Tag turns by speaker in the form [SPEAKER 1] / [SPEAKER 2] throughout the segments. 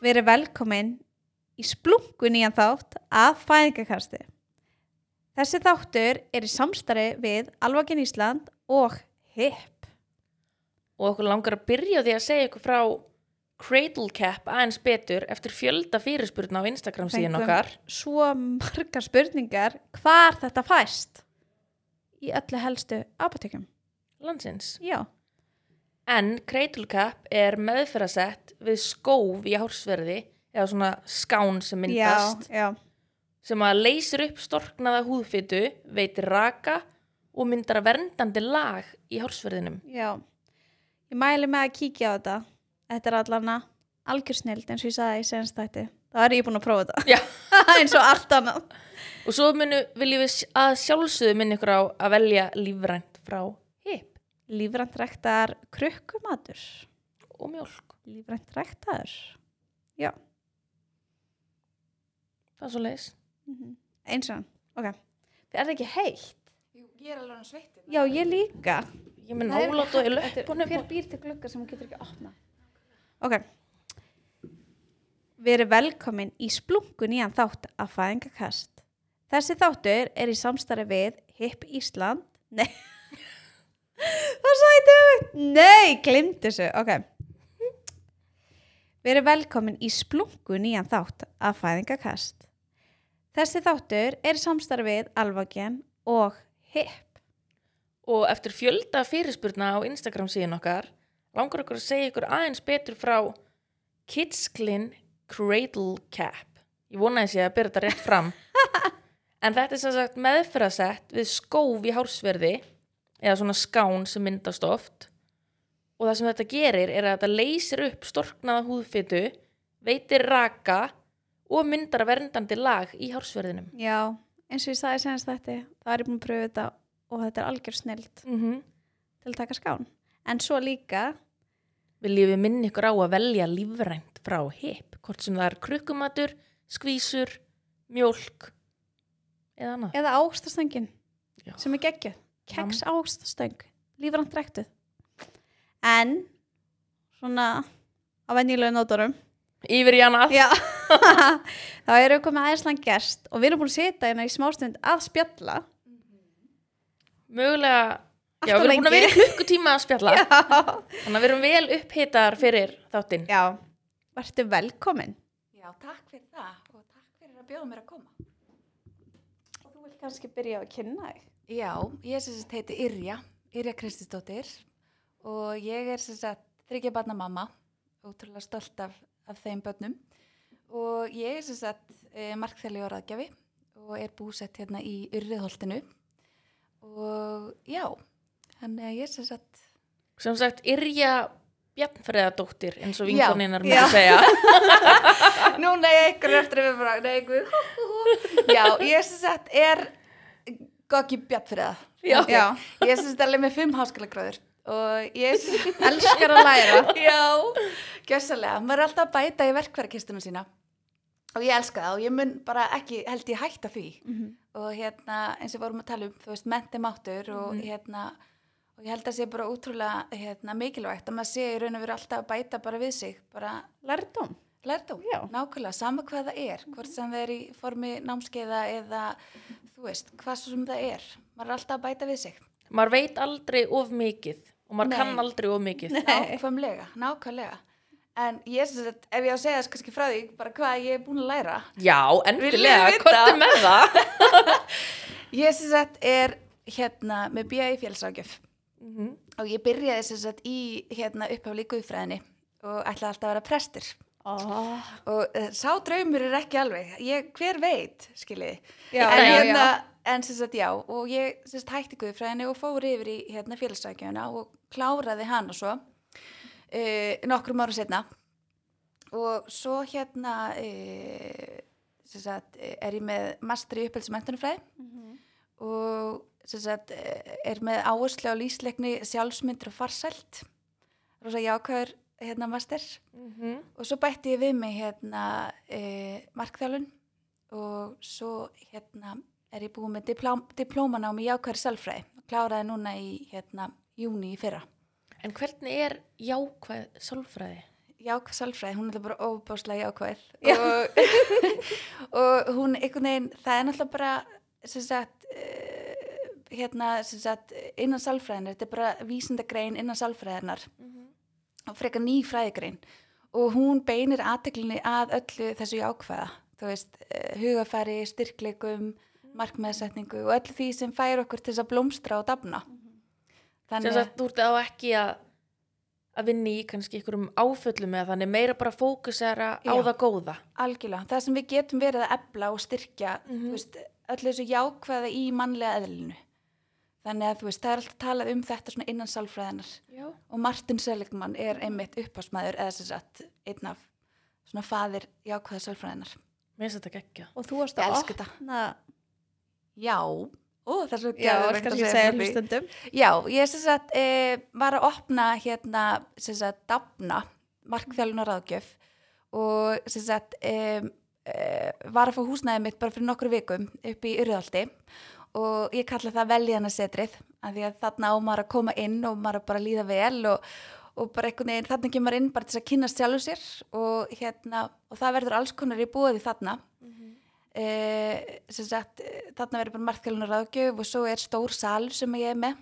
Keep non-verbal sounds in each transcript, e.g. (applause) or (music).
[SPEAKER 1] verið velkomin í splungun í hann þátt af fæðingakasti. Þessi þáttur er í samstarfi við Alvakin Ísland og HIP.
[SPEAKER 2] og okkur langar að byrja á því að segja ykkur frá Cradle Cap aðeins betur eftir fjölda fyrirspurna á Instagram síðan
[SPEAKER 1] Fengum
[SPEAKER 2] okkar
[SPEAKER 1] Svo margar spurningar hvar þetta fæst í öllu helstu apotekum.
[SPEAKER 2] landsins.
[SPEAKER 1] Já,
[SPEAKER 2] En Cradle Cap er meðferðasett við skóf í hársverði eða svona skán sem myndast
[SPEAKER 1] já, já.
[SPEAKER 2] sem að leysir upp storknaða húðfitu, veitir raka og myndar verndandi lag í hársverðinum.
[SPEAKER 1] Já, ég mæli með að kíkja á þetta. Þetta er allan að algjör snild eins og ég sagði í senstætti. Þá er ég búin að prófa þetta.
[SPEAKER 2] Já.
[SPEAKER 1] (laughs) eins og allt annað.
[SPEAKER 2] Og svo munu, viljum við sj- að sjálfsögðu minni ykkur á að velja lífrænt frá hip
[SPEAKER 1] Lífrænt ræktar krukkumatur.
[SPEAKER 2] og mjólk.
[SPEAKER 1] Lífrænt ræktaður.
[SPEAKER 2] Það er svo leys.
[SPEAKER 1] Mhm. Eins og hann. Ok. Það er það ekki heitt.
[SPEAKER 3] Jú, ég er alveg hann sveittir.
[SPEAKER 1] Já, ég líka.
[SPEAKER 2] Ég minn
[SPEAKER 1] Það er
[SPEAKER 2] álát og í
[SPEAKER 1] hægt. Þetta er-
[SPEAKER 2] löpunum.
[SPEAKER 1] Hver býr til glugga sem hún getur ekki að opna? Ok. Við erum velkomin í splungu nýjan þátt af fæðingakast. Þessi þáttur er í samstarfi við HIP Ísland. Nei. (laughs) Það sæti auðvitað. Nei, glimt þessu. Ok. Við erum velkomin í splungu nýjan þátt af fæðingakast. Þessi þáttur er í samstarfi við Alvagen og HIP.
[SPEAKER 2] Og eftir fjölda fyrirspurna á Instagram síðan okkar, langar okkur að segja ykkur aðeins betur frá Kidsklin Cradle Cap. Ég vona þess ég að byrja þetta rétt fram. en þetta er sem sagt meðferðasett við skóf í hársverði eða svona skán sem myndast oft. Og það sem þetta gerir er að þetta leysir upp storknaða húðfitu, veitir raka og myndar verndandi lag í hársverðinum.
[SPEAKER 1] Já, eins og ég sagði senast þetta, þá er ég búin að pröfu þetta og þetta er algjör snilt
[SPEAKER 2] Mm -hmm.
[SPEAKER 1] til að taka skán. En svo líka,
[SPEAKER 2] Viljum við minna ykkur á að velja lífrænt frá hip, hvort sem það er krukkumatur, skvísur, mjólk eða annað.
[SPEAKER 1] eða ástastangin
[SPEAKER 2] Já.
[SPEAKER 1] sem er geggjöð, keks ástastöng, lífrand rektuð. En, svona á venjulegu nótunum,
[SPEAKER 2] Yfir í annað.
[SPEAKER 1] já, (laughs) þá erum við komið aðeinslan gerst og við erum búin að setja hérna í smástund að spjalla. (laughs)
[SPEAKER 2] Mögulega, já,
[SPEAKER 1] Allt of
[SPEAKER 2] við erum búin að vera
[SPEAKER 1] lengi.
[SPEAKER 2] í klukkutíma að spjalla,
[SPEAKER 1] (laughs) Já,
[SPEAKER 2] þannig að við erum vel upphitaðar fyrir þáttinn.
[SPEAKER 1] já, vartu velkomin.
[SPEAKER 3] Já, takk fyrir það og takk fyrir að bjóða mér að koma.
[SPEAKER 1] Og þú vil kannski byrja á að kynna þig.
[SPEAKER 3] Já, ég sem sagt heiti Yrja, Yrja Kristisdóttir og ég er sem sagt þryggja barna mamma, ótrúlega stolt af, af þeim börnum og ég er sem sagt e, markþæli og ráðgjafi og er búsett hérna í Yrriðholtinu og já, þannig að ég er sem sagt,
[SPEAKER 2] Sem sagt, Yrja Bjarnfreðadóttir, eins og
[SPEAKER 3] Já.
[SPEAKER 2] vinkoninnar
[SPEAKER 1] Já.
[SPEAKER 2] mér
[SPEAKER 1] (laughs)
[SPEAKER 2] segja.
[SPEAKER 3] núna ég ykkur eftir að við bara, nei ykkur, já, ég sem sagt er goggi bjartfriða.
[SPEAKER 2] Já.
[SPEAKER 3] Já, ég syns þetta alveg með fimm háskóla gráður og ég syns, (laughs)
[SPEAKER 1] Elskar að læra.
[SPEAKER 3] já, gjössalega, maður er alltaf að bæta í verkfærakistuna sína og ég elska það og ég mun bara ekki held ég hætta því
[SPEAKER 1] Mhm.
[SPEAKER 3] og hérna eins og vorum að tala um, þú veist, menti máttur og hérna og ég held að sé bara útrúlega hérna, mikilvægt að maður sé í raun og veru alltaf að bæta bara við sig, bara
[SPEAKER 1] Lærdóm.
[SPEAKER 3] lærdóm,
[SPEAKER 1] Já.
[SPEAKER 3] nákvæmlega, sama hvað það er hvort sem það er í formi námskeiða eða þú veist, hvað svo sem það er maður er alltaf að bæta við sig
[SPEAKER 2] Maður veit aldrei of mikið og maður
[SPEAKER 3] Nei.
[SPEAKER 2] kann aldrei of mikið.
[SPEAKER 1] Nei.
[SPEAKER 3] nákvæmlega, nákvæmlega en ég sem sagt, ef ég á að segja þess kannski frá því bara hvað ég er búin að læra
[SPEAKER 2] Já, endilega,
[SPEAKER 3] vita.
[SPEAKER 2] hvað er með það?
[SPEAKER 3] ég sem sagt er hérna með BA í félagságjöf
[SPEAKER 2] Mhm.
[SPEAKER 3] og ég byrjaði sem sagt í hérna upphafli guðfræðinni og ætlaði alltaf að vera prestur
[SPEAKER 1] Oh.
[SPEAKER 3] og uh, sá draumur er ekki alveg ég, hver veit, skiljiði
[SPEAKER 1] Já,
[SPEAKER 3] en,
[SPEAKER 2] já,
[SPEAKER 3] hérna, en sem sagt já og ég sem sagt hætti guðfræðinni og fór yfir í hérna félagsrækjuna og kláraði hana svo uh, nokkrum ára setna og svo hérna uh, sem sagt eh, er ég með master í upphelsumæntunumfræði
[SPEAKER 1] Mhm.
[SPEAKER 3] og sem sagt eh, er með áherslu á lýsleikni sjálfsmyndur og farsælt rosa jákvæður hérna master
[SPEAKER 2] Mhm.
[SPEAKER 3] og svo bætti ég við mig hérna e, markþjálun og svo hérna er ég búin með diplóm, diplómanám í jákværi sálfræði og kláraði núna í hérna júni í fyrra.
[SPEAKER 2] En hvernig er jákvæð sálfræði?
[SPEAKER 3] jákvæð sálfræði, hún er náttúrulega bara óbáslega jákvæð
[SPEAKER 1] Já.
[SPEAKER 3] og, og (laughs) hún einhvern veginn, það er náttúrulega bara sem sagt uh, hérna, sem sagt, innan sálfræðinar þetta er bara vísindagrein innan sálfræðinar
[SPEAKER 1] Mhm.
[SPEAKER 3] og frekar ný fræðigrein og hún beinir aðteklinni að öllu þessu jákvæða þú veist, eh, hugafæri,
[SPEAKER 2] Mm.
[SPEAKER 3] styrkleikum markmeðsetningu og öllu því sem fær okkur til þess að blómstra og dafna
[SPEAKER 2] Mhm. sem sagt, þú ert á ekki að að vinni í kannski einhverjum áföllum eða þannig meira bara fókusera á
[SPEAKER 3] Já.
[SPEAKER 2] það góða
[SPEAKER 3] algjörlega, það sem við getum verið að ebla og styrkja,
[SPEAKER 2] Mhm.
[SPEAKER 3] þú veist, öllu þessu jákvæða í mannlega eðlinu þannig að þú veist, það er alltaf talað um þetta svona innan sálfræðinar
[SPEAKER 2] Já.
[SPEAKER 3] og Martin Seligman er einmitt upphásmaður eða sem sagt, einn af svona faðir jákvæða sálfræðinar
[SPEAKER 2] Mér finnst þetta geggja.
[SPEAKER 1] og þú varst
[SPEAKER 3] Ég
[SPEAKER 1] að
[SPEAKER 3] elska þetta.
[SPEAKER 1] opna
[SPEAKER 3] Já, ó, það er svo
[SPEAKER 1] já, það
[SPEAKER 3] geðveikt
[SPEAKER 1] er kannski að
[SPEAKER 3] frá
[SPEAKER 1] segja
[SPEAKER 3] því.
[SPEAKER 1] hlustendum
[SPEAKER 3] Já, ég sem sagt, e, var að opna hérna, sem sagt, dafna markþjálfunar aðgjöf og sem sagt, e, e, var að fá húsnæðið mitt bara fyrir nokkur vikum upp í Urðaldi og ég kalla það veljanasetrið af því að þarna á maður að koma inn og maður að bara líða vel og, og bara einhvern veginn, þarna kemur maður inn bara til þess að kynast sjálfur sér og hérna, og það verður alls konar í búið þarna e, sem sagt, eh, þarna verður bara margþjálfunar ráðgjöf og svo er stór salur sem ég er með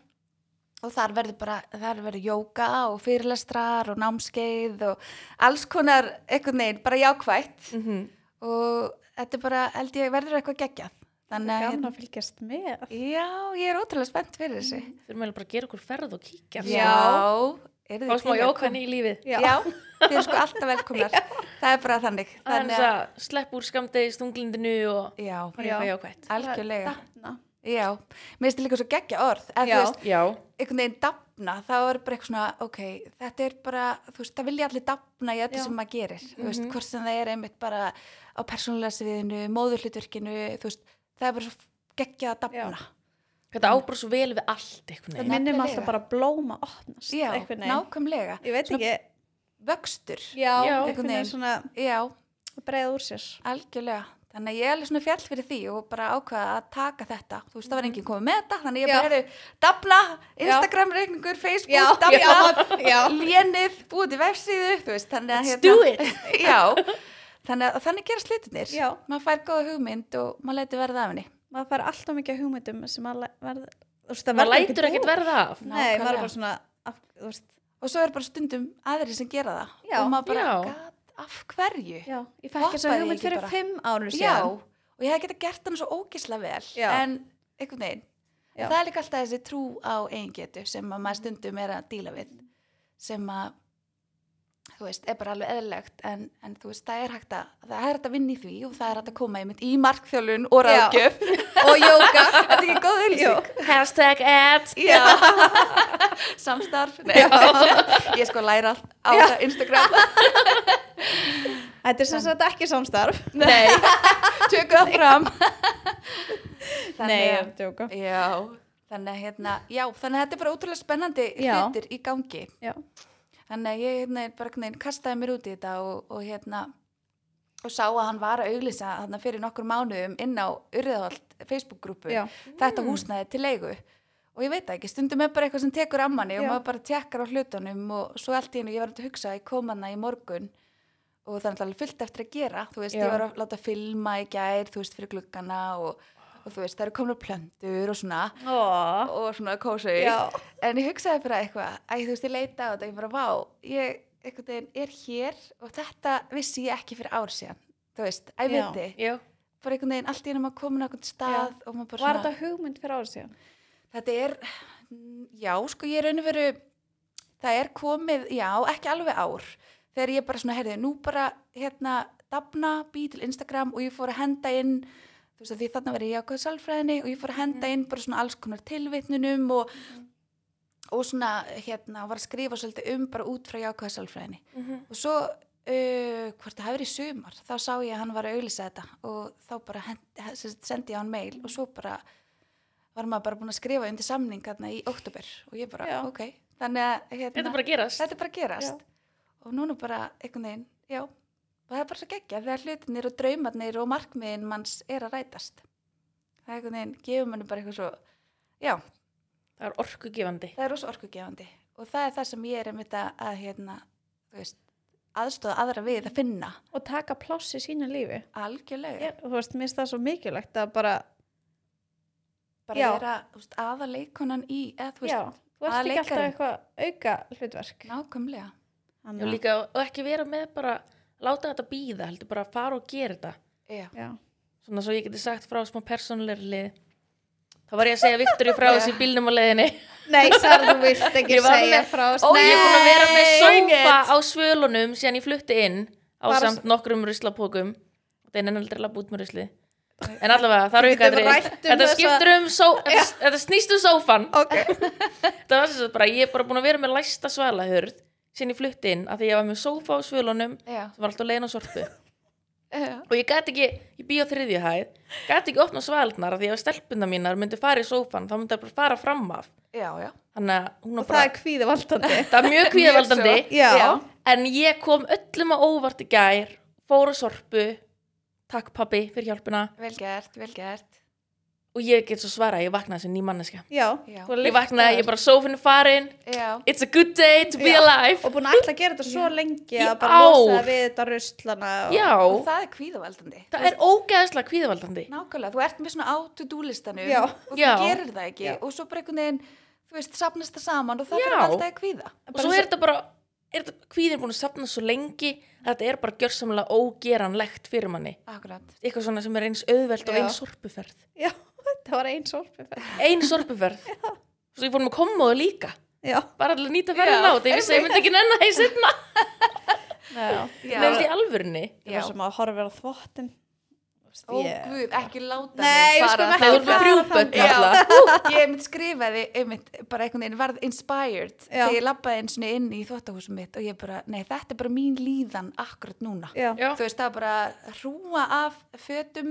[SPEAKER 3] og þar verður bara, þar verður jóka og fyrirlestrar og námskeið og alls konar einhvern veginn, bara jákvætt
[SPEAKER 2] Mm
[SPEAKER 3] og þetta er bara, held ég, verður eitthvað geggjað þannig að, hérna-
[SPEAKER 1] gaman að fylgjast með
[SPEAKER 3] já, ég er ótrúlega spennt fyrir þessu
[SPEAKER 2] Þurfum eiginlega bara að gera okkur ferð og kíkja.
[SPEAKER 1] Já.
[SPEAKER 3] er
[SPEAKER 2] Fá smá jókan í lífið.
[SPEAKER 1] Já.
[SPEAKER 3] Já, (laughs) þið eru sko alltaf velkomnar það er bara þannig,
[SPEAKER 2] Þannig að slepp úr skamdegi stunglindinu og
[SPEAKER 3] já,
[SPEAKER 2] bara eitthvað jákvætt.
[SPEAKER 3] algjörlega
[SPEAKER 1] Dafna.
[SPEAKER 3] Já, mér finnst líka svo geggja orð ef þú
[SPEAKER 1] Já.
[SPEAKER 3] veist,
[SPEAKER 2] Já.
[SPEAKER 3] einhvern veginn dafna þá er bara eitthvað svona, ok, þetta er bara þú veist, það vilja allir dafna í öllu
[SPEAKER 1] Já.
[SPEAKER 3] sem maður gerir þú veist, hvort sem það er einmitt bara á persónulega sviðinu, móðurhlutverkinu þú veist, það er bara svo geggja að dafna
[SPEAKER 2] Þetta ábúr svo vel við allt einhvern
[SPEAKER 1] það
[SPEAKER 2] veginn.
[SPEAKER 1] minnum
[SPEAKER 3] Nefnilega.
[SPEAKER 1] alltaf bara að blóma opnast
[SPEAKER 3] Já,
[SPEAKER 1] einhvern veginn.
[SPEAKER 3] nákvæmlega
[SPEAKER 1] ég veit ekki,
[SPEAKER 3] Vöxtur,
[SPEAKER 1] já,
[SPEAKER 2] Já,
[SPEAKER 1] einhvern veginn
[SPEAKER 3] einhvern veginn.
[SPEAKER 1] svona
[SPEAKER 3] já,
[SPEAKER 1] breið úr sér
[SPEAKER 3] algjörlega Þannig að ég er alveg svona fjall fyrir því og bara ákvaða að taka þetta. Þú veist, það var enginn komið með þetta, þannig að ég
[SPEAKER 1] Já.
[SPEAKER 3] bara hefði dafna, Instagram-reikningur, Facebook, dafna,
[SPEAKER 1] já, já.
[SPEAKER 3] lénið, búið til vefsíðu, þú veist, þannig að hérna-
[SPEAKER 2] Let's do it!
[SPEAKER 3] (laughs) já, þannig að þannig gerast litinir.
[SPEAKER 1] Já.
[SPEAKER 3] Maður fær góða hugmynd og maður lætur verða af henni.
[SPEAKER 1] maður fær alltaf mikið af hugmyndum sem maður læ- verð- þú veist, það
[SPEAKER 2] Maður
[SPEAKER 1] verður
[SPEAKER 2] lætur ekkert
[SPEAKER 1] búið.
[SPEAKER 2] verða af.
[SPEAKER 1] nei, maður er
[SPEAKER 3] Nákvæmlega.
[SPEAKER 1] bara svona af, þú veist,
[SPEAKER 3] Og svo er bara stundum aðri sem gera það.
[SPEAKER 1] Já.
[SPEAKER 3] Og maður bara,
[SPEAKER 2] Já.
[SPEAKER 3] "Gat, af hverju?
[SPEAKER 1] já, ég fekk þess
[SPEAKER 3] Hoppaði
[SPEAKER 1] að hugmynd
[SPEAKER 3] ekki
[SPEAKER 1] fyrir
[SPEAKER 3] bara.
[SPEAKER 1] fimm árum
[SPEAKER 3] Já,
[SPEAKER 1] síðan
[SPEAKER 3] og ég hef geta gert hann svo ógisla vel,
[SPEAKER 1] Já.
[SPEAKER 3] en einhvern veginn.
[SPEAKER 1] Já.
[SPEAKER 3] En það er líka alltaf þessi trú á eigingetu sem að maður stundum er að díla við, sem að, þú veist, er bara alveg eðlilegt, en, en þú veist, það er hægt að, það er hægt að vinna í því og það er hægt að koma einmitt í markþjálun
[SPEAKER 1] Já.
[SPEAKER 3] og ráðgjöf og jóka, (laughs) þetta er ekki góð auðlýsing.
[SPEAKER 2] Hashtag ads.
[SPEAKER 3] Já, (laughs) samstarf, nei, ég sko læra allt á
[SPEAKER 1] Já.
[SPEAKER 3] það Instagram,
[SPEAKER 1] þetta er sem sagt ekki samstarf
[SPEAKER 2] Nei.
[SPEAKER 3] (laughs) tökum það fram.
[SPEAKER 1] nei,
[SPEAKER 3] Þannig
[SPEAKER 1] ég
[SPEAKER 3] að-
[SPEAKER 1] er að djóka.
[SPEAKER 3] Já, þannig að hérna, já, þannig að þetta er bara ótrúlega spennandi
[SPEAKER 1] Já.
[SPEAKER 3] hlutir í gangi.
[SPEAKER 1] já,
[SPEAKER 3] Þannig að ég hérna bara hérna kastaði mér út í þetta og, og hérna og sá að hann var að auglýsa hérna fyrir nokkur mánuðum inn á Urðavald Facebook-grúpu,
[SPEAKER 1] já, Mm.
[SPEAKER 3] þetta húsnæði til leigu og ég veit það ekki, stundum er bara eitthvað sem tekur ammanni og
[SPEAKER 1] Já.
[SPEAKER 3] maður bara tekkar á hlutunum og svo allt í hennu, ég var að hugsa að ég kom hana í morgun og það er alltaf fullt eftir að gera, þú veist,
[SPEAKER 2] Já.
[SPEAKER 3] ég var að láta filma í gær, þú veist, fyrir gluggana og, og þú veist, það eru komna plöndur og svona
[SPEAKER 1] Ó,
[SPEAKER 3] og svona kósa í
[SPEAKER 1] já.
[SPEAKER 3] en ég hugsaði bara eitthvað, æ þú veist ég leita á þetta ég bara vá, ég einhvern veginn er hér og þetta vissi ég ekki fyrir ár síðan, þú veist, æ
[SPEAKER 1] Já.
[SPEAKER 3] viti
[SPEAKER 2] Já.
[SPEAKER 3] bara einhvern veginn allt í henni maður komin á einhvern stað og maður bara
[SPEAKER 1] var
[SPEAKER 3] svona,
[SPEAKER 1] þetta hugmynd fyrir árum síðan
[SPEAKER 3] þetta... er mm, já, sko ég er raun og veru það er komið, já, ekki alveg ár þegar ég bara svona, heyrði, nú bara hérna, dafna, bý til Instagram og ég fór að henda inn þú veist að því þarna verið ég ákveð sálfræðinni og ég fór að henda inn bara svona alls konar tilvitnunum og, og svona hérna var að skrifa svolítið um bara út frá jákvæða sálfræðinni og svo uh, hvort það hafi verið í sumar þá sá ég að hann var að auglýsa þetta og þá bara hend, sem sagt, sendi ég á hann mail og svo bara var maður bara búin að skrifa undir samning þarna í oktober og ég bara
[SPEAKER 1] Já.
[SPEAKER 3] ok þannig að hérna,
[SPEAKER 2] Þetta bara gerast.
[SPEAKER 3] þetta er bara að gerast og núna bara einhvern veginn, já og það er bara svo geggja þegar hlutinir og draumarnir og markmiðin manns er að rætast það er einhvern veginn, gefur manni bara eitthvað svo já,
[SPEAKER 2] Það er orkugefandi.
[SPEAKER 3] það er rosa orkugefandi og það er það sem ég er einmitt að, að hérna, þú veist aðstóða aðra við að finna
[SPEAKER 1] og taka pláss í sínu lífi
[SPEAKER 3] algjörlega,
[SPEAKER 1] ég, þú veist, mér finnst það svo mikilvægt að bara,
[SPEAKER 3] bara
[SPEAKER 1] já.
[SPEAKER 3] vera þú veist, aðaleikonan í, eða þú
[SPEAKER 1] já,
[SPEAKER 3] veist,
[SPEAKER 1] þú ert
[SPEAKER 3] að
[SPEAKER 1] ekki alltaf
[SPEAKER 3] leikarinn.
[SPEAKER 1] eitthvað auka hlutverk
[SPEAKER 3] nákvæmlega
[SPEAKER 1] Þannig
[SPEAKER 2] og
[SPEAKER 1] að-
[SPEAKER 2] líka og ekki vera með bara láta þetta býða, heldur bara að fara og gera þetta
[SPEAKER 3] já,
[SPEAKER 1] já.
[SPEAKER 2] svona svo ég geti sagt frá smá persónulegri lið þá var ég að segja Viktor í frá þessi
[SPEAKER 1] (laughs)
[SPEAKER 2] bílnum á leiðinni
[SPEAKER 1] Nei, Sara, þú vilt ekki
[SPEAKER 2] Ég var
[SPEAKER 1] segja
[SPEAKER 2] með-
[SPEAKER 1] frá
[SPEAKER 2] og ég er búin að vera með
[SPEAKER 1] Nei,
[SPEAKER 2] sófa
[SPEAKER 1] Inget.
[SPEAKER 2] á svölunum síðan ég flutti inn á
[SPEAKER 1] Bara
[SPEAKER 2] samt nokkrum ruslapókum og það er enn aldrei lapp út með rusli en allavega, það
[SPEAKER 1] Við
[SPEAKER 2] eru
[SPEAKER 1] getum
[SPEAKER 2] ykkur
[SPEAKER 1] rætt um
[SPEAKER 2] þetta
[SPEAKER 1] þessa-
[SPEAKER 2] skiptur um só, þetta snýst um sófan
[SPEAKER 1] (laughs) Ok,
[SPEAKER 2] það var sem sagt bara, ég er bara búin að vera með læsta svalahörð síðan ég flutti inn af því ég var með sófa á svölunum
[SPEAKER 3] já,
[SPEAKER 2] sem var alltaf leiðin á sorpu
[SPEAKER 3] já.
[SPEAKER 2] og ég gæti ekki, ég býð á þriðju hæð gæti ekki opna svalirnar af því að stelpunna mínar myndi fara í sófan, þá myndi það bara fara fram af
[SPEAKER 3] já, já.
[SPEAKER 2] þannig að hún
[SPEAKER 1] og
[SPEAKER 2] var
[SPEAKER 1] það
[SPEAKER 2] bara,
[SPEAKER 1] er kvíði valdandi
[SPEAKER 2] það
[SPEAKER 1] (laughs)
[SPEAKER 2] er mjög kvíðavaldandi
[SPEAKER 3] Mjög svo.
[SPEAKER 1] Já.
[SPEAKER 2] en ég kom öllum á óvart í gær fór á sorpu takk pabbi fyrir hjálpina
[SPEAKER 3] vel gert, vel gert
[SPEAKER 2] og ég get svo svara, ég vaknaði sem ný manneska
[SPEAKER 1] Já,
[SPEAKER 3] Já.
[SPEAKER 1] þú er
[SPEAKER 2] ég
[SPEAKER 1] lyft
[SPEAKER 2] vaknaði,
[SPEAKER 1] þar.
[SPEAKER 2] ég bara sófinu farin
[SPEAKER 3] já,
[SPEAKER 2] it's a good day to be
[SPEAKER 1] Já.
[SPEAKER 2] alive
[SPEAKER 1] Og búin að ætla að gera þetta svo lengi að
[SPEAKER 2] Í
[SPEAKER 1] bara losa
[SPEAKER 2] ár.
[SPEAKER 1] það við þetta ruslana og...
[SPEAKER 2] já,
[SPEAKER 3] og það er kvíðavaldandi
[SPEAKER 2] það er ógeðslega kvíðavaldandi
[SPEAKER 3] Nákvæmlega, þú ert með svona á to-do listanum
[SPEAKER 1] Já.
[SPEAKER 3] og
[SPEAKER 2] Já.
[SPEAKER 3] þú gerir það ekki
[SPEAKER 1] Já.
[SPEAKER 3] og svo bara einhvern veginn, þú veist, safnast það saman og það
[SPEAKER 2] Já.
[SPEAKER 3] fyrir alltaf að kvíða.
[SPEAKER 2] og svo er þetta bara er þetta, kvíðin búin að safna svo lengi að þetta er bara gjörsamlega ógeranlegt fyrir manni
[SPEAKER 3] Akkurat.
[SPEAKER 2] eitthvað svona sem er eins auðvelt og
[SPEAKER 1] Já.
[SPEAKER 2] eins sorpuferð
[SPEAKER 1] Já, (laughs) þetta var einn sorgfjöf
[SPEAKER 2] eins sorpuferð svo ég fór með komoðu líka
[SPEAKER 1] Já,
[SPEAKER 2] bara allir nýta verðin á þetta ég vissi að ég myndi ekki nennan það í setna
[SPEAKER 1] já,
[SPEAKER 3] Já.
[SPEAKER 2] nefnst í alvörunni
[SPEAKER 1] Ég var
[SPEAKER 3] Já.
[SPEAKER 1] sem að horfa á þvottin
[SPEAKER 3] Ó guð, ekki láta
[SPEAKER 1] Nei,
[SPEAKER 3] mig
[SPEAKER 1] við
[SPEAKER 3] fara.
[SPEAKER 1] skulum
[SPEAKER 2] Nei, þú
[SPEAKER 1] ekki
[SPEAKER 2] ert með þrjú börn
[SPEAKER 3] Já,
[SPEAKER 2] (laughs) náttúrulega.
[SPEAKER 3] Ú, ég mynd skrifaði einmitt bara einhvern veginn varð inspired
[SPEAKER 1] Já.
[SPEAKER 3] þegar ég labbaði eins og inn í þvóttahúsum mitt og ég bara, nei þetta er bara mín líðan akkurat núna.
[SPEAKER 1] Já,
[SPEAKER 2] Já.
[SPEAKER 3] Þú veist, það er bara að hrúa af fötum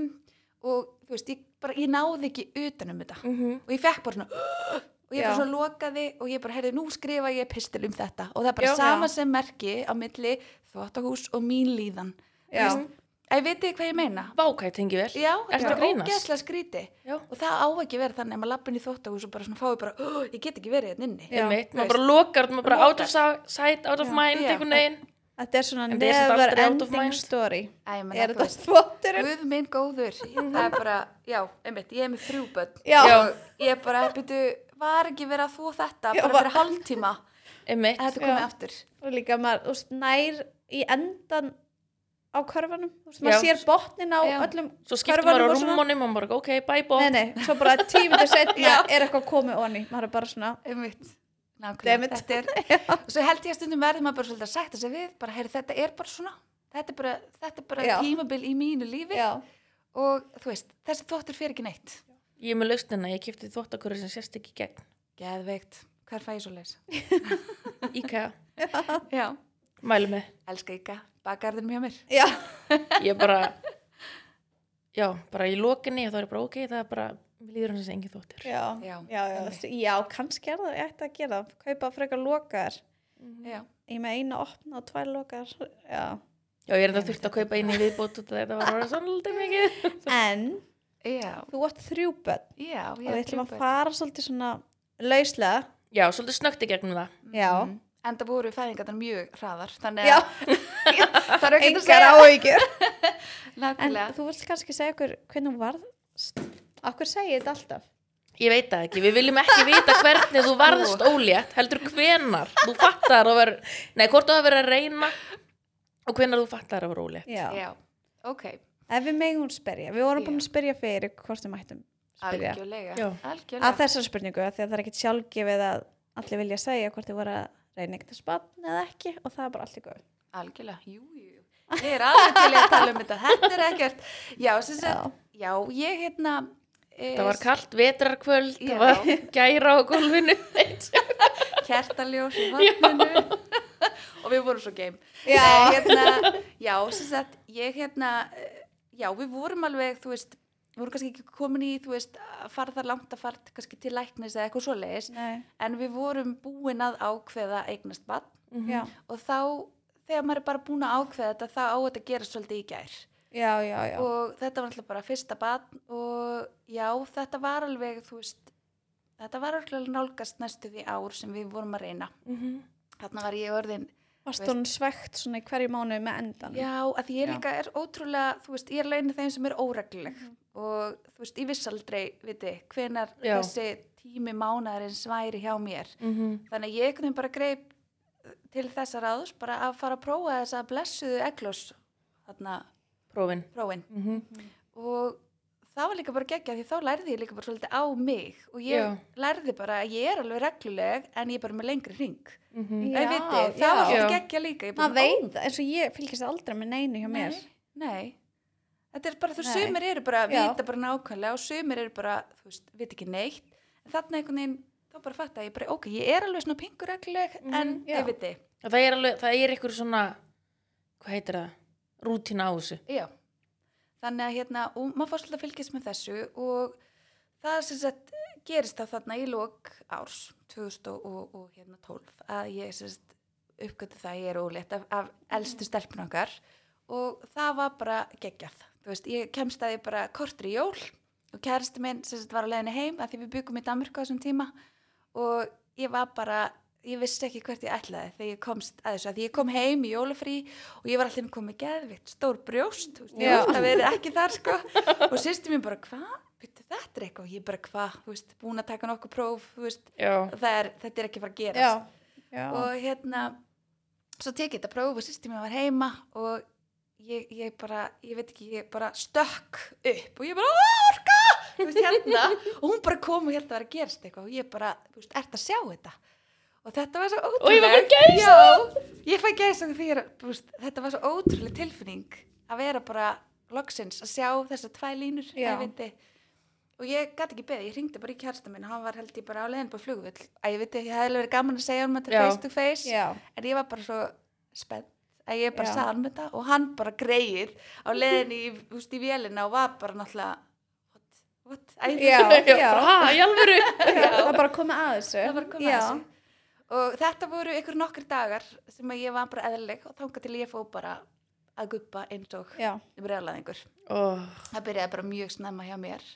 [SPEAKER 3] og þú veist, ég, bara, ég náði ekki utanum þetta.
[SPEAKER 2] Mhm.
[SPEAKER 3] og ég fekk bara svona (gasps) og ég bara
[SPEAKER 1] Já.
[SPEAKER 3] svona lokaði og ég bara heyrði nú skrifa ég pistil um þetta og það er bara
[SPEAKER 2] Já.
[SPEAKER 3] sama sem merki á milli þvóttahús og mín líðan
[SPEAKER 1] já,
[SPEAKER 3] Þú veist, að ég veit ekki hvað ég meina
[SPEAKER 2] Vá, hvað ég tengi vel
[SPEAKER 3] já,
[SPEAKER 2] Ertu
[SPEAKER 3] þetta
[SPEAKER 2] að
[SPEAKER 3] er
[SPEAKER 2] grínast?
[SPEAKER 3] ógeðslega skríti
[SPEAKER 2] Já.
[SPEAKER 3] og það á ekki að vera þannig að maður lappin í þvóttahús og bara svona fái bara, "Ugh, ég get ekki verið hérna inni
[SPEAKER 1] Já.
[SPEAKER 2] Einmitt,
[SPEAKER 3] Þú veist.
[SPEAKER 2] maður bara lokar, maður bara out of sight, out of
[SPEAKER 1] Já.
[SPEAKER 2] mind
[SPEAKER 3] Já.
[SPEAKER 2] einhvern veginn
[SPEAKER 1] þetta er svona
[SPEAKER 2] En þetta er samt
[SPEAKER 1] never
[SPEAKER 2] aldrei out of
[SPEAKER 1] ending
[SPEAKER 2] mind.
[SPEAKER 1] story
[SPEAKER 3] Æ, ég meina,
[SPEAKER 1] Er
[SPEAKER 3] þú
[SPEAKER 1] þetta
[SPEAKER 3] veist,
[SPEAKER 1] þvotturinn?
[SPEAKER 3] Guð minn góður, það er bara, já, einmitt, ég er með þrjú börn
[SPEAKER 1] Já.
[SPEAKER 3] og ég er bara, byrju, var ekki verið að þú þetta,
[SPEAKER 1] Já,
[SPEAKER 3] bara
[SPEAKER 1] bara-
[SPEAKER 3] fyrir hálftíma,
[SPEAKER 2] einmitt,
[SPEAKER 3] að þetta komið
[SPEAKER 1] Já.
[SPEAKER 3] aftur.
[SPEAKER 1] Og líka maður, þú veist, nær í endan á körfanum Þú veist, maður
[SPEAKER 2] Já.
[SPEAKER 1] sér botnin á
[SPEAKER 3] Já.
[SPEAKER 1] öllum
[SPEAKER 2] svo
[SPEAKER 1] Hvar
[SPEAKER 2] skiptum
[SPEAKER 1] var
[SPEAKER 2] maður á
[SPEAKER 1] hún svona?
[SPEAKER 2] rúmónum og maður bara, ok, bye
[SPEAKER 1] Nei,
[SPEAKER 2] bye
[SPEAKER 1] nei, svo bara tímið þess að er eitthvað komið onni Maður er bara svona
[SPEAKER 3] Einmitt.
[SPEAKER 1] Dammit. (laughs)
[SPEAKER 3] Nákvæmlega, þetta er, og svo held ég að stundum verður maður bara svolítið að sætta sig við, bara, heyri, þetta er bara svona, þetta er bara, þetta er bara
[SPEAKER 1] Já.
[SPEAKER 3] tímabil í mínu lífi
[SPEAKER 1] Já, (laughs)
[SPEAKER 3] og þú veist, þessi þvottur fyrir ekki neitt.
[SPEAKER 2] ég er með lausnina, ég kipti þvóttakurri sem sérst ekki í gegn
[SPEAKER 3] Geðveikt, hvað er fæði svo leys?
[SPEAKER 2] IKEA,
[SPEAKER 3] Já.
[SPEAKER 2] mælu með
[SPEAKER 3] Elska ykkar, bakarðin mjög mér.
[SPEAKER 1] já,
[SPEAKER 2] ég bara já, bara í lokinni og þá er ég bara ok, það er bara, mér líður hann sem engin þóttir
[SPEAKER 1] já Já,
[SPEAKER 3] Já,
[SPEAKER 1] já, þú veist, já, kannski er það, ég ætti að gera það. Kaupa frekar lokaðar Mm.
[SPEAKER 3] Já.
[SPEAKER 1] Ég er með eina opna og tvær lokaðar Já,
[SPEAKER 2] já, ég er enda þurft að kaupa inn í viðbót og þetta var orðið sannlega mikið
[SPEAKER 1] en
[SPEAKER 3] Já,
[SPEAKER 1] þú átt þrjú börn
[SPEAKER 3] já,
[SPEAKER 1] og
[SPEAKER 3] já.
[SPEAKER 1] við ætlum að fara svolítið svona lauslega
[SPEAKER 2] já, svolítið snögt í gegnum það
[SPEAKER 1] Já,
[SPEAKER 3] Mm. Enda voru fæðingarnar mjög hraðar, þannig
[SPEAKER 1] já,
[SPEAKER 3] að það er ekki að (laughs)
[SPEAKER 1] engar
[SPEAKER 3] segja.
[SPEAKER 1] áhyggjur En
[SPEAKER 3] Nákvæmlega.
[SPEAKER 1] þú vilt kannski segja okkur hvernig hún varð Akkur segi ég þetta alltaf
[SPEAKER 2] ég veit það ekki, við viljum ekki vita hvernig þú varðist ólétt, heldur hvenar þú fattar að vera, nei, hvort þú hafa verið að reyna og hvenar þú fattar að vera ólétt
[SPEAKER 1] Já,
[SPEAKER 3] Já, ok.
[SPEAKER 1] ef við megum spyrja Við vorum
[SPEAKER 3] Já.
[SPEAKER 1] búin að spyrja fyrir hvort við mættum spyrja
[SPEAKER 3] Algjörlega.
[SPEAKER 2] Já.
[SPEAKER 3] Algjörlega.
[SPEAKER 1] að þessar spurningu af því að það er ekkit sjálfgefið að allir vilja segja hvort þið voru að reyna ekkert að spanna eða ekki og það er bara allir góð
[SPEAKER 3] Algjörlega, jú, jú. jú. Ég er alveg til í að tala um þetta, þetta er ekkert. Já, sem
[SPEAKER 1] Já.
[SPEAKER 3] sagt, já, ég hérna... E,
[SPEAKER 2] það var kallt vetrarkvöld,
[SPEAKER 3] Já.
[SPEAKER 2] það var gæra á gólfinu
[SPEAKER 3] Kertaljós í vatninu. (laughs) og við vorum svo geim.
[SPEAKER 1] Já.
[SPEAKER 3] Nei, hérna, já, sem sagt, ég hérna... eh, Já, við vorum alveg, þú veist, við vorum kannski ekki komin í, þú veist, að fara þar langt að fara kannski til læknis eða eitthvað svoleiðis.
[SPEAKER 1] Nei,
[SPEAKER 3] En við vorum búin að ákveða eignast vatn
[SPEAKER 1] já,
[SPEAKER 3] og þá, þegar maður er bara búin að ákveða þetta, þá á þetta að gera svolítið í gær.
[SPEAKER 1] já, já, já
[SPEAKER 3] og þetta var alltaf bara fyrsta barn og já, þetta var alveg þú veist, þetta var alveg nálgast næstu því ár sem við vorum að reyna
[SPEAKER 2] Mhm.
[SPEAKER 3] þarna var ég orðin
[SPEAKER 1] Varst hún svegt svona í hverju mánu með endan?
[SPEAKER 3] Já, að því ég
[SPEAKER 2] Já.
[SPEAKER 3] líka er ótrúlega, þú veist, ég er leinu þeim sem er óregluleg og þú veist, ég viss aldrei, viti, hvenar
[SPEAKER 2] Já.
[SPEAKER 3] þessi tími mánaðarins væri hjá mér.
[SPEAKER 2] -hmm.
[SPEAKER 3] Þannig að ég einhvern veginn bara greip til þessa ráðs bara að fara að prófa þessa blessuðu eglós, þarna
[SPEAKER 2] Prófin.
[SPEAKER 3] prófin.
[SPEAKER 2] Mm
[SPEAKER 3] Og það var líka bara geggja því þá lærði ég líka bara svolítið á mig og ég
[SPEAKER 2] Já.
[SPEAKER 3] lærði bara að ég er alveg regluleg en ég er bara með lengri ring.
[SPEAKER 2] -hmm.
[SPEAKER 3] Já, viti, það var svolítið geggja líka. Ég bara
[SPEAKER 1] Maður
[SPEAKER 3] svona, ó,
[SPEAKER 1] veit, það, eins og ég fylgist aldrei með neinu hjá mér.
[SPEAKER 3] Nei, nei. Þetta er bara, þú
[SPEAKER 1] Nei.
[SPEAKER 3] sumir eru bara að
[SPEAKER 1] Já.
[SPEAKER 3] vita bara nákvæmlega og sumir eru bara, þú veist, vita ekki neitt. En þarna einhvern veginn, þá bara fatta ég bara, ok, ég er alveg svona pingur regluleg
[SPEAKER 2] Mhm,
[SPEAKER 3] en
[SPEAKER 1] já.
[SPEAKER 3] ég viti.
[SPEAKER 2] Það er alveg, það er ykkur svona, hvað heitir það? Rútina á þessu.
[SPEAKER 3] Já. Þannig að hérna, og maður fór svolítið að fylgjast með þessu og það sem sagt gerist þá þarna í lok árs 2012 hérna að ég sem sagt uppgötu það að ég er ólétt af, af
[SPEAKER 1] Mhm.
[SPEAKER 3] elstu stelpun okkar og það var bara geggjað. Þú veist, ég kemst að því bara kortri jól og kæristi minn sem sagt var á leiðinni heim að því við byggum í Danmarku á þessum tíma og ég var bara ég vissi ekki hvert ég ætlaði þegar ég komst að þessu að því ég kom heim í jólafrí og ég var alltaf komið geðvitt, stór brjóst þú veist, ég
[SPEAKER 1] Já.
[SPEAKER 3] var alltaf verið ekki þar
[SPEAKER 1] (laughs)
[SPEAKER 3] sko og sýsti mín bara hvað, Bittu, þetta er eitthvað og ég bara hvað, þú veist, búin að taka nokkuð próf þú veist,
[SPEAKER 2] Já.
[SPEAKER 3] það er, þetta er ekki að fara að gerast
[SPEAKER 1] Já. Já.
[SPEAKER 3] og hérna svo tek ég þetta próf og sýsti mér var heima og ég, ég bara ég veit ekki, ég bara stökk upp og ég bara "Á, orka Þú veist, hérna, og hún bara kom og held að vera að gerast eitthvað og ég bara, þú veist, ert að sjá þetta og þetta var svo
[SPEAKER 2] Og ég var
[SPEAKER 3] ótrúleg
[SPEAKER 2] með gæs-
[SPEAKER 3] Já, ég fæ gæs og því er, að, þú veist, þetta var svo ótrúleg tilfinning að vera bara loksins að sjá þessar tvæ línur
[SPEAKER 1] Já.
[SPEAKER 3] æviti og ég gæti ekki beðið, ég ringdi bara í kærsta minn og hann var held ég bara á leiðin bara flugvill æviti, ég hefði alveg verið gaman að segja hann maður til
[SPEAKER 2] Já.
[SPEAKER 3] face to face
[SPEAKER 1] Já.
[SPEAKER 3] en ég var bara svo spennt að ég bara
[SPEAKER 1] Já.
[SPEAKER 3] sagði hann þetta og hann bara greið á leiðin í, úst, í vélina og var bara náttúrulega what, what, æ,
[SPEAKER 1] Já.
[SPEAKER 2] Já. Bara, ha, í (laughs) alvöru.
[SPEAKER 1] Það bara komið að þessu.
[SPEAKER 3] (laughs) það var að koma
[SPEAKER 1] Já.
[SPEAKER 3] að þessu og þetta voru ykkur nokkri dagar sem að ég var bara eðlileg og þangað til ég fó bara að guppa eins og
[SPEAKER 1] Já.
[SPEAKER 3] breyðlaðingur
[SPEAKER 2] Oh.
[SPEAKER 3] það byrjaði bara mjög snemma hjá mér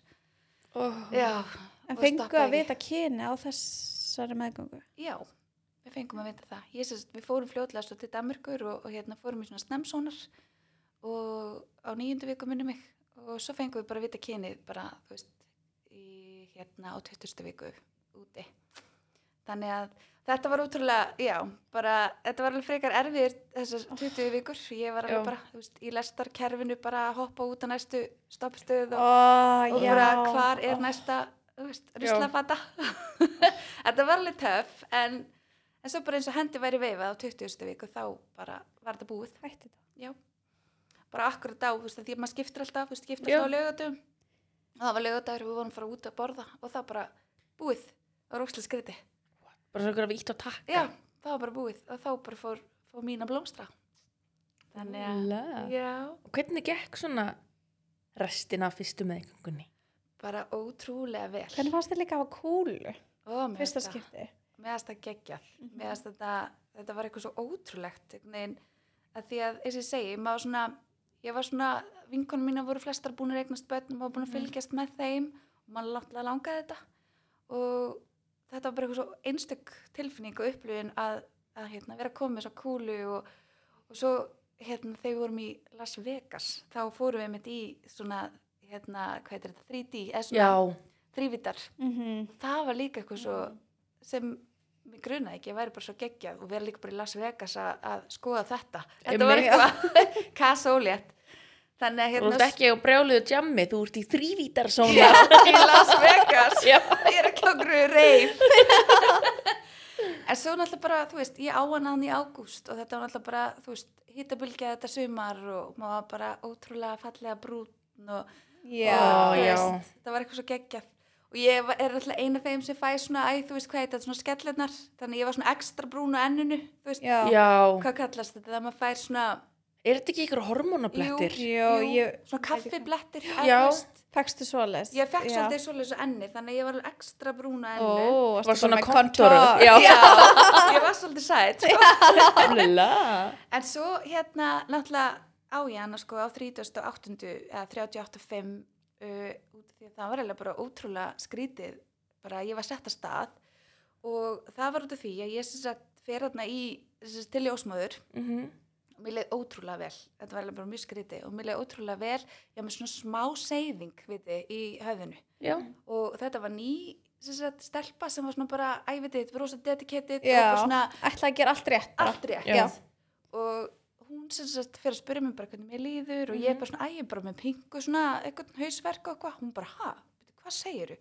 [SPEAKER 2] Oh.
[SPEAKER 3] já,
[SPEAKER 1] En
[SPEAKER 3] og
[SPEAKER 1] fengu að
[SPEAKER 3] stoppaði ekki.
[SPEAKER 1] vita kyni á þessari meðgöngu.
[SPEAKER 3] Já, við fengum að vita það. Ég sérst, við fórum fljótlega svo til Danmarkur og, og hérna fórum í svona snemsónar og á nýjundu viku minni mig og svo fengum við bara að vita kynið bara, þú veist, í, hérna á 20. viku úti. Þannig að þetta var útrúlega, já, bara, þetta var alveg frekar erfiðir þessar 20 vikur. Ég var alveg
[SPEAKER 2] Já.
[SPEAKER 3] bara, þú veist, í lestarkerfinu bara að hoppa út á næstu stoppstöð
[SPEAKER 1] Ó,
[SPEAKER 3] og og
[SPEAKER 1] já.
[SPEAKER 3] bara hvar er næsta þú veist, ruslafata (laughs) þetta var alveg töff en, en svo bara eins og hendi væri veifað á 20. viku þá bara var þetta búið
[SPEAKER 1] Hætti þetta.
[SPEAKER 3] já, bara akkurat á þú veist, af því að maður skiptir alltaf, þú veist, skiptir
[SPEAKER 2] Já.
[SPEAKER 3] alltaf á lögatum og það var lögadagur, við vorum að fara út að borða og það bara búið, það var óslega skriti
[SPEAKER 2] Bara svona ykkur að við ítt á takka.
[SPEAKER 3] já, það var bara búið og þá bara fór, fór mín að blómstra þannig að,
[SPEAKER 2] Óla.
[SPEAKER 3] já
[SPEAKER 2] Og hvernig gekk svona restina af fyrstu meðgöngunni?
[SPEAKER 3] bara ótrúlega vel
[SPEAKER 1] Hvernig fannst þið líka að hafa kúlu?
[SPEAKER 3] Ó, mér
[SPEAKER 1] Fyrsta
[SPEAKER 3] finnst það-
[SPEAKER 1] skipti.
[SPEAKER 3] meðast að geggjað mm -hmm. meðast þetta, þetta var eitthvað svo ótrúlegt einhvern veginn, að því að eins og ég segi, maður svona ég var svona, vinkonum mína voru flestar búin að eignast börn og maður búin að fylgjast með þeim og maður láttilega langaði þetta og þetta var bara eitthvað svo einstök tilfinning og upplöfin að, að hérna, vera komið svo kúlu og, og svo hérna, þegar við vorum í Las Vegas þá fórum við mitt í svona hérna, hvað heitir þetta, 3D eða svona
[SPEAKER 2] Já.
[SPEAKER 3] þrívítar
[SPEAKER 1] Mm
[SPEAKER 3] það var líka eitthvað svo
[SPEAKER 1] Mhm.
[SPEAKER 3] sem mig grunaði ekki, ég væri bara svo geggjað og verið líka bara í Las Vegas að, að skoða þetta þetta var
[SPEAKER 2] Einmitt.
[SPEAKER 3] eitthvað (laughs) kassólétt þannig að
[SPEAKER 2] Þú
[SPEAKER 3] hérna
[SPEAKER 2] ert ekki á brjáluðu jammi, þú ert í þrývítarsóna.
[SPEAKER 3] í Las Vegas
[SPEAKER 2] Já.
[SPEAKER 3] ég er ekki á gruðu reif (laughs) en svo náttúrulega bara þú veist, ég á hann hann í ágúst og þetta var náttúrulega bara, þú veist, hittabilgja þetta sumar og maður var bara ótrúlega fallega brún og
[SPEAKER 1] Já.
[SPEAKER 2] Ó,
[SPEAKER 3] Þú
[SPEAKER 2] já.
[SPEAKER 3] veist, það var eitthvað svo geggjað og ég var- er alltaf eina þeim sem fæ svona æ, þú veist hvað heitir, þetta, svona skellunar þannig ég var svona ekstra brún á enninu þú veist,
[SPEAKER 1] Já.
[SPEAKER 2] Já.
[SPEAKER 3] hvað kallast þetta, það maður fær svona
[SPEAKER 2] Er þetta ekki ykkur hormonablettir?
[SPEAKER 1] Jó, ég-
[SPEAKER 3] svona kaffiblettir
[SPEAKER 2] Já.
[SPEAKER 1] Fækstu svoleiðis?
[SPEAKER 3] ég fekk
[SPEAKER 1] Já.
[SPEAKER 3] svolítið svoleiðis á enni þannig að ég var alveg ekstra brún á enni
[SPEAKER 1] Ó, varstu
[SPEAKER 2] Var svona
[SPEAKER 1] með
[SPEAKER 2] kontúrar.
[SPEAKER 1] Já.
[SPEAKER 3] Já,
[SPEAKER 1] (laughs)
[SPEAKER 3] ég var svolítið sætt sko.
[SPEAKER 2] Lala.
[SPEAKER 3] en svo hérna náttúrulega á ég hana sko á 38. eða 38.5 uh, út af því að það var eiginlega bara ótrúlega skrítið bara ég var sett að stað og það var út af því að ég sem sagt fer hérna í þessi, til ljósmóður
[SPEAKER 2] mm -hmm.
[SPEAKER 3] og mér leið ótrúlega vel þetta var alveg bara mjög skrítið og mér leið ótrúlega vel ég var með svona smá seyðing viti, í höfðinu
[SPEAKER 2] Já,
[SPEAKER 3] og þetta var ný sem sagt, stelpa sem var svona bara ævitið, rosa dedicated og
[SPEAKER 1] Já,
[SPEAKER 3] bara svona
[SPEAKER 1] ætla að gera allt rétt bara.
[SPEAKER 3] allt rétt
[SPEAKER 1] Já.
[SPEAKER 3] og hún sem sagt fyrir að spyrja mér bara hvernig mér líður og ég er bara svona, æ, ég er bara með pingu svona, eitthvað hausverk og eitthvað, hún bara, ha, bíddu, hvað segiru?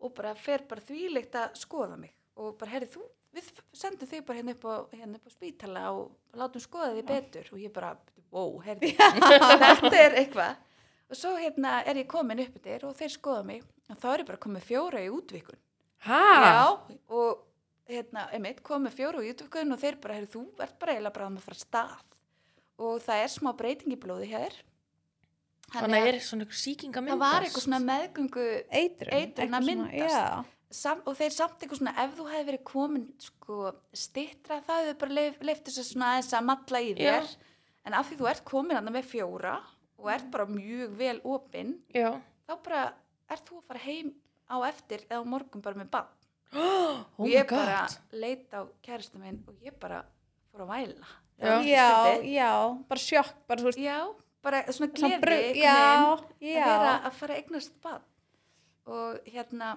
[SPEAKER 3] Og bara fer bara þvílegt að skoða mig og bara, herri, þú, við sendum þig bara hérna upp á, hérna upp á spítala og látum skoða þig betur og ég bara, bíddu, wow, herri, (laughs) þetta er eitthvað. Og svo hérna er ég komin upp yfir og þeir skoða mig og þá er ég bara komið fjóra í útvikun.
[SPEAKER 2] ha,
[SPEAKER 3] Já, og hérna, einmitt, kom með fjóru og jútufkun og þeir bara, heyrðu, þú ert bara eiginlega bara að maður fara af stað og það er smá breyting í blóði hér
[SPEAKER 2] þannig að er svona ykkur sýking að
[SPEAKER 3] það
[SPEAKER 2] myndast
[SPEAKER 3] var eitthvað svona meðgöngu
[SPEAKER 1] Eitrun,
[SPEAKER 3] Eitrun
[SPEAKER 1] eitthvað
[SPEAKER 3] að
[SPEAKER 1] svona,
[SPEAKER 3] myndast.
[SPEAKER 1] já.
[SPEAKER 3] sam, og þeir samt eitthvað svona, ef þú hefði verið komin sko stittra það hefur bara leif, leiftu sér svona aðeins að matla í
[SPEAKER 2] Já.
[SPEAKER 3] þér en af því þú ert komin hann með fjóra og ert bara mjög vel opinn,
[SPEAKER 2] Já,
[SPEAKER 3] þá bara ert þú að fara heim á eftir eða á morgun bara með bann
[SPEAKER 2] oh
[SPEAKER 3] og
[SPEAKER 2] my
[SPEAKER 3] ég bara
[SPEAKER 2] god
[SPEAKER 3] leit á kæristu minn og ég bara fór að væla
[SPEAKER 2] Já.
[SPEAKER 3] Það var
[SPEAKER 1] já,
[SPEAKER 3] skrítið.
[SPEAKER 1] já, bara sjokk bara þú veist,
[SPEAKER 3] já, bara svona
[SPEAKER 1] svona
[SPEAKER 3] gleði
[SPEAKER 1] bru-
[SPEAKER 3] einhvern
[SPEAKER 1] já,
[SPEAKER 3] veginn, að
[SPEAKER 1] já
[SPEAKER 3] vera að fara að eignast bad og hérna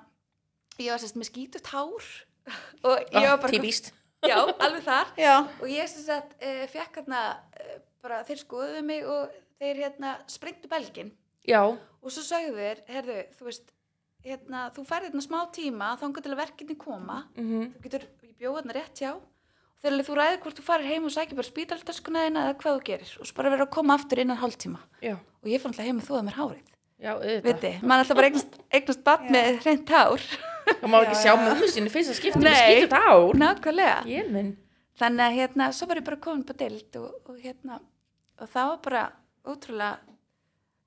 [SPEAKER 3] ég var sérst með skítut hár (laughs) og ég var
[SPEAKER 2] ah,
[SPEAKER 3] bara
[SPEAKER 2] Típist
[SPEAKER 3] já, alveg þar
[SPEAKER 1] já,
[SPEAKER 3] og ég sem sagt uh, fekk hérna uh, bara þeir skoðuðu mig og þeir hérna sprengtu belgin
[SPEAKER 2] Já,
[SPEAKER 3] og svo sagðu þeir, herðu, þú veist hérna, þú færði hérna smá tíma þangar til að verkinni koma
[SPEAKER 2] mm
[SPEAKER 3] þú getur, ég bjóð hérna rétt hjá og þegar þú ræðir hvort þú farir heim og sækir bara spítaldaskuna þína eða hvað þú gerir og svo bara verður að koma aftur innan hálftíma
[SPEAKER 2] já,
[SPEAKER 3] og ég fann alltaf heim að þóða mér hárið
[SPEAKER 2] já, auðvitað
[SPEAKER 3] viti, maður alltaf bara eignast, eignast bat
[SPEAKER 1] Já.
[SPEAKER 3] með hreint hár
[SPEAKER 2] Það má ekki
[SPEAKER 1] Já,
[SPEAKER 2] sjá
[SPEAKER 1] já.
[SPEAKER 2] mömmu sinni fyrst að skipta með
[SPEAKER 3] Nei.
[SPEAKER 2] skýtut ár
[SPEAKER 3] nákvæmlega,
[SPEAKER 2] Ég minn
[SPEAKER 3] þannig að hérna svo var ég bara komin på deild og, og hérna og það var bara ótrúlega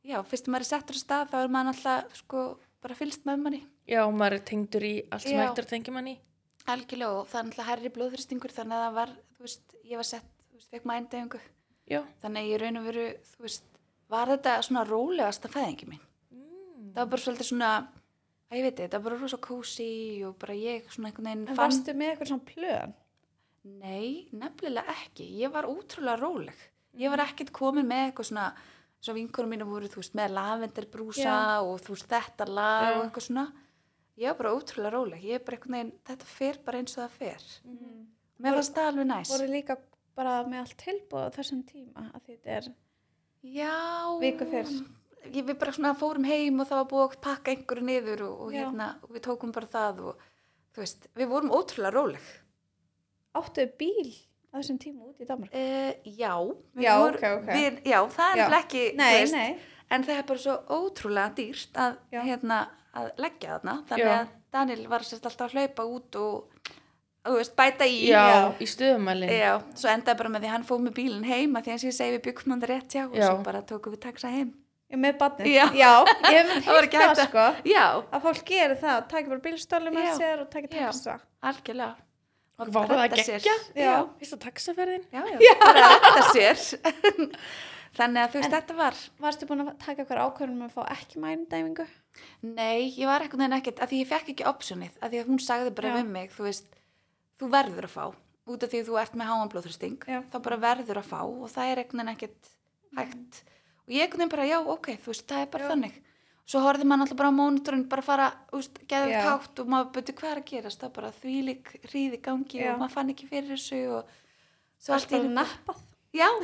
[SPEAKER 3] já, fyrst að maður er settur á stað þá er maður alltaf sko bara fylgst með manni
[SPEAKER 2] Já, maður er tengdur í allt sem
[SPEAKER 3] Já.
[SPEAKER 2] hægt er að tengja manni
[SPEAKER 3] algjörlega og það er alltaf herri blóðþristingur þannig að það var, þú veist, ég var sett þú veist, fekk maður endefingu
[SPEAKER 2] Já,
[SPEAKER 3] þannig að ég raun og veru, þú veist, var þetta svona rólegasta fæðingi mín.
[SPEAKER 2] mm.
[SPEAKER 3] Það var bara svolítið svona, að ég veit þetta, bara rosa kósi og bara ég svona einhvern veginn
[SPEAKER 1] en
[SPEAKER 3] fann.
[SPEAKER 1] varstu með eitthvað svona plön
[SPEAKER 3] Nei, nefnilega ekki. Ég var útrúlega róleg. Ég var ekkert komin með eitthvað svona, svo vinkunum mínu voru, þú veist, með lavenderbrúsa
[SPEAKER 1] Já.
[SPEAKER 3] og þú veist, þetta lag
[SPEAKER 2] Já.
[SPEAKER 3] og eitthvað svona. Ég var bara útrúlega róleg. Ég er bara einhvern veginn, þetta fer bara eins og það fer.
[SPEAKER 1] Mm.
[SPEAKER 3] Mér
[SPEAKER 1] Voru-
[SPEAKER 3] fannst það alveg næs.
[SPEAKER 1] voru líka bara með allt tilbúð á þessum tíma að þetta er
[SPEAKER 3] Já.
[SPEAKER 1] Viku fyrr.
[SPEAKER 3] Ég, við bara svona fórum heim og það var búið að pakka einhverju niður og, og
[SPEAKER 1] Já.
[SPEAKER 3] hérna og við tókum bara það og þú veist, við vorum ótrúlega róleg.
[SPEAKER 1] áttuðu bíl á þessum tíma út í Danmark
[SPEAKER 3] Uh, já. við
[SPEAKER 1] Eh, Já, ok, ok.
[SPEAKER 3] Við, já, það er
[SPEAKER 1] Já.
[SPEAKER 3] nefnilega ekki, þú
[SPEAKER 1] nei, nei,
[SPEAKER 3] en það er bara svo ótrúlega dýrt að,
[SPEAKER 1] Já.
[SPEAKER 3] hérna, að leggja þarna. Þannig
[SPEAKER 2] Já.
[SPEAKER 3] að Daniel var sérst alltaf að hlaupa út og, þú veist, bæta í.
[SPEAKER 2] já,
[SPEAKER 1] Já.
[SPEAKER 2] í stöðumælin
[SPEAKER 3] Já, svo endaði bara með því að hann fóð með bílinn heim að því að ég segi við byggum hann rétt hjá og
[SPEAKER 2] Já.
[SPEAKER 3] svo bara tókum við taxa heim.
[SPEAKER 1] ég með barnið
[SPEAKER 3] Já.
[SPEAKER 1] ég
[SPEAKER 3] (laughs)
[SPEAKER 1] hef með
[SPEAKER 3] Það var
[SPEAKER 1] heilt
[SPEAKER 3] ekki
[SPEAKER 1] það,
[SPEAKER 3] hægt að-
[SPEAKER 1] sko
[SPEAKER 3] Já,
[SPEAKER 1] að fólk gerir það, taki bara bílstölu með
[SPEAKER 3] Já.
[SPEAKER 1] sér og taki
[SPEAKER 3] Já.
[SPEAKER 1] taxa
[SPEAKER 3] algjörlega
[SPEAKER 2] Og Vá, það
[SPEAKER 3] redda sér.
[SPEAKER 2] geggja
[SPEAKER 1] Já.
[SPEAKER 2] Fyrst að taxaferðin
[SPEAKER 3] já, já, já. bara redda sér (laughs) þannig að þú veist, þetta var
[SPEAKER 1] varstu búin að taka eitthvað ákvörðum að fá ekki mænudæmingu
[SPEAKER 3] nei, ég var ekkert neina ekkert, af því ég fekk ekki optionið, af því að hún sagði bara
[SPEAKER 1] Já.
[SPEAKER 3] við mig, þú veist þú verður að fá, út af því að þú ert með háan blóðþrösting,
[SPEAKER 1] Já.
[SPEAKER 3] þá bara verður að fá og það er ekkert neina ekkert hægt og ég ekkert neina bara, já, ok, þú veist, það er bara
[SPEAKER 1] Já.
[SPEAKER 3] þannig svo horfði maður alltaf bara á mónitorinn bara fara, þú veist, geðið
[SPEAKER 1] Já.
[SPEAKER 3] kátt og maður byrti hvað er að gerast, það bara þvílík hríði gangi
[SPEAKER 1] Já.
[SPEAKER 3] og maður fann ekki fyrir þessu og svo
[SPEAKER 1] varstu
[SPEAKER 3] allt í
[SPEAKER 1] bara
[SPEAKER 3] einu-
[SPEAKER 1] nappað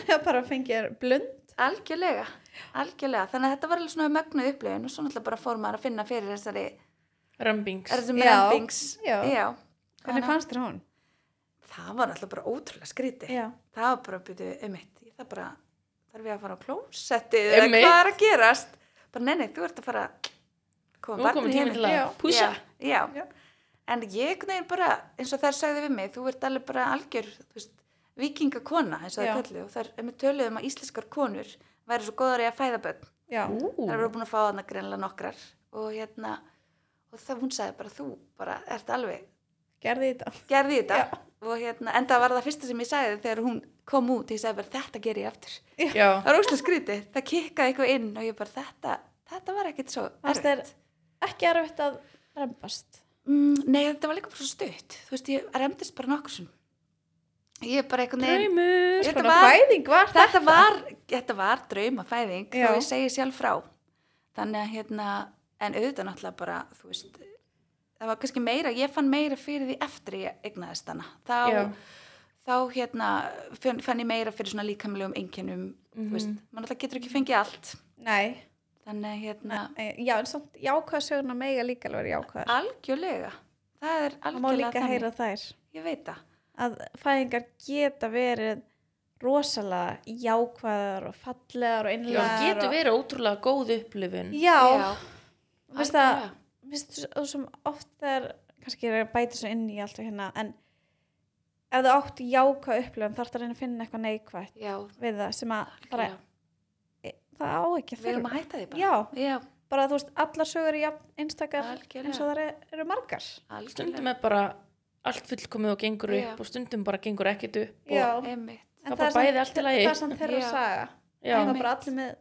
[SPEAKER 3] (laughs) já,
[SPEAKER 1] bara fengið blund
[SPEAKER 3] Algjörlega, algjörlega. Þannig að þetta var alveg svona mögnuð upplifun og svo náttúrulega bara fór maður að finna fyrir þessari,
[SPEAKER 2] Römbings
[SPEAKER 3] þessum
[SPEAKER 1] Já,
[SPEAKER 3] rembings.
[SPEAKER 1] já.
[SPEAKER 3] Þannig
[SPEAKER 1] hvernig fannst þér hún?
[SPEAKER 3] að það var náttúrulega bara ótrúlega skrítið.
[SPEAKER 1] Já.
[SPEAKER 3] Það var bara að byrja um eitt. Það bara, þarf ég að fara á klósettið eða
[SPEAKER 2] Einmitt.
[SPEAKER 3] hvað er að gerast? Bara nei, nei, þú ert að fara að
[SPEAKER 2] Nú
[SPEAKER 3] koma
[SPEAKER 2] komum
[SPEAKER 3] barnið
[SPEAKER 2] tíma
[SPEAKER 3] heim.
[SPEAKER 2] til að
[SPEAKER 1] Já.
[SPEAKER 2] púsa
[SPEAKER 3] hérna? Já, já.
[SPEAKER 1] Já.
[SPEAKER 3] En ég neginn bara, eins og þær sagði við mig, þú ert alveg bara algjör, þú veist, vikingakona, eins og
[SPEAKER 1] Já.
[SPEAKER 3] það kallu, og þær um töluðum að íslenskar konur væri svo góðar í að fæða börn.
[SPEAKER 1] já,
[SPEAKER 2] Ú,
[SPEAKER 3] Það eru búin að fá hana greinlega nokkrar og hérna, og það hún sagði bara þú bara ert alveg,
[SPEAKER 1] gerði þetta
[SPEAKER 3] gerði þetta og hérna, enda var það fyrsta sem ég sagði þegar hún kom út, ég sagði bara þetta ger ég aftur.
[SPEAKER 2] Já,
[SPEAKER 3] Það var óslega skrítið, það kikkaði eitthvað inn og ég bara þetta, þetta var ekkit svo
[SPEAKER 1] Fannst þér-
[SPEAKER 3] erfitt.
[SPEAKER 1] ekki erfitt að rempast
[SPEAKER 3] Mm, nei, þetta var líka bara svo stutt, þú veist, ég remdist bara nokkur sem ég er bara einhvern veginn
[SPEAKER 2] Draumur
[SPEAKER 3] Þetta
[SPEAKER 1] Svona
[SPEAKER 3] var-
[SPEAKER 1] fæðing var það.
[SPEAKER 3] þetta var, þetta var draumafæðing
[SPEAKER 1] Já.
[SPEAKER 3] þó ég segi sjálf frá þannig að hérna, en auðvitað náttúrulega bara, þú veist það var kannski meira, ég fann meira fyrir því eftir ég eignaðist hana þá,
[SPEAKER 2] Já.
[SPEAKER 3] þá hérna fann fann ég meira fyrir svona líkamlegum einkennum
[SPEAKER 2] Mhm.
[SPEAKER 3] þú veist,
[SPEAKER 1] Mm.
[SPEAKER 3] maður náttúrulega getur ekki fengið allt
[SPEAKER 1] Nei,
[SPEAKER 3] þannig að hérna,
[SPEAKER 1] eh, já, en samt jákvæðsöguna mega líka alveg vera jákvæðar.
[SPEAKER 3] algjörlega það er
[SPEAKER 1] Það má
[SPEAKER 3] algjörlega
[SPEAKER 1] líka heyra þær.
[SPEAKER 3] ég veit það
[SPEAKER 1] Að fæðingar geta verið rosalega jákvæðar og fallegar og
[SPEAKER 2] Já,
[SPEAKER 1] innlegar.
[SPEAKER 2] getur
[SPEAKER 1] og-
[SPEAKER 2] verið ótrúlega góð upplifun
[SPEAKER 1] Já, veist það,
[SPEAKER 3] algjörlega.
[SPEAKER 1] minnst þú sem oft þegar kannski er að bæta svo inn í allt og hérna en ef þú átt jáka upplöfum þarf það að reyna að finna eitthvað neikvætt
[SPEAKER 3] já,
[SPEAKER 1] við það sem að bara, e,
[SPEAKER 3] algjörlega.
[SPEAKER 1] það á ekki að
[SPEAKER 3] við erum
[SPEAKER 1] þurfa
[SPEAKER 3] að hætta því bara
[SPEAKER 1] já,
[SPEAKER 3] já,
[SPEAKER 1] bara þú veist, allar sögur er jafn einstakar
[SPEAKER 3] Algjörlega.
[SPEAKER 1] eins og það eru margar
[SPEAKER 3] algjörlega
[SPEAKER 2] Stundum er bara allt fullkomið og gengur upp
[SPEAKER 3] Já.
[SPEAKER 2] og stundum bara gengur ekkit upp
[SPEAKER 1] já,
[SPEAKER 2] og,
[SPEAKER 3] Einmitt.
[SPEAKER 1] en
[SPEAKER 2] það bara
[SPEAKER 1] samt-
[SPEAKER 2] bæði allt í lagi.
[SPEAKER 1] það er samt þeirra
[SPEAKER 3] Já.
[SPEAKER 1] saga
[SPEAKER 2] já,
[SPEAKER 1] það
[SPEAKER 3] Einmitt.
[SPEAKER 1] er bara allir með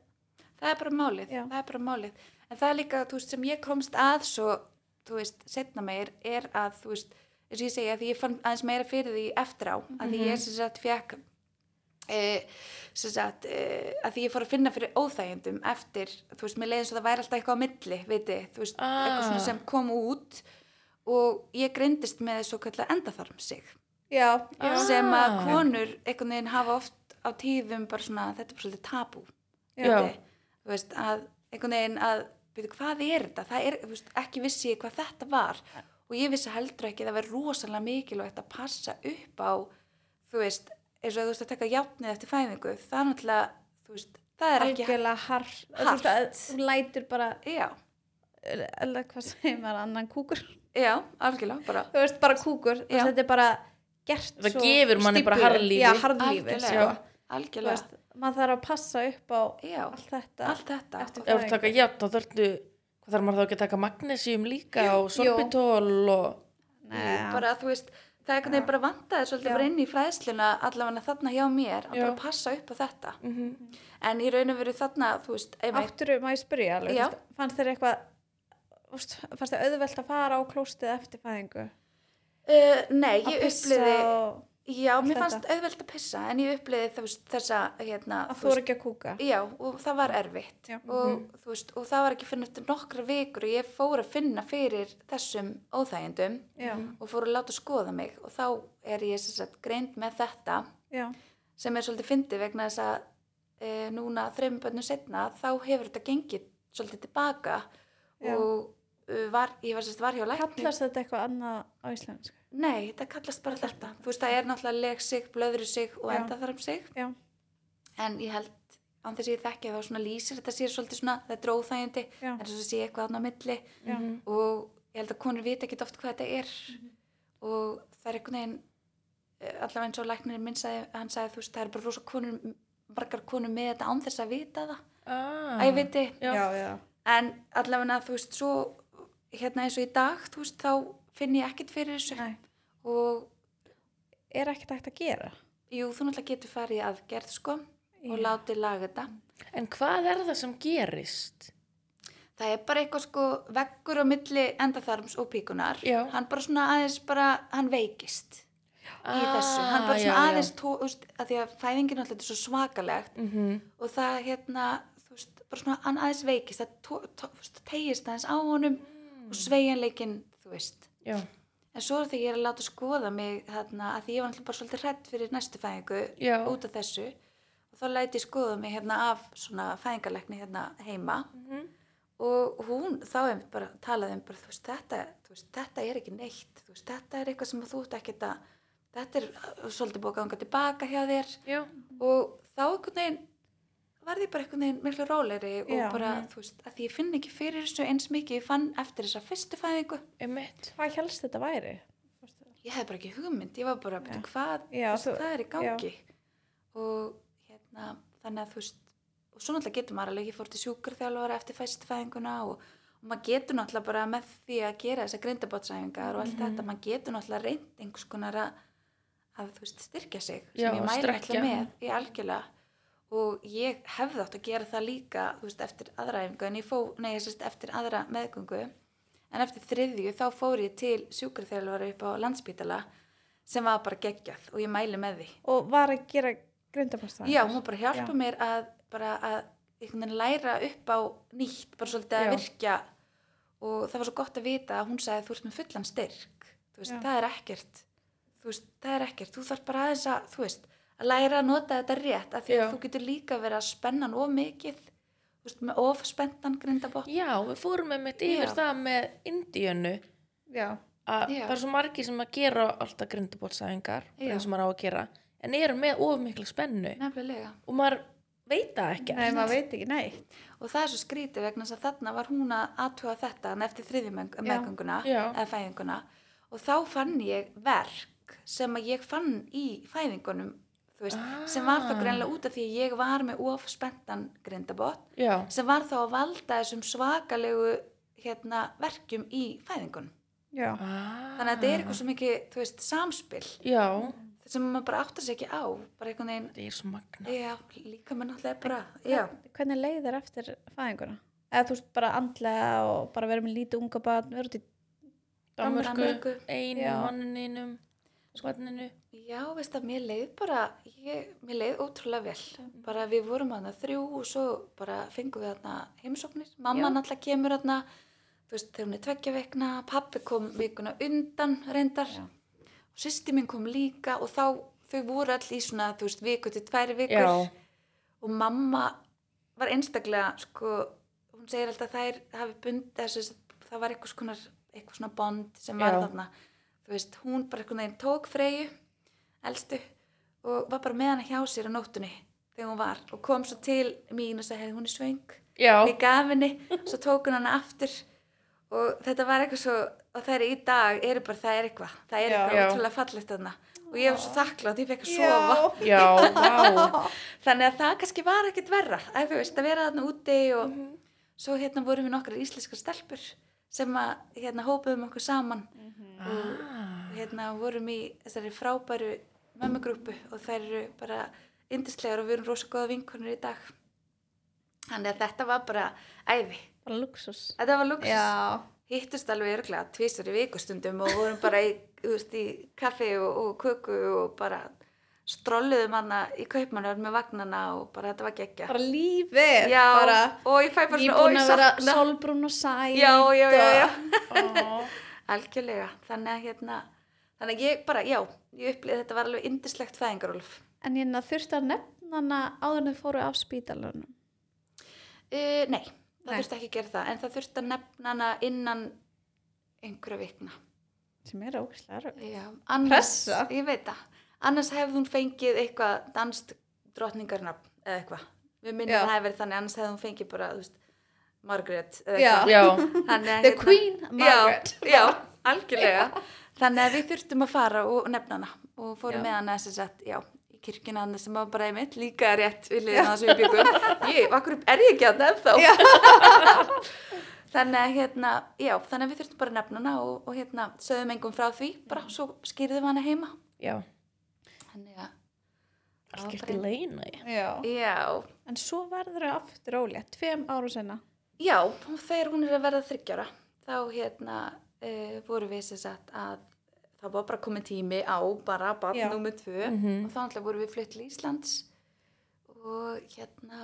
[SPEAKER 3] það er bara málið,
[SPEAKER 1] Já.
[SPEAKER 3] það er bara málið en það er líka, þú veist, sem ég komst að svo, þú veist, setna meir er að, þú veist, eins og ég segja því ég fann aðeins meira fyrir því eftir á að því ég sem sagt fekk e, sem sagt, e, að því ég fór að finna fyrir óþægjendum eftir þú veist, mér leiðin svo það væri alltaf eitthvað á milli viti, þú veist,
[SPEAKER 2] Ah.
[SPEAKER 3] eitthvað svona sem kom út og ég grindist með svo kallar endaþarm sig
[SPEAKER 1] já,
[SPEAKER 2] Ah.
[SPEAKER 3] sem að konur einhvern veginn hafa oft á tíðum bara svona, þetta er bara svolítið tabú
[SPEAKER 2] Já.
[SPEAKER 3] Viti, þú veist, að einhvern veginn að, veitu, hvað er þetta? Það er, þú veist, ekki vissi ég hvað þetta var og ég vissi heldur ekki að það verður rosalega mikilvægt að passa upp á, þú veist, eins og þú veist að taka játnið eftir fæðingu, það er náttúrulega, þú veist, það er ekki,
[SPEAKER 1] algjörlega hart þú veist að þú lætur bara
[SPEAKER 3] já,
[SPEAKER 1] eða hvað segir maður, annan kúkur
[SPEAKER 3] já, algjörlega, bara,
[SPEAKER 1] þú veist bara kúkur þú
[SPEAKER 3] Já.
[SPEAKER 1] veist, þetta er bara gert
[SPEAKER 2] Það
[SPEAKER 1] svo
[SPEAKER 2] gefur manni bara
[SPEAKER 1] stíflu.
[SPEAKER 2] harðlífi.
[SPEAKER 1] já, harðlífi sko.
[SPEAKER 3] algjörlega,
[SPEAKER 1] Þú
[SPEAKER 3] algjörlega,
[SPEAKER 1] veist, maður þarf að passa upp á
[SPEAKER 3] já,
[SPEAKER 1] allt þetta
[SPEAKER 3] allt þetta,
[SPEAKER 1] eftir
[SPEAKER 2] ef þú taka játn þá þarftu hvað þarf maður þá ekki að taka magnesium líka og sorbitól og
[SPEAKER 1] Nei,
[SPEAKER 3] bara þú veist, það er einhvern veginn bara vantaði svolítið
[SPEAKER 1] Já.
[SPEAKER 3] bara inn í fræðsluna allavega þarna hjá mér að
[SPEAKER 2] Já.
[SPEAKER 3] bara passa upp á þetta.
[SPEAKER 2] mm
[SPEAKER 3] En í raun og veru þarna, þú veist, einmitt,
[SPEAKER 1] áttur um að ég spyrja alveg,
[SPEAKER 3] Já.
[SPEAKER 1] þú veist, fannst þér eitthvað þú veist, fannst þér auðvelt að fara á klóstið eftir fæðingu
[SPEAKER 3] Uh, nei,
[SPEAKER 1] að
[SPEAKER 3] ég
[SPEAKER 1] pissa
[SPEAKER 3] upplýði,
[SPEAKER 1] og
[SPEAKER 3] já, mér
[SPEAKER 1] þetta.
[SPEAKER 3] fannst auðvelt að pissa en ég upplýði þessa, hérna,
[SPEAKER 1] að þú eru ekki að kúka
[SPEAKER 3] já, og það var erfitt
[SPEAKER 1] Já. Mhm.
[SPEAKER 3] og, þú veist, og það var ekki fyrir eftir nokkra vikur og ég fór að finna fyrir þessum óþægindum
[SPEAKER 1] já,
[SPEAKER 3] og fór að láta skoða mig og þá er ég sem sagt greind með þetta
[SPEAKER 1] já,
[SPEAKER 3] sem er svolítið fyndið vegna þess að e, núna þreymum bönnum setna þá hefur þetta gengið svolítið tilbaka
[SPEAKER 1] Já.
[SPEAKER 3] og uh, var, ég var, sem sagt, var hjá lækni
[SPEAKER 1] kallast þetta eitthvað annað á íslensku
[SPEAKER 3] Nei, þetta kallast bara þetta. Þú veist, það er náttúrulega leg sig, blöðru sig og
[SPEAKER 1] Já.
[SPEAKER 3] enda þarf sig.
[SPEAKER 1] já,
[SPEAKER 3] En ég held, án þess að ég þekki þá svona lýsir, þetta sé svolítið svona, þetta er óþægindi,
[SPEAKER 1] já,
[SPEAKER 3] en þess að sé eitthvað annað milli.
[SPEAKER 2] Mhm.
[SPEAKER 1] já,
[SPEAKER 3] Og ég held að konur vita ekki oft hvað þetta er.
[SPEAKER 1] Mhm.
[SPEAKER 3] Og það er einhvern veginn, eh, allavega eins og læknirinn minn sagði, hann sagði, þú veist, það er bara rosa konur, margar konur með þetta án þess að vita það.
[SPEAKER 2] ah.
[SPEAKER 3] Æ, ég viti,
[SPEAKER 2] já.
[SPEAKER 1] já, já.
[SPEAKER 3] en allavega þú veist, svo, hérna eins og í dag, þú veist, þá finn ég ekkert fyrir þessu.
[SPEAKER 1] Nei.
[SPEAKER 3] Og
[SPEAKER 1] er ekkert hægt að gera
[SPEAKER 3] Jú, þú náttúrulega getur farið í aðgerð sko og
[SPEAKER 1] Já.
[SPEAKER 3] látið laga þetta.
[SPEAKER 2] en hvað er það sem gerist
[SPEAKER 3] Það er bara eitthvað sko veggur á milli endaþarms og píkunar.
[SPEAKER 2] Já.
[SPEAKER 3] Hann bara svona aðeins bara, hann veikist í þessu.
[SPEAKER 2] Ah,
[SPEAKER 3] Hann bara svona aðeins, tó, þú veist, að því að fæðingin alltaf er svo svakalegt
[SPEAKER 2] mm -hmm.
[SPEAKER 3] og það hérna, þú veist, bara svona hann aðeins veikist, það tó, tó, þú veist, tegist aðeins á honum og sveigjanleikin, þú veist.
[SPEAKER 2] já,
[SPEAKER 3] En svo þegar ég er að láta skoða mig þarna að því ég var alltaf bara svolítið hrætt fyrir næstu fæðingu
[SPEAKER 2] Já.
[SPEAKER 3] út af þessu og þá læti ég skoða mig hérna af svona fæðingarlekni hérna heima
[SPEAKER 2] Mhm.
[SPEAKER 3] og hún þá hefði bara talaði um bara þú veist þetta, þú veist, þetta er ekki neitt, þú veist þetta er eitthvað sem þú ert ekkert að þetta er uh, svolítið búið að ganga tilbaka hjá þér
[SPEAKER 2] já,
[SPEAKER 3] og þá einhvern veginn varði ég bara einhvern veginn miklu rólegri og
[SPEAKER 1] Já.
[SPEAKER 3] bara þú veist að því ég finn ekki fyrir þessu eins mikið ég fann eftir þessa fyrstu fæðingu
[SPEAKER 2] einmitt
[SPEAKER 1] hvað helst þetta væri
[SPEAKER 3] ég hef bara ekki hugmynd, ég var bara að byrja
[SPEAKER 1] Já.
[SPEAKER 3] hvað,
[SPEAKER 1] Já,
[SPEAKER 3] þú veist,
[SPEAKER 1] þú-
[SPEAKER 3] hvað er í gangi og hérna þannig að þú veist, og svo náttúrulega getur maður alveg ég fór til sjúkurþjálfara eftir fæstfæðinguna og, og maður getur náttúrulega bara með því að gera þessar grindabótsæfingar og allt
[SPEAKER 1] Mhm.
[SPEAKER 3] þetta, maður getur náttúrulega reynd einhvers konar að, að þú veist, styrkja sig sem
[SPEAKER 2] Já,
[SPEAKER 3] ég
[SPEAKER 2] að
[SPEAKER 3] mæli
[SPEAKER 2] strekkja.
[SPEAKER 3] alltaf með í algjörlega og ég hefði átt að gera það líka þú veist, eftir aðra æfingu en ég fó, nei, sérst, eftir aðra meðgöngu en eftir þriðju þá fór ég til sjúkraþjálfara upp á landspítala sem var bara geggjað og ég mæli með því
[SPEAKER 1] og var að gera grindapasta
[SPEAKER 3] já, hún bara hjálpa
[SPEAKER 1] Já.
[SPEAKER 3] mér að bara að einhvern veginn læra upp á nýtt, bara svolítið að
[SPEAKER 2] Já.
[SPEAKER 3] virkja og það var svo gott að vita að hún sagði þú ert með fullan styrk þú veist,
[SPEAKER 1] Já.
[SPEAKER 3] það er ekkert þú veist, það er ekkert, þú þarf bara aðeins að þú veist, að læra að nota þetta rétt af því
[SPEAKER 2] Já.
[SPEAKER 3] að þú getur líka verið að spenna hann of mikið þú veist, með of spennan grindabott
[SPEAKER 2] Já, við fórum með mitt yfir
[SPEAKER 3] Já.
[SPEAKER 2] það með Indíönu
[SPEAKER 1] já,
[SPEAKER 2] að
[SPEAKER 3] Já.
[SPEAKER 2] bara svo margir sem að gera alltaf grindabótsæðingar
[SPEAKER 3] Já.
[SPEAKER 2] eins og maður á að gera en eru með of mikla spennu
[SPEAKER 3] nefnilega
[SPEAKER 2] og maður veit það ekki
[SPEAKER 1] nei maður veit ekki neitt
[SPEAKER 3] og það er svo skrítið vegna þess að þarna var hún að aðtuga þetta en eftir þriði
[SPEAKER 1] Já.
[SPEAKER 3] meðgönguna
[SPEAKER 2] Já.
[SPEAKER 3] eða fæðinguna og þá fann ég verk sem að ég fann í fæðingunum þú veist, sem var þá
[SPEAKER 2] Ah.
[SPEAKER 3] greinlega út af því að ég var með ofspenntan grindabott
[SPEAKER 2] Já,
[SPEAKER 3] sem var þá að valda þessum svakalegu hérna, verkjum í fæðingunum
[SPEAKER 1] já,
[SPEAKER 3] þannig að þetta
[SPEAKER 2] Ah.
[SPEAKER 3] er eitthvað svo mikið þú veist, samspil
[SPEAKER 2] Já,
[SPEAKER 3] sem maður bara áttar sig ekki á bara einhvern veginn,
[SPEAKER 2] þetta er svo magna
[SPEAKER 3] já, líka mér náttúrulega bara, já,
[SPEAKER 1] hvernig leiðir eftir fæðinguna eða þú veist bara andlega og bara verið með lítið unga barn verið út í
[SPEAKER 2] Danmörku,
[SPEAKER 3] Danmörku.
[SPEAKER 2] einu
[SPEAKER 1] Já.
[SPEAKER 2] manninum skvarninu
[SPEAKER 3] Já, veist að mér leið bara, ég, mér leið ótrúlega
[SPEAKER 2] Mm.
[SPEAKER 3] vel. Bara við vorum aðna þrjú og svo bara fengum við aðna heimsóknir. Mamma
[SPEAKER 2] Já.
[SPEAKER 3] náttúrulega kemur aðna, þú veist, þegar hún er tveggja vekna, pappi kom vikuna undan reyndar
[SPEAKER 1] Já.
[SPEAKER 3] og sýsti minn kom líka og þá þau voru all í svona, þú veist, viku til tværi vikur
[SPEAKER 2] Já,
[SPEAKER 3] og mamma var einstaklega, sko, hún segir alltaf að þær hafi bundið, þess að það var eitthvað svona, eitthvað svona bond sem var
[SPEAKER 2] Já.
[SPEAKER 3] þarna, þú veist, hún bara einhvern veginn tók freyju, elstu, og var bara með hana hjá sér á nóttunni þegar hún var og kom svo til mín og sagði, "Heyrðu, hún er svöng,
[SPEAKER 2] já,
[SPEAKER 3] ég gaf henni, svo tók hún hana aftur og þetta var eitthvað svo, og það er í dag, eru bara, það er eitthvað, það er
[SPEAKER 1] Já.
[SPEAKER 3] eitthvað
[SPEAKER 2] Já.
[SPEAKER 3] ótrúlega fallegt þarna og ég var svo þakklátt, ég fekk að
[SPEAKER 1] Já.
[SPEAKER 3] sofa
[SPEAKER 2] já, vá
[SPEAKER 3] þannig að það kannski var ekkert verra að þú veist að vera þarna úti og svo hérna vorum við nokkrar íslenskar stelpur sem að hérna hópuðum okkur saman
[SPEAKER 1] Mhm.
[SPEAKER 2] Ah,
[SPEAKER 3] hérna vorum í þessari frábæru mömmugrúpu og þær eru bara yndislegar og við erum rosa góða vinkonur í dag þannig að þetta var bara æði,
[SPEAKER 1] bara luxus
[SPEAKER 3] þetta var luxus
[SPEAKER 1] já,
[SPEAKER 3] hittust alveg örglega tvísar í vikustundum og vorum bara í, þú veist, í kaffi og, og köku og bara strolluðum hana í kaupmannar með vagnana og bara þetta var geggja
[SPEAKER 1] bara lífið
[SPEAKER 3] já,
[SPEAKER 1] bara,
[SPEAKER 3] og ég fæ bara
[SPEAKER 1] ég
[SPEAKER 3] svona
[SPEAKER 1] búin
[SPEAKER 3] "Ó, ég
[SPEAKER 1] að vera (laughs)
[SPEAKER 3] sakna."
[SPEAKER 1] solbrún og sæt
[SPEAKER 3] já, já, já, já,
[SPEAKER 2] á.
[SPEAKER 3] algjörlega þannig að hérna þannig að ég bara, já, ég upplýði þetta var alveg indislegt fæðingarólf
[SPEAKER 1] en hérna þurfti að nefna hana áður en þau fóru af spítalunum
[SPEAKER 3] uh, nei, það
[SPEAKER 1] Nei.
[SPEAKER 3] þurfti ekki að gera það en það þurfti að nefna hana innan einhverja vikna
[SPEAKER 1] sem er ógislega rögg
[SPEAKER 3] já, annars,
[SPEAKER 1] Pressa.
[SPEAKER 3] ég veit það annars hefði hún fengið eitthvað danst drottningarnafn eða eitthvað við minnum
[SPEAKER 1] Já.
[SPEAKER 3] að það hefði verið þannig, annars hefði hún fengið bara, þú veist, Margaret eða
[SPEAKER 1] Já.
[SPEAKER 3] eitthvað.
[SPEAKER 2] Já,
[SPEAKER 3] Þannig að,
[SPEAKER 1] The
[SPEAKER 3] hérna-
[SPEAKER 1] Queen Margaret
[SPEAKER 3] já, já, (laughs) algjörlega þannig að við þurftum að fara og nefna hana og fórum
[SPEAKER 2] Já.
[SPEAKER 3] með hana þess að já, í kirkina hana sem var bara einmitt líka rétt við liðan það sem við byggum ég, akkur er ég ekki að nefna
[SPEAKER 1] Já.
[SPEAKER 3] þá (laughs) þannig að hérna já, þannig að við þurftum bara að nefna hana og, og hérna, sögðum engum frá því bara, svo skýrðum hana heima
[SPEAKER 2] já,
[SPEAKER 3] þannig að,
[SPEAKER 2] algjört í leina ég.
[SPEAKER 1] já.
[SPEAKER 3] já,
[SPEAKER 1] en svo verður þau aftur ólétt tveim árum senna
[SPEAKER 3] Já, og þegar hún er að verða þryggjara þá hérna uh, voru við sem sagt að það var bara komið tími á bara
[SPEAKER 1] Já.
[SPEAKER 3] barn nummið tvö
[SPEAKER 2] Mhm.
[SPEAKER 1] Mm.
[SPEAKER 3] og þá alltaf voru við flutt til Íslands og hérna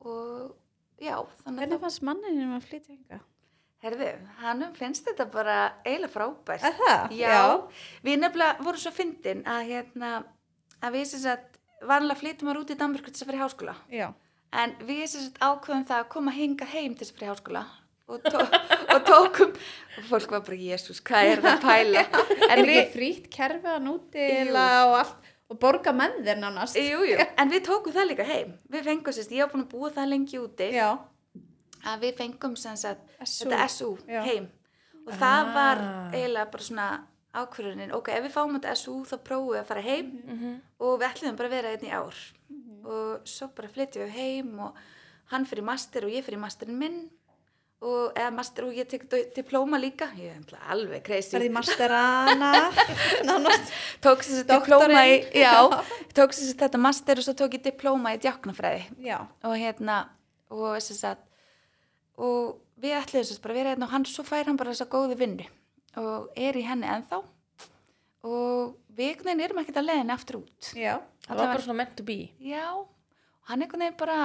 [SPEAKER 3] og já, þannig að
[SPEAKER 1] hvernig
[SPEAKER 3] það,
[SPEAKER 1] fannst manninum að flytja hinga?
[SPEAKER 3] herðu, hannum finnst þetta bara eiginlega frábært.
[SPEAKER 1] Er það?
[SPEAKER 3] Já, við nefnilega vorum svo fyndin að hérna að við sem sagt vanlega flytum maður út í Danmörku til þess að fyrir háskóla
[SPEAKER 1] já,
[SPEAKER 3] En við sem sagt ákveðum það að koma hinga heim til þess að fyrir háskóla og, tó
[SPEAKER 1] (laughs)
[SPEAKER 3] og tókum og fólk var bara, jésús, hvað er það að pæla?
[SPEAKER 1] (laughs)
[SPEAKER 3] En
[SPEAKER 1] er
[SPEAKER 3] við,
[SPEAKER 1] ekki frýtt kerfiðan úti
[SPEAKER 3] Jú.
[SPEAKER 1] eiginlega og allt og borga menn þér nánast
[SPEAKER 3] jú, jú, en við tókum það líka heim. Við fengum, sérst, ég var búin að búa það lengi úti
[SPEAKER 1] (laughs) já,
[SPEAKER 3] að við fengum sem sagt
[SPEAKER 1] SU.
[SPEAKER 3] þetta SU
[SPEAKER 1] Já.
[SPEAKER 3] heim og
[SPEAKER 2] Ah.
[SPEAKER 3] það var eiginlega bara svona ákvörunin, ok, ef við fáum þetta SU þá prófum við að fara heim
[SPEAKER 1] Mhm.
[SPEAKER 2] Mhm.
[SPEAKER 3] og við ætlum bara að vera einn í ár og svo bara flyttum við heim og hann fyrir master og ég fyrir masterinn minn og eða master og ég tek dó- diplóma líka, ég er náttúrulega alveg crazy
[SPEAKER 1] verði masterana (laughs) nánast
[SPEAKER 3] tók sér þetta
[SPEAKER 1] Doktorinn.
[SPEAKER 3] diplóma í já, tók sér þetta master og svo tók ég diplóma í djáknafræði
[SPEAKER 1] já,
[SPEAKER 3] og hérna og þess að og við ætluðum þess að bara vera hérna og hann svo fær hann bara þessa góðu vinnu og er í henni ennþá og við einhvern veginn erum ekkert að leiðin aftur út
[SPEAKER 1] Já.
[SPEAKER 2] það var bara
[SPEAKER 3] Allavega-
[SPEAKER 2] svona meant to be
[SPEAKER 3] já, og hann einhvern veginn bara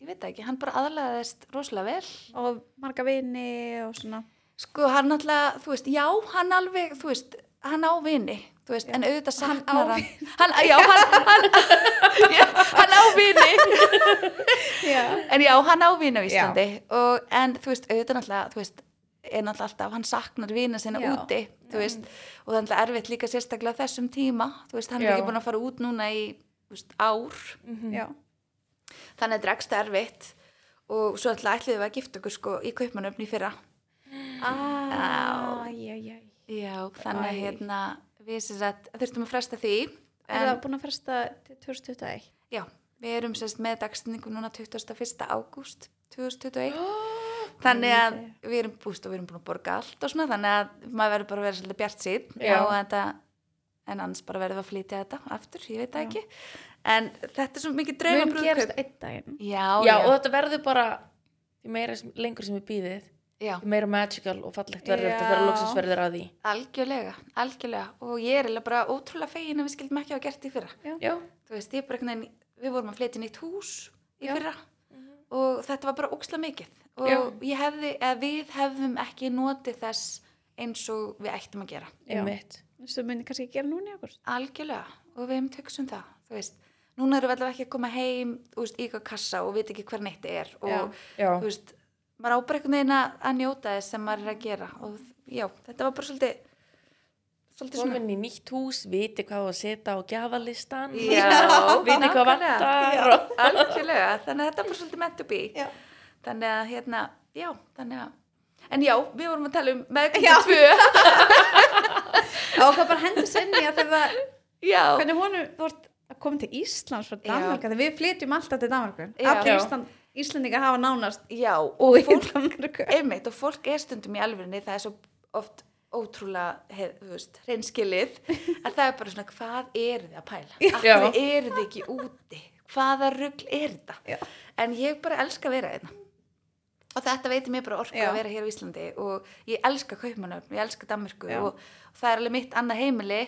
[SPEAKER 3] ég veit það ekki, hann bara aðlaðist rosalega vel
[SPEAKER 1] Og marga vini og svona.
[SPEAKER 3] Sko, hann náttúrulega, þú veist, já, hann alveg, þú veist, hann á vini, þú veist, en auðvitað
[SPEAKER 1] Hann á
[SPEAKER 3] saknar hann. Hann, já, hann, hann, (laughs) já, hann á vini,
[SPEAKER 1] Já.
[SPEAKER 3] en já, hann á vini á Íslandi. Og, en þú veist, auðvitað náttúrulega, þú veist, er náttúrulega alltaf, hann saknar vina sinna
[SPEAKER 1] Já.
[SPEAKER 3] úti, þú veist, og það er náttúrulega erfitt líka sérstaklega á þessum tíma, þú veist, hann
[SPEAKER 2] Já.
[SPEAKER 3] er ekki búin að fara út núna í, þú veist, ár,
[SPEAKER 2] Mhm.
[SPEAKER 1] Já.
[SPEAKER 3] þannig að dregst erfitt og svo ætla ætliðum við að gifta okkur sko í kaupmannöfni í fyrra.
[SPEAKER 1] Ah, já, já.
[SPEAKER 3] Já, þannig að
[SPEAKER 1] Æ.
[SPEAKER 3] hérna, við sem sagt, þurftum að fresta því,
[SPEAKER 1] Er
[SPEAKER 3] en
[SPEAKER 1] það búin að fresta til 2021?
[SPEAKER 3] já, við erum sem sagt með dagstendingu núna 21. ágúst 2021, þannig að við erum búst og við erum búin að borga allt og svona, þannig að maður verður bara að vera svolítið bjart síðan
[SPEAKER 2] Já.
[SPEAKER 3] á þetta, en annars bara verðum við að flytja þetta aftur, ég veit það
[SPEAKER 1] Já.
[SPEAKER 3] ekki, en þetta er svo mikið
[SPEAKER 1] Mun
[SPEAKER 3] draumabrúðkaup.
[SPEAKER 1] gerast einn daginn.
[SPEAKER 3] Já,
[SPEAKER 2] já, og þetta verður bara því meira sem, lengur sem við býðið
[SPEAKER 3] já,
[SPEAKER 2] því meira magical og fallegt verður
[SPEAKER 1] Já.
[SPEAKER 2] þetta þegar loksins verður að því
[SPEAKER 3] algjörlega, algjörlega, og ég er eiginlega bara ótrúlega fegin að við skildum ekki hafa gert því fyrra.
[SPEAKER 2] já,
[SPEAKER 3] þú veist, ég bara einhvern veginn, við vorum að flytja í nýtt hús í
[SPEAKER 1] Já.
[SPEAKER 3] fyrra og þetta var bara óksla mikið og
[SPEAKER 2] Já.
[SPEAKER 3] ég hefði, eða við hefðum ekki notið þess eins og við ættum að gera,
[SPEAKER 1] Já.
[SPEAKER 2] mitt
[SPEAKER 1] Sem muni kannski gera núna í okkur.
[SPEAKER 3] algjörlega og við hefum tökst um það, þú veist núna erum við allavega ekki að koma heim, þú veist, í eitthvað kassa og veit ekki hver neitt er og
[SPEAKER 1] Já.
[SPEAKER 2] já,
[SPEAKER 3] þú veist, maður á bara einhvern veginn að að njóta þess sem maður er að gera og já, þetta var bara svolítið svolítið svona
[SPEAKER 2] komin í nýtt hús, viti hvað á að setja á gjafalistan
[SPEAKER 3] Já,
[SPEAKER 2] (laughs) viti hvað
[SPEAKER 3] nákvæmlega.
[SPEAKER 2] vantar og...
[SPEAKER 3] algjörlega, þannig að þetta var svolítið meant to be
[SPEAKER 1] Já.
[SPEAKER 3] þannig að hérna, já, þannig að en já, við vorum að tala um meðgöngu
[SPEAKER 1] (laughs)
[SPEAKER 3] tvö
[SPEAKER 1] Og hvað bara hendur sinni að þegar það,
[SPEAKER 3] já,
[SPEAKER 1] hvernig honum þú ert að koma til Íslands frá Danmark, þegar við flytjum alltaf til Danmarku.
[SPEAKER 3] Já.
[SPEAKER 1] Allir
[SPEAKER 2] Já.
[SPEAKER 1] Ísland, Íslendingar hafa nánast
[SPEAKER 3] já, og
[SPEAKER 1] búið í
[SPEAKER 3] fólk
[SPEAKER 1] Danmarku.
[SPEAKER 3] einmitt, og fólk er stundum í alvörinni það er svo oft ótrúlega hef, þú veist, hreinskilið að það er bara svona, hvað er þið að pæla
[SPEAKER 2] Já.
[SPEAKER 3] af hverju er þið ekki úti hvaða rugl er
[SPEAKER 1] Já.
[SPEAKER 3] þetta en ég bara elska að vera þetta og þetta veitir mér bara orku
[SPEAKER 1] Já.
[SPEAKER 3] að vera hér á Íslandi og ég elska kaupmannöfn, ég elska Danmörku
[SPEAKER 1] Já. Mhm.
[SPEAKER 3] og, og það er alveg mitt annað heimili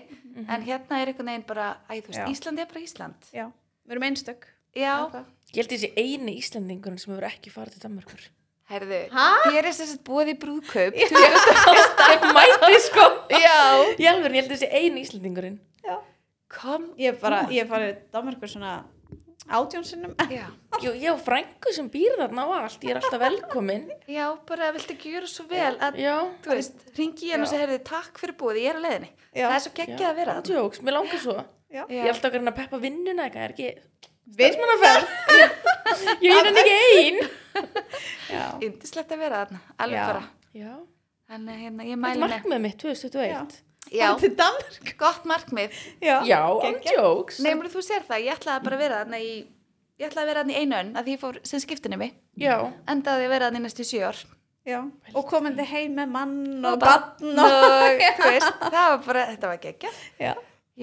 [SPEAKER 3] en hérna er einhvern veginn bara æ, þú veist,
[SPEAKER 1] Já.
[SPEAKER 3] Ísland er bara Ísland
[SPEAKER 1] Já, við erum einstök.
[SPEAKER 3] já,
[SPEAKER 1] Eða hvað?
[SPEAKER 2] ég held þessi eini Íslendingun sem hefur ekki farið til Danmarkur
[SPEAKER 3] herðu,
[SPEAKER 1] Ha?
[SPEAKER 3] þér er sem sagt búið í
[SPEAKER 2] (laughs)
[SPEAKER 3] brúðkaup
[SPEAKER 2] ég mæti sko
[SPEAKER 1] (laughs)
[SPEAKER 3] já,
[SPEAKER 2] ég alveg, ég held þessi eini Íslendingurinn
[SPEAKER 1] Já.
[SPEAKER 3] kom
[SPEAKER 1] Ég hef bara, ég hef farið til Danmarku svona átjónsinnum.
[SPEAKER 3] já
[SPEAKER 2] Jú, ég á frængu sem býr þarna á allt, ég er alltaf velkomin
[SPEAKER 3] Já, bara viltu ekki gjöra svo vel að,
[SPEAKER 2] Já,
[SPEAKER 3] þú veist, ringi ég hann og
[SPEAKER 1] Já.
[SPEAKER 3] segja, heyrðu, takk fyrir búið, ég er á leiðinni.
[SPEAKER 1] Já.
[SPEAKER 3] Það er svo geggjað að vera
[SPEAKER 2] án
[SPEAKER 3] það.
[SPEAKER 2] Jokes, mér langar svo
[SPEAKER 1] Já. (laughs)
[SPEAKER 2] Ég er alltaf að reyna að peppa vinnuna eitthvað, er ekki
[SPEAKER 1] Vilsmannaferð.
[SPEAKER 2] Ég er henni ekki ein
[SPEAKER 1] Já.
[SPEAKER 3] Indislegt að vera þarna, alveg
[SPEAKER 1] Já.
[SPEAKER 3] bara.
[SPEAKER 2] Já,
[SPEAKER 3] Þannig að hérna,
[SPEAKER 2] þetta
[SPEAKER 3] ég
[SPEAKER 2] er
[SPEAKER 3] mæli með.
[SPEAKER 2] markmið mitt 2021
[SPEAKER 3] Já,
[SPEAKER 1] Til Danmarku.
[SPEAKER 3] gott markmið.
[SPEAKER 1] Já.
[SPEAKER 2] Já, án
[SPEAKER 1] Geggjað.
[SPEAKER 2] jokes
[SPEAKER 3] Nefnir þú sér það, ég ætlaði bara að vera þarna í, ég ætlaði að vera þarna í einu önn, að því ég fór sem skiptunum mig.
[SPEAKER 2] Já,
[SPEAKER 3] Endaði að vera þarna í næstu sjö ár.
[SPEAKER 1] Já. Og komandi heim með mann og
[SPEAKER 3] barn
[SPEAKER 1] barn
[SPEAKER 3] Og,
[SPEAKER 1] og...
[SPEAKER 3] (laughs) þú veist, það var bara, þetta var geggjað.
[SPEAKER 1] Já.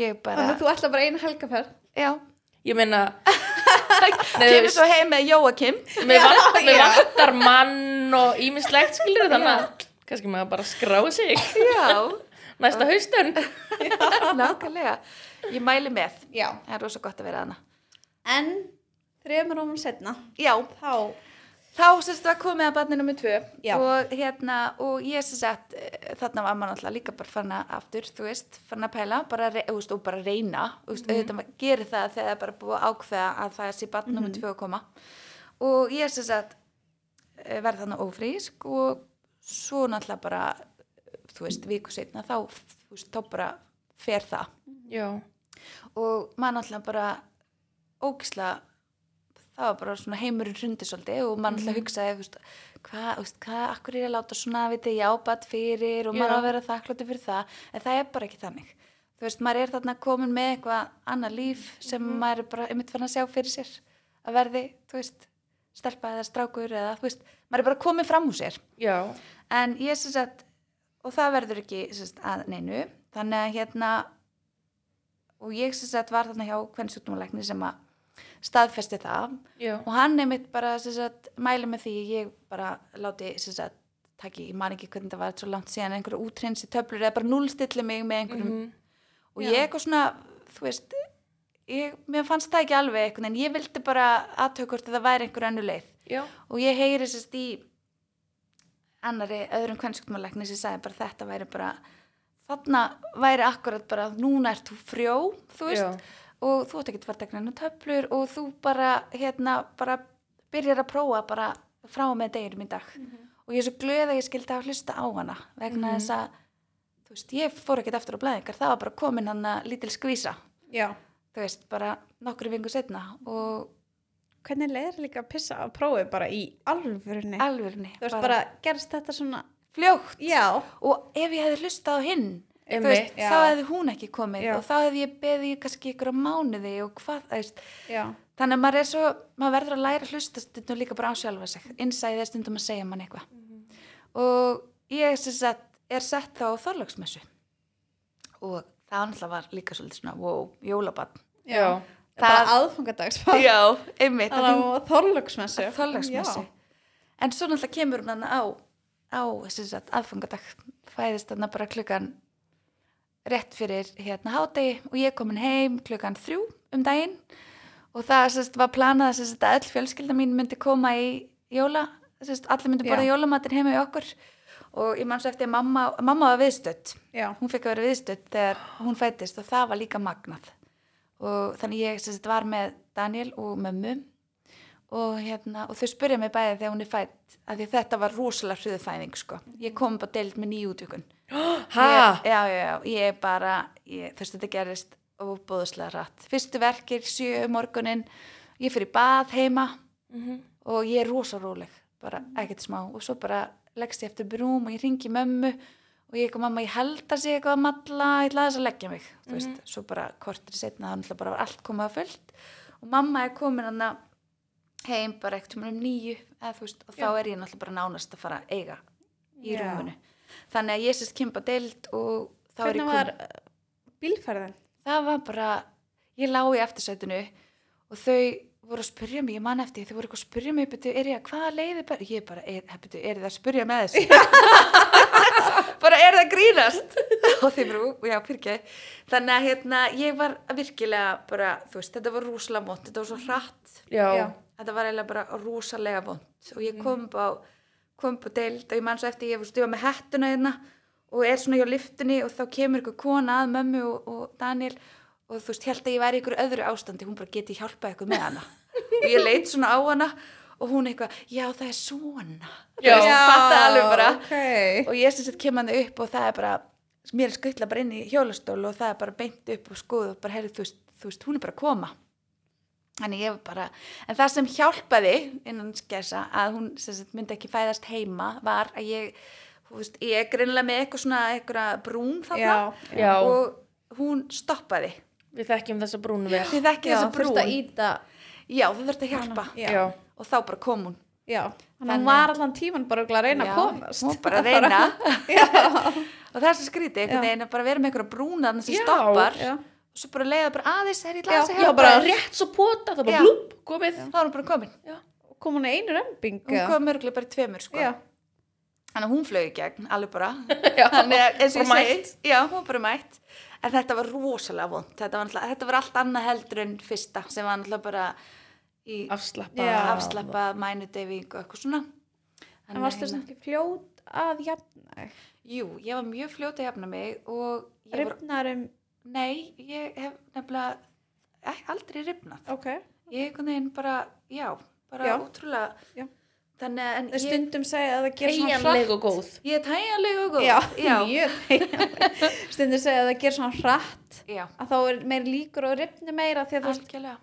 [SPEAKER 3] Ég
[SPEAKER 1] Þannig
[SPEAKER 3] bara,
[SPEAKER 1] að þú ætla bara eina helgaferð.
[SPEAKER 3] já.
[SPEAKER 2] ég meina
[SPEAKER 3] Kemur svo heim með Jóakim.
[SPEAKER 2] Mér vantar, mér
[SPEAKER 1] já.
[SPEAKER 2] vantar mann og ímislegt skilur þannig að kannski maður bara skrá sig
[SPEAKER 3] Já,
[SPEAKER 2] næsta haustun
[SPEAKER 3] (laughs) nákvæmlega. Ég mæli með.
[SPEAKER 1] Já.
[SPEAKER 3] Það er rosa gott að vera þarna.
[SPEAKER 1] En þreymur ómum setna,
[SPEAKER 3] Já,
[SPEAKER 1] þá...
[SPEAKER 3] þá sérst var komið að barni nummið tvö
[SPEAKER 1] Já.
[SPEAKER 3] og hérna og ég sérst að eh, þarna var maður náttúrulega líka bara fann að aftur, þú veist, fann að pæla bara, re- þú veist, og bara reyna, þú veist, auðvitað maður gerir það þegar það er bara búið að ákveða að það sé barni nummið tvö að koma og ég sérst að verði þarna ófrísk og svo náttúrulega bara, eh, þú veist, viku setna þá, þú veist, þá bara fer það
[SPEAKER 2] Já,
[SPEAKER 3] og maður náttúrulega bara ógisla það var bara svona heimurinn hrundi svolítið og maður náttúrulega hugsaði þú veist, hvað, þú veist, hvað, akkur er ég að láta svona veit ég ábætt fyrir og maður
[SPEAKER 2] Já.
[SPEAKER 3] á að vera þakkláttur fyrir það, en það er bara ekki þannig þú veist, maður er þarna komin með eitthvað annað líf sem maður er bara einmitt fann að sjá fyrir sér að verði, þú veist, stelpa eða strákur eða, þú veist, maður er bara komin fram úr sér
[SPEAKER 2] já,
[SPEAKER 3] en ég sem sagt og það verður ekki sem sagt, að neinu þannig að hérna og ég sem sagt var þarna hjá hvern sjúkdómalækni sem að staðfesti það
[SPEAKER 2] já
[SPEAKER 3] og hann er mitt bara sem sagt mæli með því ég bara láti sem sagt taki, ég man ekki hvernig það var svo langt síðan einhverju útrinsi töflur eða bara núlstilli mig með einhverjum
[SPEAKER 2] Mhm.
[SPEAKER 3] og
[SPEAKER 1] Já.
[SPEAKER 3] ég eitthvað svona, þú veist ég, mér fannst það ekki alveg eitthvað en ég vildi bara aðtöku hvort það væri einhver önnu leið
[SPEAKER 2] já,
[SPEAKER 3] og ég heyri sérst í annari öðrum kvennsjúkdómalækni sem sagði bara þetta væri bara þarna væri akkurat bara núna ert þú frjó, þú veist
[SPEAKER 2] já,
[SPEAKER 3] og þú átt ekki að vera tegna töflur og þú bara, hérna, bara byrjar að prófa bara frá og með deginum í dag
[SPEAKER 1] Mhm.
[SPEAKER 3] og ég er svo glöð að ég skildi að hlusta á hana vegna
[SPEAKER 2] Mhm.
[SPEAKER 3] þess að þú veist, ég fór ekkert aftur á blæðingar það var bara komin hann að lítil skvísa
[SPEAKER 1] Já.
[SPEAKER 3] þú veist, bara nokkru vingu setna og
[SPEAKER 1] Hvernig leiðir líka að pissa að prófi bara í alvörunni?
[SPEAKER 3] alvörni
[SPEAKER 1] Þú veist bara, gerst þetta svona,
[SPEAKER 3] fljótt
[SPEAKER 1] já,
[SPEAKER 3] og ef ég hefði hlustað á hinn þú
[SPEAKER 2] einmitt
[SPEAKER 3] veist,
[SPEAKER 1] Já.
[SPEAKER 3] þá hefði hún ekki komið
[SPEAKER 1] Já.
[SPEAKER 3] og þá hefði ég beðið í kannski ykkur á mánuði og hvað, þú veist,
[SPEAKER 1] já,
[SPEAKER 3] þannig að maður er svo, maður verður að læra að hlusta stundum líka bara á sjálfa sig innsæðið er stundum að segja mann eitthvað og ég sem sagt, er sett þá á þorlagsmessu og það náttúrulega var líka svolítið svona wow, jólabann
[SPEAKER 2] já,
[SPEAKER 1] bara
[SPEAKER 3] Það-
[SPEAKER 1] aðfangadagsfall.
[SPEAKER 3] já, einmitt
[SPEAKER 1] Það var þorlöksmessu.
[SPEAKER 3] þorlagsmessu en svo náttúrulega kemur hún hann á á sem sagt, aðfangadag fæðist hann bara klukkan rétt fyrir hérna hádegi og ég er komin heim klukkan þrjú um daginn og það sérst, var planað sem sagt, að öll fjölskylda mín myndi koma í jóla sérst, allir myndi borða
[SPEAKER 1] Já.
[SPEAKER 3] jólamatinn heima í okkur og ég mann svo eftir að mamma, mamma var viðstödd
[SPEAKER 1] Já,
[SPEAKER 3] hún fekk að vera viðstödd þegar hún fættist og það var líka magnað og þannig ég sem sagt, var með Daniel og mömmu og, hérna, og þau spurja mig bæði þegar hún er fætt af því að þetta var rosalega hruðfæðing sko. ég kom bara deild með nýjútökun
[SPEAKER 2] ha,
[SPEAKER 3] ég, já, já, já, ég er bara ég, þú veist þetta gerist og bóðslega rætt fyrstu verkir, sjö um morgunin ég fyrir bað heima
[SPEAKER 2] mhm,
[SPEAKER 3] og ég er rosa róleg bara ekkert smá og svo bara leggst ég eftir brúm og ég ringi mömmu og ég eitthvað mamma, ég held að sé eitthvað að matla ég ætla þess að leggja mig þú veist,
[SPEAKER 1] Mhm.
[SPEAKER 3] svo bara kortir setna þannig að bara var allt komað fullt og mamma er komin hann að heim bara ekkert um nýju eða, þú veist, og þá er ég náttúrulega bara nánast að fara að eiga í
[SPEAKER 1] Já.
[SPEAKER 3] rúmunu þannig að ég sérst kempa deild og þá er
[SPEAKER 1] hvernig
[SPEAKER 3] ég komin
[SPEAKER 1] var uh, bílferðin?
[SPEAKER 3] það var bara, ég lá í eftirsætinu og þau voru að spyrja mig, ég man eftir, þau voru eitthvað að spyrja mig, betur, er ég að hvaða leiði bara, ég bara, er, betur, er það að spyrja með þessu? bara er það að grínast? (laughs) og þeir bara, "Ú, já, pyrkjaði. Þannig að hérna, ég var virkilega bara, þú veist, þetta var rúslega mótt, þetta var svo hratt,
[SPEAKER 2] já,
[SPEAKER 1] Já.
[SPEAKER 3] þetta var eiginlega bara rosalega vond og ég kom upp á kom upp á deild og ég man svo eftir ég var stífa með hettuna hérna og er svona hjá liftunni og þá kemur ykkur kona að mömmu og, og Daniel og þú veist, held að ég væri í ykkur öðru ástandi, hún bara geti hjálpað ykkur með hana og ég leit svona á hana og hún eitthvað, já það er svona
[SPEAKER 2] Já.
[SPEAKER 3] Þú veist, hún fattaði alveg bara
[SPEAKER 1] Ok,
[SPEAKER 3] og ég sem sett kem hann upp og það er bara mér er skutla bara inn í hjólastól og það er bara beint upp og skoð og bara heyrðu þú veist, þú veist hún er bara að koma þannig ég var bara, en það sem hjálpaði innan skessa að hún sem sagt, myndi ekki fæðast heima var að ég, þú veist, ég er greinlega með eitthvað svona eitthvað brún þarna
[SPEAKER 1] já.
[SPEAKER 2] já,
[SPEAKER 3] og hún stoppaði
[SPEAKER 2] við þekkjum þessa brúnu vel,
[SPEAKER 3] þið
[SPEAKER 1] Já,
[SPEAKER 3] þekki þessa brún
[SPEAKER 1] þurfti að íta,
[SPEAKER 3] já þú þurft að hjálpa
[SPEAKER 1] Já.
[SPEAKER 2] já,
[SPEAKER 3] og þá bara kom hún
[SPEAKER 1] já. Þannig að
[SPEAKER 3] Þannig-
[SPEAKER 1] hún var allan tíman bara örugglega að reyna
[SPEAKER 3] Já,
[SPEAKER 1] að komast.
[SPEAKER 3] hún var bara að reyna
[SPEAKER 1] (laughs) já,
[SPEAKER 3] og það er svo skrítið einhvern
[SPEAKER 1] Já.
[SPEAKER 3] veginn að bara vera með einhverja brúna þarna sem
[SPEAKER 2] Já,
[SPEAKER 3] stoppar
[SPEAKER 1] já.
[SPEAKER 3] og svo bara leiða bara aðeins er ég
[SPEAKER 1] Já,
[SPEAKER 3] glas að
[SPEAKER 2] já,
[SPEAKER 3] hjálpa
[SPEAKER 2] bara
[SPEAKER 3] þér.
[SPEAKER 2] rétt svo pota, það
[SPEAKER 3] Já.
[SPEAKER 2] bara blúpp, komið,
[SPEAKER 3] þá er hún bara komin
[SPEAKER 1] Kom hún í einu römbing?
[SPEAKER 3] hún
[SPEAKER 1] eða?
[SPEAKER 3] kom mörgulega bara í tveimur sko
[SPEAKER 1] Já,
[SPEAKER 3] þannig að hún flög í gegn alveg
[SPEAKER 1] (laughs)
[SPEAKER 3] bara
[SPEAKER 2] (laughs) já,
[SPEAKER 3] þannig að eins og ég
[SPEAKER 2] Bara
[SPEAKER 3] segi já, hún var bara mætt en þetta var rosalega vond þetta var, náttúrulega- þetta var allt annað heldur en fyrsta sem var náttúrulega bara í
[SPEAKER 2] afslappa,
[SPEAKER 1] Já.
[SPEAKER 3] afslappa mænudeyfing og eitthvað svona
[SPEAKER 1] en varstu þess ekki fljót að jafna þig?
[SPEAKER 3] jú, ég var mjög fljóta að jafna mig og ég var,
[SPEAKER 1] Rifnar um,
[SPEAKER 3] nei, ég hef nefnilega ek- aldrei rifnað
[SPEAKER 1] ok.
[SPEAKER 3] ég einhvern veginn bara, já, bara
[SPEAKER 1] Já.
[SPEAKER 3] ótrúlega
[SPEAKER 1] Já.
[SPEAKER 3] þannig að en
[SPEAKER 1] Ég...
[SPEAKER 3] ég,
[SPEAKER 1] Stundum segja að það gerir svona
[SPEAKER 2] heianleg og góð,
[SPEAKER 3] ég er tæjanleg og góð
[SPEAKER 1] Já,
[SPEAKER 3] já,
[SPEAKER 1] (laughs) mjög teygjanleg. Stundum segja að það gerir svona hratt
[SPEAKER 3] já
[SPEAKER 1] að þá er meir líkur og rifni meira því að þú veist,
[SPEAKER 3] algjörlega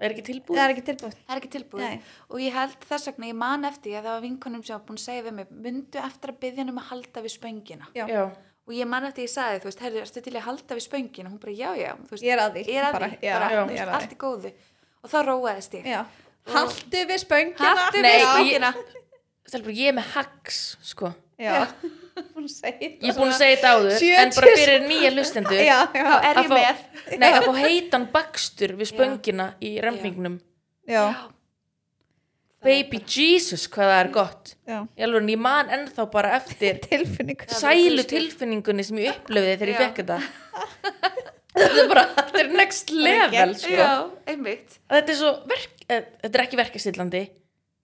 [SPEAKER 2] er ekki tilbúið,
[SPEAKER 1] það er ekki tilbúið.
[SPEAKER 3] það er ekki tilbúið
[SPEAKER 1] Nei.
[SPEAKER 3] og ég held þess vegna, ég man eftir ég að það var vinkonum sem var búin að segja við mig myndu eftir að byggja um að halda við spöngina
[SPEAKER 1] Já.
[SPEAKER 2] já,
[SPEAKER 3] og ég man eftir ég sagði, þú veist, herri, erstu til í að halda við spöngina hún bara, já, já, þú veist,
[SPEAKER 1] Ég er að því.
[SPEAKER 3] ég er að
[SPEAKER 1] bara,
[SPEAKER 3] því,
[SPEAKER 1] já,
[SPEAKER 3] bara,
[SPEAKER 1] já,
[SPEAKER 3] þú
[SPEAKER 1] ég
[SPEAKER 3] veist,
[SPEAKER 1] er að
[SPEAKER 3] allt í góðu og þá róaðist ég
[SPEAKER 1] því. Já. Haltu við spöngina.
[SPEAKER 3] haltu
[SPEAKER 2] Nei,
[SPEAKER 3] við
[SPEAKER 2] ég-
[SPEAKER 3] spöngina
[SPEAKER 2] stelpur, ég er með hacks, sko,
[SPEAKER 1] Já. Búin að segja þetta
[SPEAKER 2] ég er búin
[SPEAKER 1] svona.
[SPEAKER 2] að segja þetta áður,
[SPEAKER 1] Sjötíu
[SPEAKER 2] en bara fyrir nýja lustendur,
[SPEAKER 1] Já, já.
[SPEAKER 3] þá er
[SPEAKER 2] Að
[SPEAKER 3] ég
[SPEAKER 2] fá-
[SPEAKER 3] með
[SPEAKER 2] nei, að fá heitan bakstur við spöngina í remfingnum,
[SPEAKER 1] Já.
[SPEAKER 2] baby Jesus, hvað það er gott,
[SPEAKER 1] Já.
[SPEAKER 2] ég alveg, ég man ennþá bara eftir
[SPEAKER 1] (laughs) Tilfinningu. (laughs)
[SPEAKER 2] sælu tilfinningunni sem ég upplöfiði þegar ég
[SPEAKER 3] Já.
[SPEAKER 2] fekk þetta (laughs) þetta er bara, þetta er next level
[SPEAKER 1] geggjað.
[SPEAKER 2] sko.
[SPEAKER 3] Já, einmitt.
[SPEAKER 2] Að þetta er svo verk, eh, þetta er ekki verkastillandi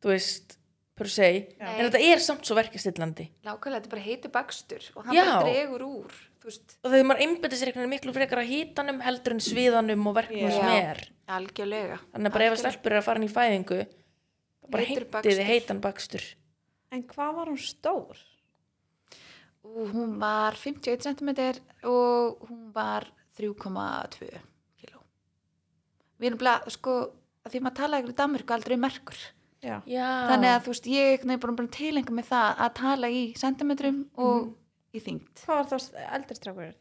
[SPEAKER 2] þú veist, per se
[SPEAKER 1] Já.
[SPEAKER 2] en þetta er samt svo verkastillandi
[SPEAKER 3] Nákvæmlega, þetta er bara heitu bakstur og hann
[SPEAKER 2] Já.
[SPEAKER 3] bara dregur úr, þú veist.
[SPEAKER 2] og þegar maður einbyttir sér einhvern veginn miklu frekar að hítanum heldur en sviðanum og verknum
[SPEAKER 1] Já.
[SPEAKER 2] sem er
[SPEAKER 3] Algjörlega.
[SPEAKER 2] þannig að bara ef að
[SPEAKER 3] Algjörlega.
[SPEAKER 2] stelpur er að fara inn í fæðingu þá bara
[SPEAKER 3] Heitur
[SPEAKER 2] heitið
[SPEAKER 3] bakstur.
[SPEAKER 2] þið heitan bakstur
[SPEAKER 1] En hvað var hún stór?
[SPEAKER 3] Ú, Hún var 51 cm og hún var 3,2 kg. Við erum bara, sko, að því maður talaði ykkur í Danmörku aldrei um merkur.
[SPEAKER 1] Já.
[SPEAKER 2] Já.
[SPEAKER 3] Þannig að þú veist, ég er bara, bara tilenga með það að tala í centimetrum og
[SPEAKER 1] Mhm.
[SPEAKER 3] í þyngd.
[SPEAKER 1] Hvað var þá eldri strákurinn?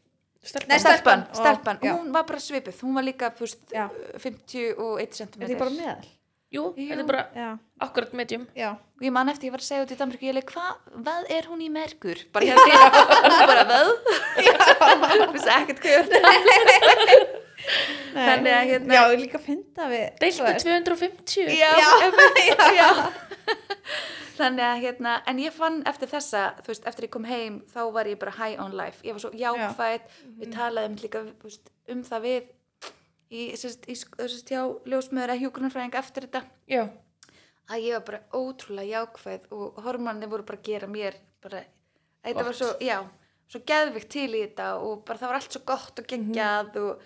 [SPEAKER 2] Stelpan-
[SPEAKER 1] Nei, stelpan.
[SPEAKER 3] Stelpan,
[SPEAKER 1] og-
[SPEAKER 3] stelpan,
[SPEAKER 1] já.
[SPEAKER 3] hún var bara svipuð, hún var líka, þú veist,
[SPEAKER 1] Já.
[SPEAKER 3] 51 cm.
[SPEAKER 1] Er því bara meðal?
[SPEAKER 2] Jú,
[SPEAKER 3] Jú.
[SPEAKER 2] þetta er bara
[SPEAKER 1] Já.
[SPEAKER 2] akkurat medium
[SPEAKER 1] Já.
[SPEAKER 3] og ég man eftir ég var að segja út í Danmörku ég leik, hva, hvað er hún í merkur? bara hérna, hún bara, (laughs) hvað? þú veist ekkert hvað ég var að tala
[SPEAKER 1] Nei.
[SPEAKER 3] Þannig að hérna-
[SPEAKER 1] Já, ég líka finna við...
[SPEAKER 2] deiltu 250
[SPEAKER 3] já,
[SPEAKER 1] Já.
[SPEAKER 3] einmitt, já. þannig að hérna en ég fann eftir þessa, þú veist, eftir ég kom heim þá var ég bara high on life ég var svo jákvæð, við talaðum líka þú veist, um það við í, sérst, í, sérst, hjá ljósmöður að hjúgrunarfræðing eftir þetta
[SPEAKER 2] Já.
[SPEAKER 3] að ég var bara ótrúlega jákvæð og hormónir voru bara að gera mér bara, þetta var
[SPEAKER 2] Gott.
[SPEAKER 3] svo, já svo geðvikt til í þetta og bara það var allt svo gott og geggjað
[SPEAKER 1] Mhm.
[SPEAKER 3] og,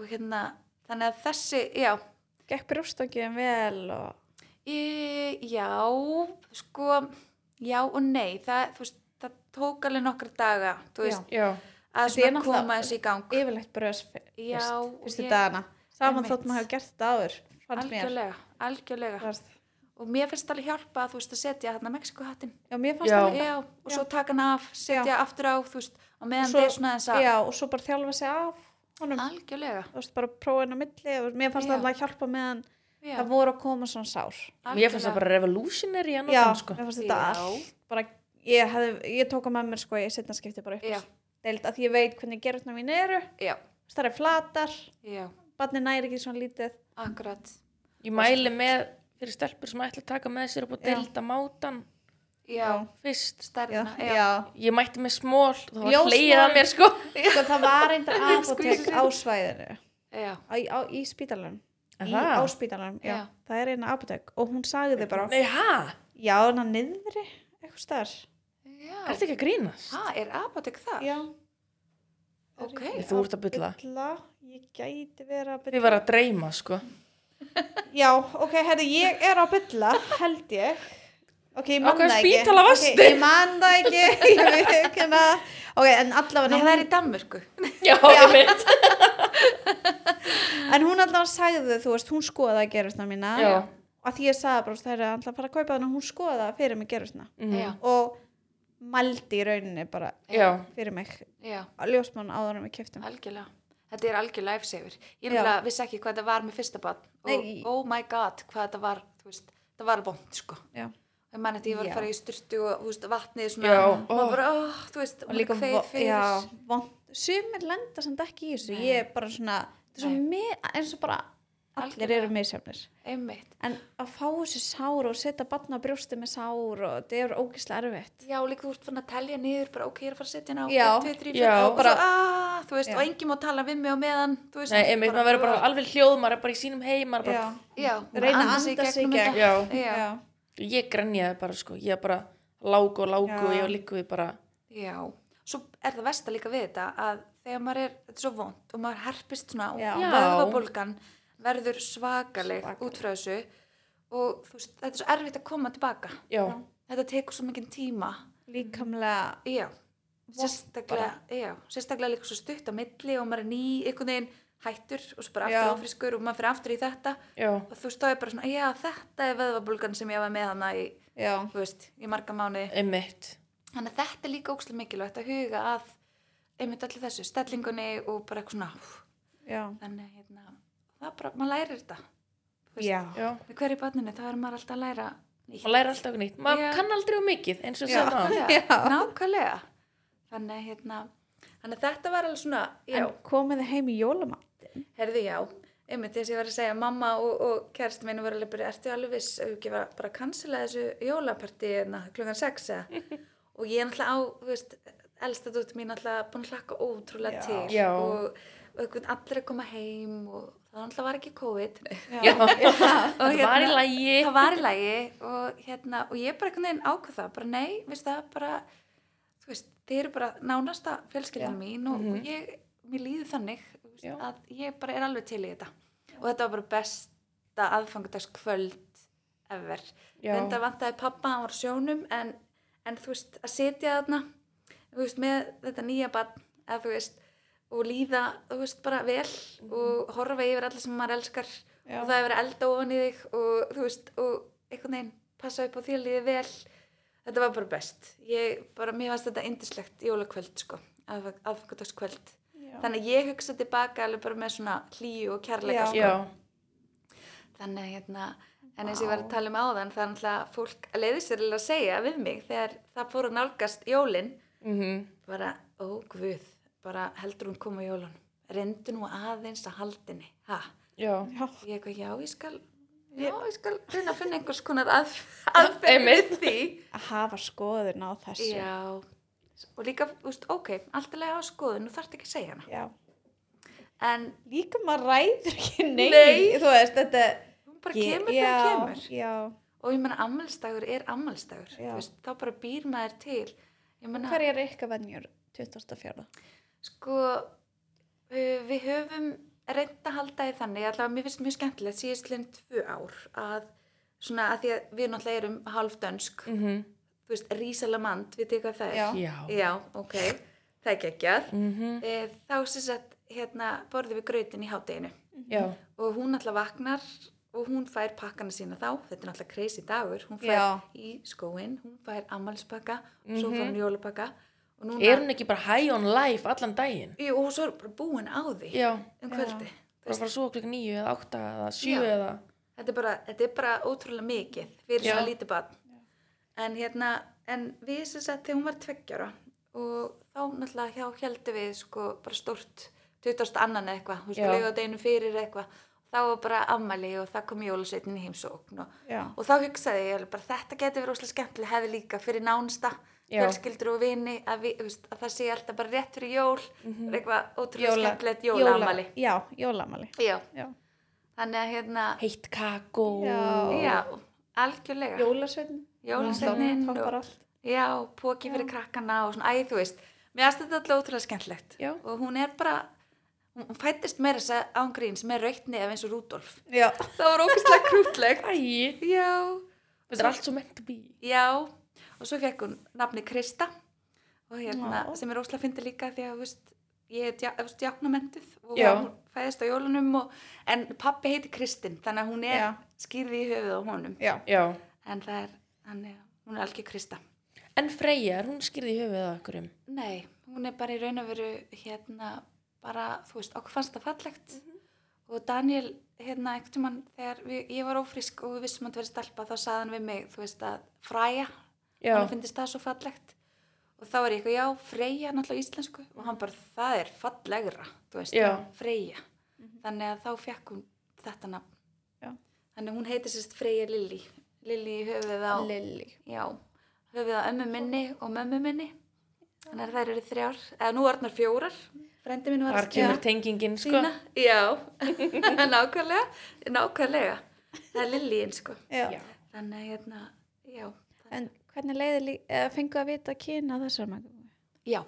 [SPEAKER 3] og hérna, þannig að þessi já,
[SPEAKER 1] Gekk brjóstakjöðum vel og...
[SPEAKER 3] e, já sko, já og nei það, þú veist, það tók alveg nokkra daga, þú
[SPEAKER 1] Já.
[SPEAKER 3] veist
[SPEAKER 2] Já.
[SPEAKER 1] Þetta
[SPEAKER 3] að
[SPEAKER 1] er
[SPEAKER 3] svona
[SPEAKER 1] náttúrulega-
[SPEAKER 3] koma þessi í gang
[SPEAKER 1] Yfirlegt brjóst fyrst.
[SPEAKER 3] Já,
[SPEAKER 1] Fyrstu
[SPEAKER 3] ég-
[SPEAKER 1] dagana. Saman
[SPEAKER 3] Einmitt.
[SPEAKER 1] þótt maður hafa gert þetta áður. Fannst mér.
[SPEAKER 3] algjörlega, algjörlega
[SPEAKER 1] Algjörlega.
[SPEAKER 3] og mér finnst alveg hjálpa að þú veist að setja hérna Mexikohattinn
[SPEAKER 1] Já, mér fannst
[SPEAKER 2] Já.
[SPEAKER 1] það líka.
[SPEAKER 3] já, og svo taka hann af, setja aftur á þú veist, og meðan
[SPEAKER 1] Svo-
[SPEAKER 3] þetta er svona þess að
[SPEAKER 1] Já, og svo bara þjálfa sig af honum.
[SPEAKER 3] algjörlega
[SPEAKER 1] Þú veist, bara prófa henn á milli og mér fannst
[SPEAKER 3] Já.
[SPEAKER 1] það að hjálpa meðan
[SPEAKER 3] já,
[SPEAKER 1] það voru að koma svona sár.
[SPEAKER 2] Mér finnst það bara revolutionary að nota
[SPEAKER 1] Já,
[SPEAKER 2] hann sko.
[SPEAKER 1] mér fannst þetta
[SPEAKER 3] Já.
[SPEAKER 1] allt bara, ég, hef, ég tók að með mér sko, ég setna skipti bara upp
[SPEAKER 3] Já.
[SPEAKER 1] deild að ég veit hvernig gerðna mín eru
[SPEAKER 3] já,
[SPEAKER 1] það er flatar,
[SPEAKER 3] já,
[SPEAKER 1] barni næri ekki svona lítið
[SPEAKER 3] akkurat
[SPEAKER 2] Ég mæli með fyrir stelpur sem ætla að taka með sér upp og
[SPEAKER 1] Já.
[SPEAKER 2] delta mátan
[SPEAKER 3] já,
[SPEAKER 2] fyrst.
[SPEAKER 1] já,
[SPEAKER 3] stærna já,
[SPEAKER 1] já.
[SPEAKER 2] Ég mætti með smól, það var
[SPEAKER 1] Ljósmál.
[SPEAKER 2] hleyið að mér sko.
[SPEAKER 1] Sko, það var
[SPEAKER 3] (laughs)
[SPEAKER 1] einnig apotek
[SPEAKER 3] Squeeze it.
[SPEAKER 1] á svæðinu
[SPEAKER 3] já,
[SPEAKER 1] á, á, í spítalunum
[SPEAKER 2] Er
[SPEAKER 1] í,
[SPEAKER 2] það?
[SPEAKER 1] á spítalunum, já.
[SPEAKER 3] Já.
[SPEAKER 1] það er einnig apotek og hún sagði bara,
[SPEAKER 2] Nei, hæ?
[SPEAKER 1] já, hann að niðri eitthvað starf
[SPEAKER 3] já.
[SPEAKER 2] Er þetta ekki að grínast?
[SPEAKER 3] Ha, er apotek það?
[SPEAKER 1] já,
[SPEAKER 3] ok,
[SPEAKER 2] Þú ert að bylla.
[SPEAKER 1] bylla ég gæti verið að
[SPEAKER 2] Þið
[SPEAKER 1] bylla
[SPEAKER 2] var að dreyma sko.
[SPEAKER 1] Já, ok, herri, ég er á bylla, held ég. Ok, ég
[SPEAKER 2] Á
[SPEAKER 1] man
[SPEAKER 2] hvaða
[SPEAKER 1] það ekki.
[SPEAKER 2] spítala varstu?
[SPEAKER 1] Ok, ég man það ekki, (laughs) ég veit ekki hana. Ok, en allavega,
[SPEAKER 3] Nei, það er í Danmörku
[SPEAKER 2] Já, ég veit.
[SPEAKER 1] en hún allavega sagði, þú veist, hún skoðaði gerustna mína.
[SPEAKER 2] Já.
[SPEAKER 1] Og að því ég sagði bara, það er allavega að fara að kaupa hana, hún skoðaði fyrir mig gerustna.
[SPEAKER 2] Mm.
[SPEAKER 3] já,
[SPEAKER 1] Og mældi í rauninni bara
[SPEAKER 2] Já.
[SPEAKER 1] fyrir mig,
[SPEAKER 3] já,
[SPEAKER 1] ljósmann áður en við keftum.
[SPEAKER 3] algjörlega þetta er algjör lifesaver ég
[SPEAKER 1] Já.
[SPEAKER 3] nefnilega vissi ekki hvað þetta var með fyrsta barn og
[SPEAKER 1] Nei.
[SPEAKER 3] oh my god, hvað þetta var þú veist, það var vond sko
[SPEAKER 1] Já.
[SPEAKER 3] ég man eftir ég var
[SPEAKER 1] Já.
[SPEAKER 3] að fara í sturtu og þú veist, vatnið svona
[SPEAKER 2] Já,
[SPEAKER 3] og
[SPEAKER 2] ó.
[SPEAKER 3] maður bara, oh, þú veist,
[SPEAKER 1] Og líka,
[SPEAKER 3] kveið
[SPEAKER 1] vo- já, vond. Sumir lenda samt ekki í þessu,
[SPEAKER 3] Nei.
[SPEAKER 1] ég er bara svona, þetta er svo
[SPEAKER 3] Nei.
[SPEAKER 1] mér, eins og bara, allir
[SPEAKER 3] Algjörlega.
[SPEAKER 1] eru misjafnir.
[SPEAKER 3] einmitt
[SPEAKER 1] En að fá þessi sár og setja batna á brjósti með sár og það er ógislega erfitt.
[SPEAKER 3] Já, líka þú ert fann að telja niður bara ok, ég er að fara að setja hérna á
[SPEAKER 1] Já.
[SPEAKER 3] 1, 2, 3, 4
[SPEAKER 2] Já.
[SPEAKER 3] og
[SPEAKER 1] Bara-
[SPEAKER 3] bara, svo, aaa, þú veist,
[SPEAKER 1] Já.
[SPEAKER 3] og enginn má tala við mig á meðan, þú veist
[SPEAKER 2] Nei, einmitt, maður verður bara alveg hljóð, maður er bara í sínum heim, maður er bara...
[SPEAKER 3] Já, maður
[SPEAKER 1] Reyna að
[SPEAKER 3] andar sig í
[SPEAKER 1] anda sig í
[SPEAKER 3] gegnum
[SPEAKER 1] gegn.
[SPEAKER 3] þetta.
[SPEAKER 2] Já.
[SPEAKER 1] já.
[SPEAKER 3] Já,
[SPEAKER 2] Ég grenjaði bara sko, ég bara lág og lág og
[SPEAKER 1] Já.
[SPEAKER 2] ég líku við bara...
[SPEAKER 3] já Svo er það versta líka við þetta að þegar maður er, þetta er svo vond og maður herpist svona
[SPEAKER 1] Já.
[SPEAKER 3] og vöðvabólgan verður svakaleg,
[SPEAKER 1] Svakaleg.
[SPEAKER 3] út frá þessu og þú veist, þetta er svo erfitt að koma tilbaka
[SPEAKER 2] Já.
[SPEAKER 3] Þetta tekur svo mikinn tíma
[SPEAKER 1] Líkamlega,
[SPEAKER 3] Já,
[SPEAKER 1] Vont
[SPEAKER 3] sérstaklega, já, sérstaklega líka svo stutt á milli og maður er ný einhvern veginn hættur og svo bara
[SPEAKER 1] Já.
[SPEAKER 3] aftur áfriskur og maður fyrir aftur í þetta
[SPEAKER 2] Já.
[SPEAKER 3] og þú stóði bara svona, já þetta er veðvabulgan sem ég var með hana í,
[SPEAKER 1] já.
[SPEAKER 3] þú veist, í marga mánu
[SPEAKER 2] Einmitt.
[SPEAKER 3] þannig að þetta er líka ókslega mikilvægt að huga að einmitt allir þessu, stellingunni og bara eitthvað svona úff.
[SPEAKER 1] Já.
[SPEAKER 3] þannig að hérna, það er bara, maður lærir þetta Þú veist,
[SPEAKER 1] Já.
[SPEAKER 2] Já.
[SPEAKER 3] með hverju barninu þá er maður alltaf að læra nýtt.
[SPEAKER 2] maður læra alltaf nýtt, maður
[SPEAKER 3] Já.
[SPEAKER 2] kann aldrei um mikið eins og
[SPEAKER 1] Já.
[SPEAKER 2] sem það
[SPEAKER 1] Já.
[SPEAKER 3] nákvæmlega, nákvæmlega þannig að hérna, þannig að þetta var alveg svona, já,
[SPEAKER 1] En komið þið heim í jólamann?
[SPEAKER 3] herði já einmitt þess að ég var að segja, mamma og, og kærst minn voru alveg bara, ertu alveg viss að ekki var bara að cancela þessu jólapartí hérna, klukkan 6 eða og ég er náttúrulega á, þú veist elsta dóttir mín alltaf búin að hlakka ótrúlega
[SPEAKER 1] Já.
[SPEAKER 3] til
[SPEAKER 2] Já.
[SPEAKER 3] og, og einhvern allir að koma heim og það alltaf var ekki COVID (laughs) já.
[SPEAKER 2] (laughs) Já. (laughs)
[SPEAKER 3] og
[SPEAKER 2] Þetta var í lagi.
[SPEAKER 3] það var í lagi og, hérna, og ég bara einhvern veginn ákvað það bara nei, veist það bara þú veist, þið eru bara nánasta fjölskyldin mín og,
[SPEAKER 2] Mhm.
[SPEAKER 3] og ég, mér líður þannig þú veist,
[SPEAKER 2] Já.
[SPEAKER 3] að ég bara er alveg til í þetta og þetta var bara besta aðfangadagskvöld ever
[SPEAKER 2] Já.
[SPEAKER 3] reyndar vantaði pappa, hann var á sjónum en, en þú veist, að sitja þarna þú veist, með þetta nýja barn eða þú veist, og líða þú veist, bara vel
[SPEAKER 2] Mhm.
[SPEAKER 3] og horfa yfir alla sem maður elskar
[SPEAKER 1] Já.
[SPEAKER 3] og það er verið að elda ofan í þig og þú veist, og einhvern veginn passa upp á því að líði vel þetta var bara best ég bara, mér fannst þetta indislegt jólakvöld sko, aðfangardagskvöld þannig að ég hugsa tilbaka alveg bara með svona hlýju og kærleika
[SPEAKER 1] Já.
[SPEAKER 3] sko
[SPEAKER 2] Já.
[SPEAKER 3] þannig að hérna en eins og ég
[SPEAKER 1] Vá.
[SPEAKER 3] var að tala um áðan það er náttúrulega fólk að leiði sér að segja við mig þegar það fór að nálgast jólin
[SPEAKER 2] mhm,
[SPEAKER 3] bara, ó guð bara heldur hún koma jólun reyndu nú aðeins að haldinni ha?
[SPEAKER 2] Já.
[SPEAKER 1] Já.
[SPEAKER 3] ég eitthvað, já ég skal já ég skal reyna að finna einhvers
[SPEAKER 1] (laughs)
[SPEAKER 3] konar að, aðferð
[SPEAKER 2] Einmitt.
[SPEAKER 3] við því
[SPEAKER 1] Að hafa skoðun á þessu.
[SPEAKER 3] já og líka, úst, ok, allt er leið á skoðun þú þarft ekki að segja hana
[SPEAKER 1] Já.
[SPEAKER 3] en
[SPEAKER 1] Líka maður ræður ekki neinn.
[SPEAKER 3] Nei.
[SPEAKER 1] Þú veist, þetta...
[SPEAKER 3] hún bara
[SPEAKER 1] Ég-
[SPEAKER 3] kemur
[SPEAKER 1] já,
[SPEAKER 3] þegar hún kemur
[SPEAKER 1] Já.
[SPEAKER 3] og ég menna ammælstagur er ammælstagur
[SPEAKER 1] Já.
[SPEAKER 3] veist, þá bara býr maður til ég menna
[SPEAKER 1] Hverjar er ykkar venjur 24.
[SPEAKER 3] Sko, uh, við höfum reynd að halda því þannig, allavega mér finnst mjög skemmtilegt síðastliðin tvö ár að svona að því að við náttúrulega erum halvdönsk,
[SPEAKER 2] mhm,
[SPEAKER 3] þú veist, rísalamand, við tegum það er.
[SPEAKER 1] Mm. Já.
[SPEAKER 2] Já.
[SPEAKER 3] Já, ok, það er geggjað.
[SPEAKER 2] mhm,
[SPEAKER 3] E, þá sem sagt, hérna, borðum við grautin í hádeginu
[SPEAKER 2] Já.
[SPEAKER 3] og hún alltaf vaknar og hún fær pakkana sína þá, þetta er alltaf crazy dagur, hún fær
[SPEAKER 1] Já.
[SPEAKER 3] í skóin, hún fær ammálspakka, svo fór hún jólapakka og núna,
[SPEAKER 2] Mhm. Er hún ekki bara high on life allan daginn?
[SPEAKER 3] Jú, og svo er bara búin á því
[SPEAKER 2] Já.
[SPEAKER 3] um kvöldi.
[SPEAKER 2] Bara fara svo klukk nýju eða átta eða sjö
[SPEAKER 3] Já.
[SPEAKER 2] eða...
[SPEAKER 3] þetta er bara, þetta er bara ótrúlega mikið fyrir
[SPEAKER 2] Já.
[SPEAKER 3] svona lítið barn en hérna, en við sem sagt þegar hún var tveggjara og þá náttúrulega hjá heldur við sko bara stórt 20. annan eða eitthvað, þú veist,
[SPEAKER 2] Já.
[SPEAKER 3] lögðu deginu fyrir eða eitthvað, þá var bara ammæli og það kom jólasveitin í heimsókn og,
[SPEAKER 1] Já.
[SPEAKER 3] og þá hugsaði ég alveg bara þetta getur verið óslega skemmtileg hefði líka fyrir nánsta
[SPEAKER 2] Já.
[SPEAKER 3] fjölskyldur og vini að, vi, þú veist, að það sé alltaf bara rétt fyrir jól mm eitthvað ótrúlega
[SPEAKER 1] Jóla-
[SPEAKER 3] skemmtilegt
[SPEAKER 1] Jóla-
[SPEAKER 3] jólaamæli
[SPEAKER 1] Já, jólamali.
[SPEAKER 3] já,
[SPEAKER 1] Já.
[SPEAKER 3] þannig að hérna
[SPEAKER 2] Heitt kakó.
[SPEAKER 1] Já.
[SPEAKER 3] já, algjörlega
[SPEAKER 1] Jólasveitin.
[SPEAKER 3] Jólasveinninn
[SPEAKER 1] Það
[SPEAKER 3] og,
[SPEAKER 1] toppar allt.
[SPEAKER 3] já, póki fyrir krakkana og svona, æ, þú veist, mér aðstu þetta alltaf ótrúlega skemmtlegt
[SPEAKER 2] Já.
[SPEAKER 3] og hún er bara, hún hún fættist meira þess að ángríns með rautni ef eins og Rúdolf.
[SPEAKER 1] Já.
[SPEAKER 3] Það var ógustlega krútlegt.
[SPEAKER 2] Æ.
[SPEAKER 3] Já,
[SPEAKER 2] Þetta er allt svo meant to be.
[SPEAKER 3] já, og svo fekk hún nafni Krista og hérna,
[SPEAKER 1] Já.
[SPEAKER 3] sem er óslega fyndi líka því að, þú veist, ég er dja- þú veist, djáknamentuð og
[SPEAKER 2] Já.
[SPEAKER 3] hún fæðist á jólunum og, en pappi heiti Kristinn, þannig að hún er
[SPEAKER 1] Já.
[SPEAKER 3] skýrði í höfuð á honum,
[SPEAKER 1] Já.
[SPEAKER 2] Já.
[SPEAKER 3] en það er, hann er, hún er algjör Krista.
[SPEAKER 2] En Freyja, er hún skýrði í höfuðið að um? okkurum.
[SPEAKER 3] Nei, hún er bara í raun og veru hérna bara, þú veist, okkur fannst það fallegt og Daniel, hérna, einhvern tímann þegar við, ég var ófrísk og við vissum að það verið stelpa þá sagði hann við mig, þú veist, að fræja
[SPEAKER 2] Já.
[SPEAKER 3] hann finnst það svo fallegt og þá er ég eitthvað, já, freyja náttúrulega á íslensku og hann bara, það er fallegra þú veist,
[SPEAKER 2] Já.
[SPEAKER 3] freyja þannig að þá fekk hún þetta nafn
[SPEAKER 1] Já.
[SPEAKER 3] þannig að hún heitir sérst freyja Lilli Lilli í höfuð á
[SPEAKER 1] Lilli.
[SPEAKER 3] Já, höfum við á ömmu minni og mömmu minni. Þannig að þær eru þrjár, eða nú orðnar fjórar. Frendi mín var
[SPEAKER 2] Þar kemur tengingin, sko.
[SPEAKER 3] sína. hérna. Já, (laughs) nákvæmlega, nákvæmlega. Það er Lillín, sko.
[SPEAKER 1] Já.
[SPEAKER 2] Já.
[SPEAKER 3] Þannig að hérna, já.
[SPEAKER 1] En hvernig leiði lí... eh, fengu að vita kyna þessar magum?
[SPEAKER 3] Já,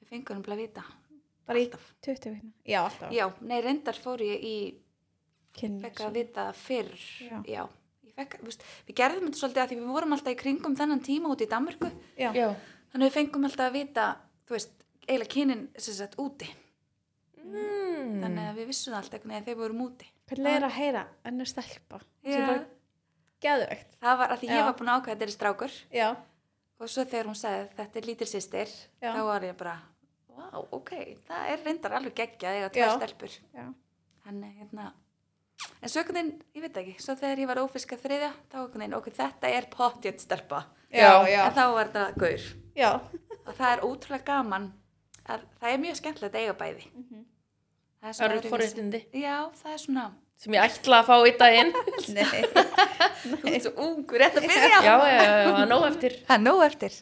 [SPEAKER 3] við fengum hann að vita.
[SPEAKER 1] Bara í
[SPEAKER 3] Alltaf.
[SPEAKER 1] 20 vikna? Já, alltaf.
[SPEAKER 3] Já, nei, reyndar fór ég í,
[SPEAKER 1] Kynlíf,
[SPEAKER 3] fekk
[SPEAKER 1] svo.
[SPEAKER 3] að vita það fyrr.
[SPEAKER 1] Já.
[SPEAKER 3] Ég fekk, þú veist, við gerðum þetta svolítið að því við vorum alltaf í kringum þennan tíma út í Danmörku.
[SPEAKER 1] Já.
[SPEAKER 2] Já.
[SPEAKER 3] Þannig að við fengum alltaf að vita, þú veist, eiginlega kynin sem sagt úti.
[SPEAKER 2] Mm.
[SPEAKER 3] þannig að við vissum það alltaf einhvern veginn þegar við vorum úti
[SPEAKER 1] Hvernig leiði að heyra önnur stelpa? Sem
[SPEAKER 3] Já.
[SPEAKER 1] bara geðveikt.
[SPEAKER 3] það var að því
[SPEAKER 1] Já.
[SPEAKER 3] ég var búin að ákveða þetta er strákur
[SPEAKER 1] Já.
[SPEAKER 3] og svo þegar hún sagði þetta er lítil sýstir
[SPEAKER 1] Já.
[SPEAKER 3] þá var ég bara, wow, ok það er reyndar alveg geggjað eða
[SPEAKER 1] Já.
[SPEAKER 3] tvær stelpur
[SPEAKER 1] Já.
[SPEAKER 3] þannig, að, hérna en svo einhvern veginn, ég veit ekki, svo þegar ég var ófiska þriðja, þá einhvern veginn, ok, þetta er pottjött stelpa,
[SPEAKER 1] Já, já.
[SPEAKER 3] en þá var þetta gaur
[SPEAKER 1] Já.
[SPEAKER 3] og það er ótrúlega gaman að, það er mjög skemmtilegt að eiga bæði það er
[SPEAKER 2] Það eru
[SPEAKER 3] öðruvísi.
[SPEAKER 2] forréttindi
[SPEAKER 3] já, það er svona,
[SPEAKER 2] sem ég ætla að fá í (laughs) daginn.
[SPEAKER 1] Nei.
[SPEAKER 3] þú ert svo ungur, rétt að byrja
[SPEAKER 2] já, já, já, já, nóg eftir.
[SPEAKER 3] Það er nóg eftir.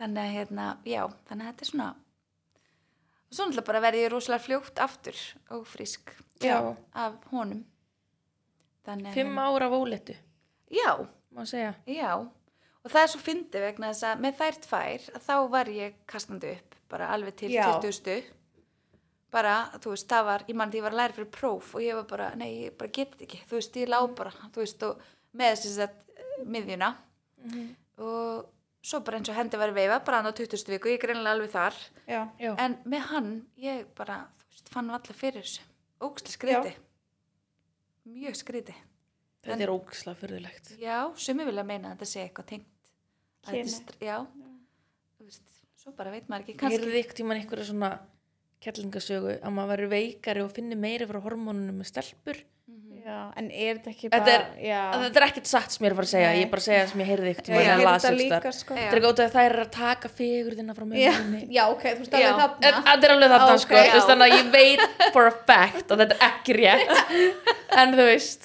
[SPEAKER 3] þannig að hérna, já, þannig að þetta er svona og svo náttúrulega bara verði ég rosalega fljótt aftur og frísk
[SPEAKER 2] Já.
[SPEAKER 3] af honum þannig hérna-
[SPEAKER 2] Fimm ára af óléttu,
[SPEAKER 3] já,
[SPEAKER 2] má segja.
[SPEAKER 3] já og það er svo fyndið vegna þess að með þær tvær að þá var ég kastandi upp bara alveg til
[SPEAKER 1] Já.
[SPEAKER 3] 20. bara, þú veist, það var ég mann því ég var að læra fyrir próf og ég var bara nei, ég bara get þetta ekki, þú veist, ég lá bara þú veist, og með þess að miðjuna
[SPEAKER 2] Mhm.
[SPEAKER 3] og svo bara eins og hendi var veifa bara hann á 20. viku, ég er einlega alveg þar
[SPEAKER 1] já,
[SPEAKER 2] Já.
[SPEAKER 3] en með hann, ég bara þú veist, fann allar fyrir þessu, ógstlega skriti mjög skriti
[SPEAKER 2] Þetta er ógislega fyrðulegt.
[SPEAKER 3] já, sumi vilja meina að þetta sé eitthvað tengt Að þetta
[SPEAKER 1] Kyni.
[SPEAKER 3] str- já, þú veist, svo bara veit maður ekki
[SPEAKER 2] Ég
[SPEAKER 3] kannski,
[SPEAKER 2] heyrði ykkur tíman einhverja svona kellingasögu að maður verður veikari og finnir meiri frá hormónunum með stelpur.
[SPEAKER 1] já, en er þetta ekki
[SPEAKER 2] Þetta
[SPEAKER 1] bara
[SPEAKER 2] er-
[SPEAKER 1] já,
[SPEAKER 2] Að þetta er ekkert satt sem ég er að fara að segja,
[SPEAKER 1] Nei.
[SPEAKER 2] ég er bara að segja það sem ég heyrði ykkur
[SPEAKER 1] já,
[SPEAKER 2] tíman
[SPEAKER 1] ég
[SPEAKER 2] að
[SPEAKER 1] heyrði
[SPEAKER 2] lasa
[SPEAKER 1] þetta
[SPEAKER 2] ykkur.
[SPEAKER 1] líka sko
[SPEAKER 3] Já.
[SPEAKER 2] Þetta er gótt að þær eru að taka fegurðina frá
[SPEAKER 1] já,
[SPEAKER 2] mömmunni.
[SPEAKER 1] já, ok, þú veist
[SPEAKER 3] Já.
[SPEAKER 1] alveg þarna
[SPEAKER 2] En Þetta er alveg þarna
[SPEAKER 1] Ókei,
[SPEAKER 2] sko, þú veist
[SPEAKER 3] já.
[SPEAKER 2] þannig að ég veit for a fact að þetta er ekki rétt, en þú veist,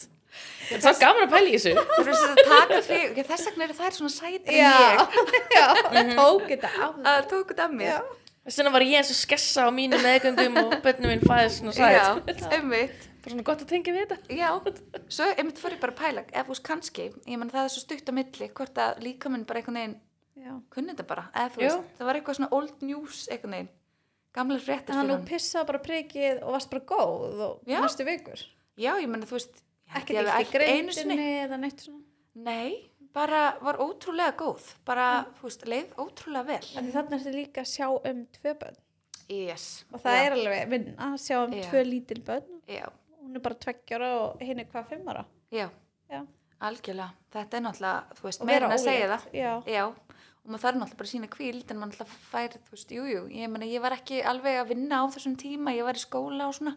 [SPEAKER 2] þetta er svo gaman að pæla í þessu.
[SPEAKER 3] þú veist að taka fyrir já, þess vegna eru þær svona sætri
[SPEAKER 1] já,
[SPEAKER 3] en ég
[SPEAKER 1] (laughs) já, tók þetta á
[SPEAKER 3] að tóku þetta af mér
[SPEAKER 1] Já.
[SPEAKER 2] Þess vegna var ég eins og skessa á mínu meðgöngum og börnum minn fæðist svona (laughs)
[SPEAKER 3] Já,
[SPEAKER 2] sætt.
[SPEAKER 3] (laughs) einmitt
[SPEAKER 2] Bara svona gott að tengja við þetta.
[SPEAKER 3] já, svo einmitt fór ég bara að pæla ef þú veist kannski, ég menn það er svo stutt á milli hvort að líka minn bara einhvern veginn
[SPEAKER 1] já,
[SPEAKER 3] kunni þetta bara, eða þú
[SPEAKER 2] Já.
[SPEAKER 3] veist, það var eitthvað svona old news einhvern veginn, gamla
[SPEAKER 1] þannig
[SPEAKER 3] fréttir
[SPEAKER 1] að
[SPEAKER 3] fyrir
[SPEAKER 1] þú
[SPEAKER 3] hann.
[SPEAKER 1] pissaði bara prikið og varst bara góð og
[SPEAKER 3] Já.
[SPEAKER 1] næstu vikur
[SPEAKER 3] Já, ég meina, þú veist, ég held
[SPEAKER 1] ekkert
[SPEAKER 3] ég
[SPEAKER 1] ekki
[SPEAKER 3] hafi
[SPEAKER 1] í
[SPEAKER 3] ælt einu sinni.
[SPEAKER 1] greindinni eða neitt svona
[SPEAKER 3] Nei, bara var ótrúlega góð, bara, þú veist, leið ótrúlega vel.
[SPEAKER 1] Þannig þannig er þetta líka að sjá um tvö börn
[SPEAKER 3] Yes.
[SPEAKER 1] og það
[SPEAKER 3] já,
[SPEAKER 1] er alveg vinna að sjá um
[SPEAKER 3] Já.
[SPEAKER 1] tvö lítil börn
[SPEAKER 3] Já,
[SPEAKER 1] hún er bara tveggjara og hinn er hvað fimmara
[SPEAKER 3] já,
[SPEAKER 1] já.
[SPEAKER 3] algjörlega. Þetta er náttúrulega, þú veist,
[SPEAKER 1] og
[SPEAKER 3] meira en að segja það.
[SPEAKER 1] já.
[SPEAKER 3] Já, og maður þarf náttúrulega bara að sína kvíld en maður náttúrulega fær, þú veist, jú, jú, ég meina, ég var ekki alveg að vinna á þessum tíma, ég var í skóla og svona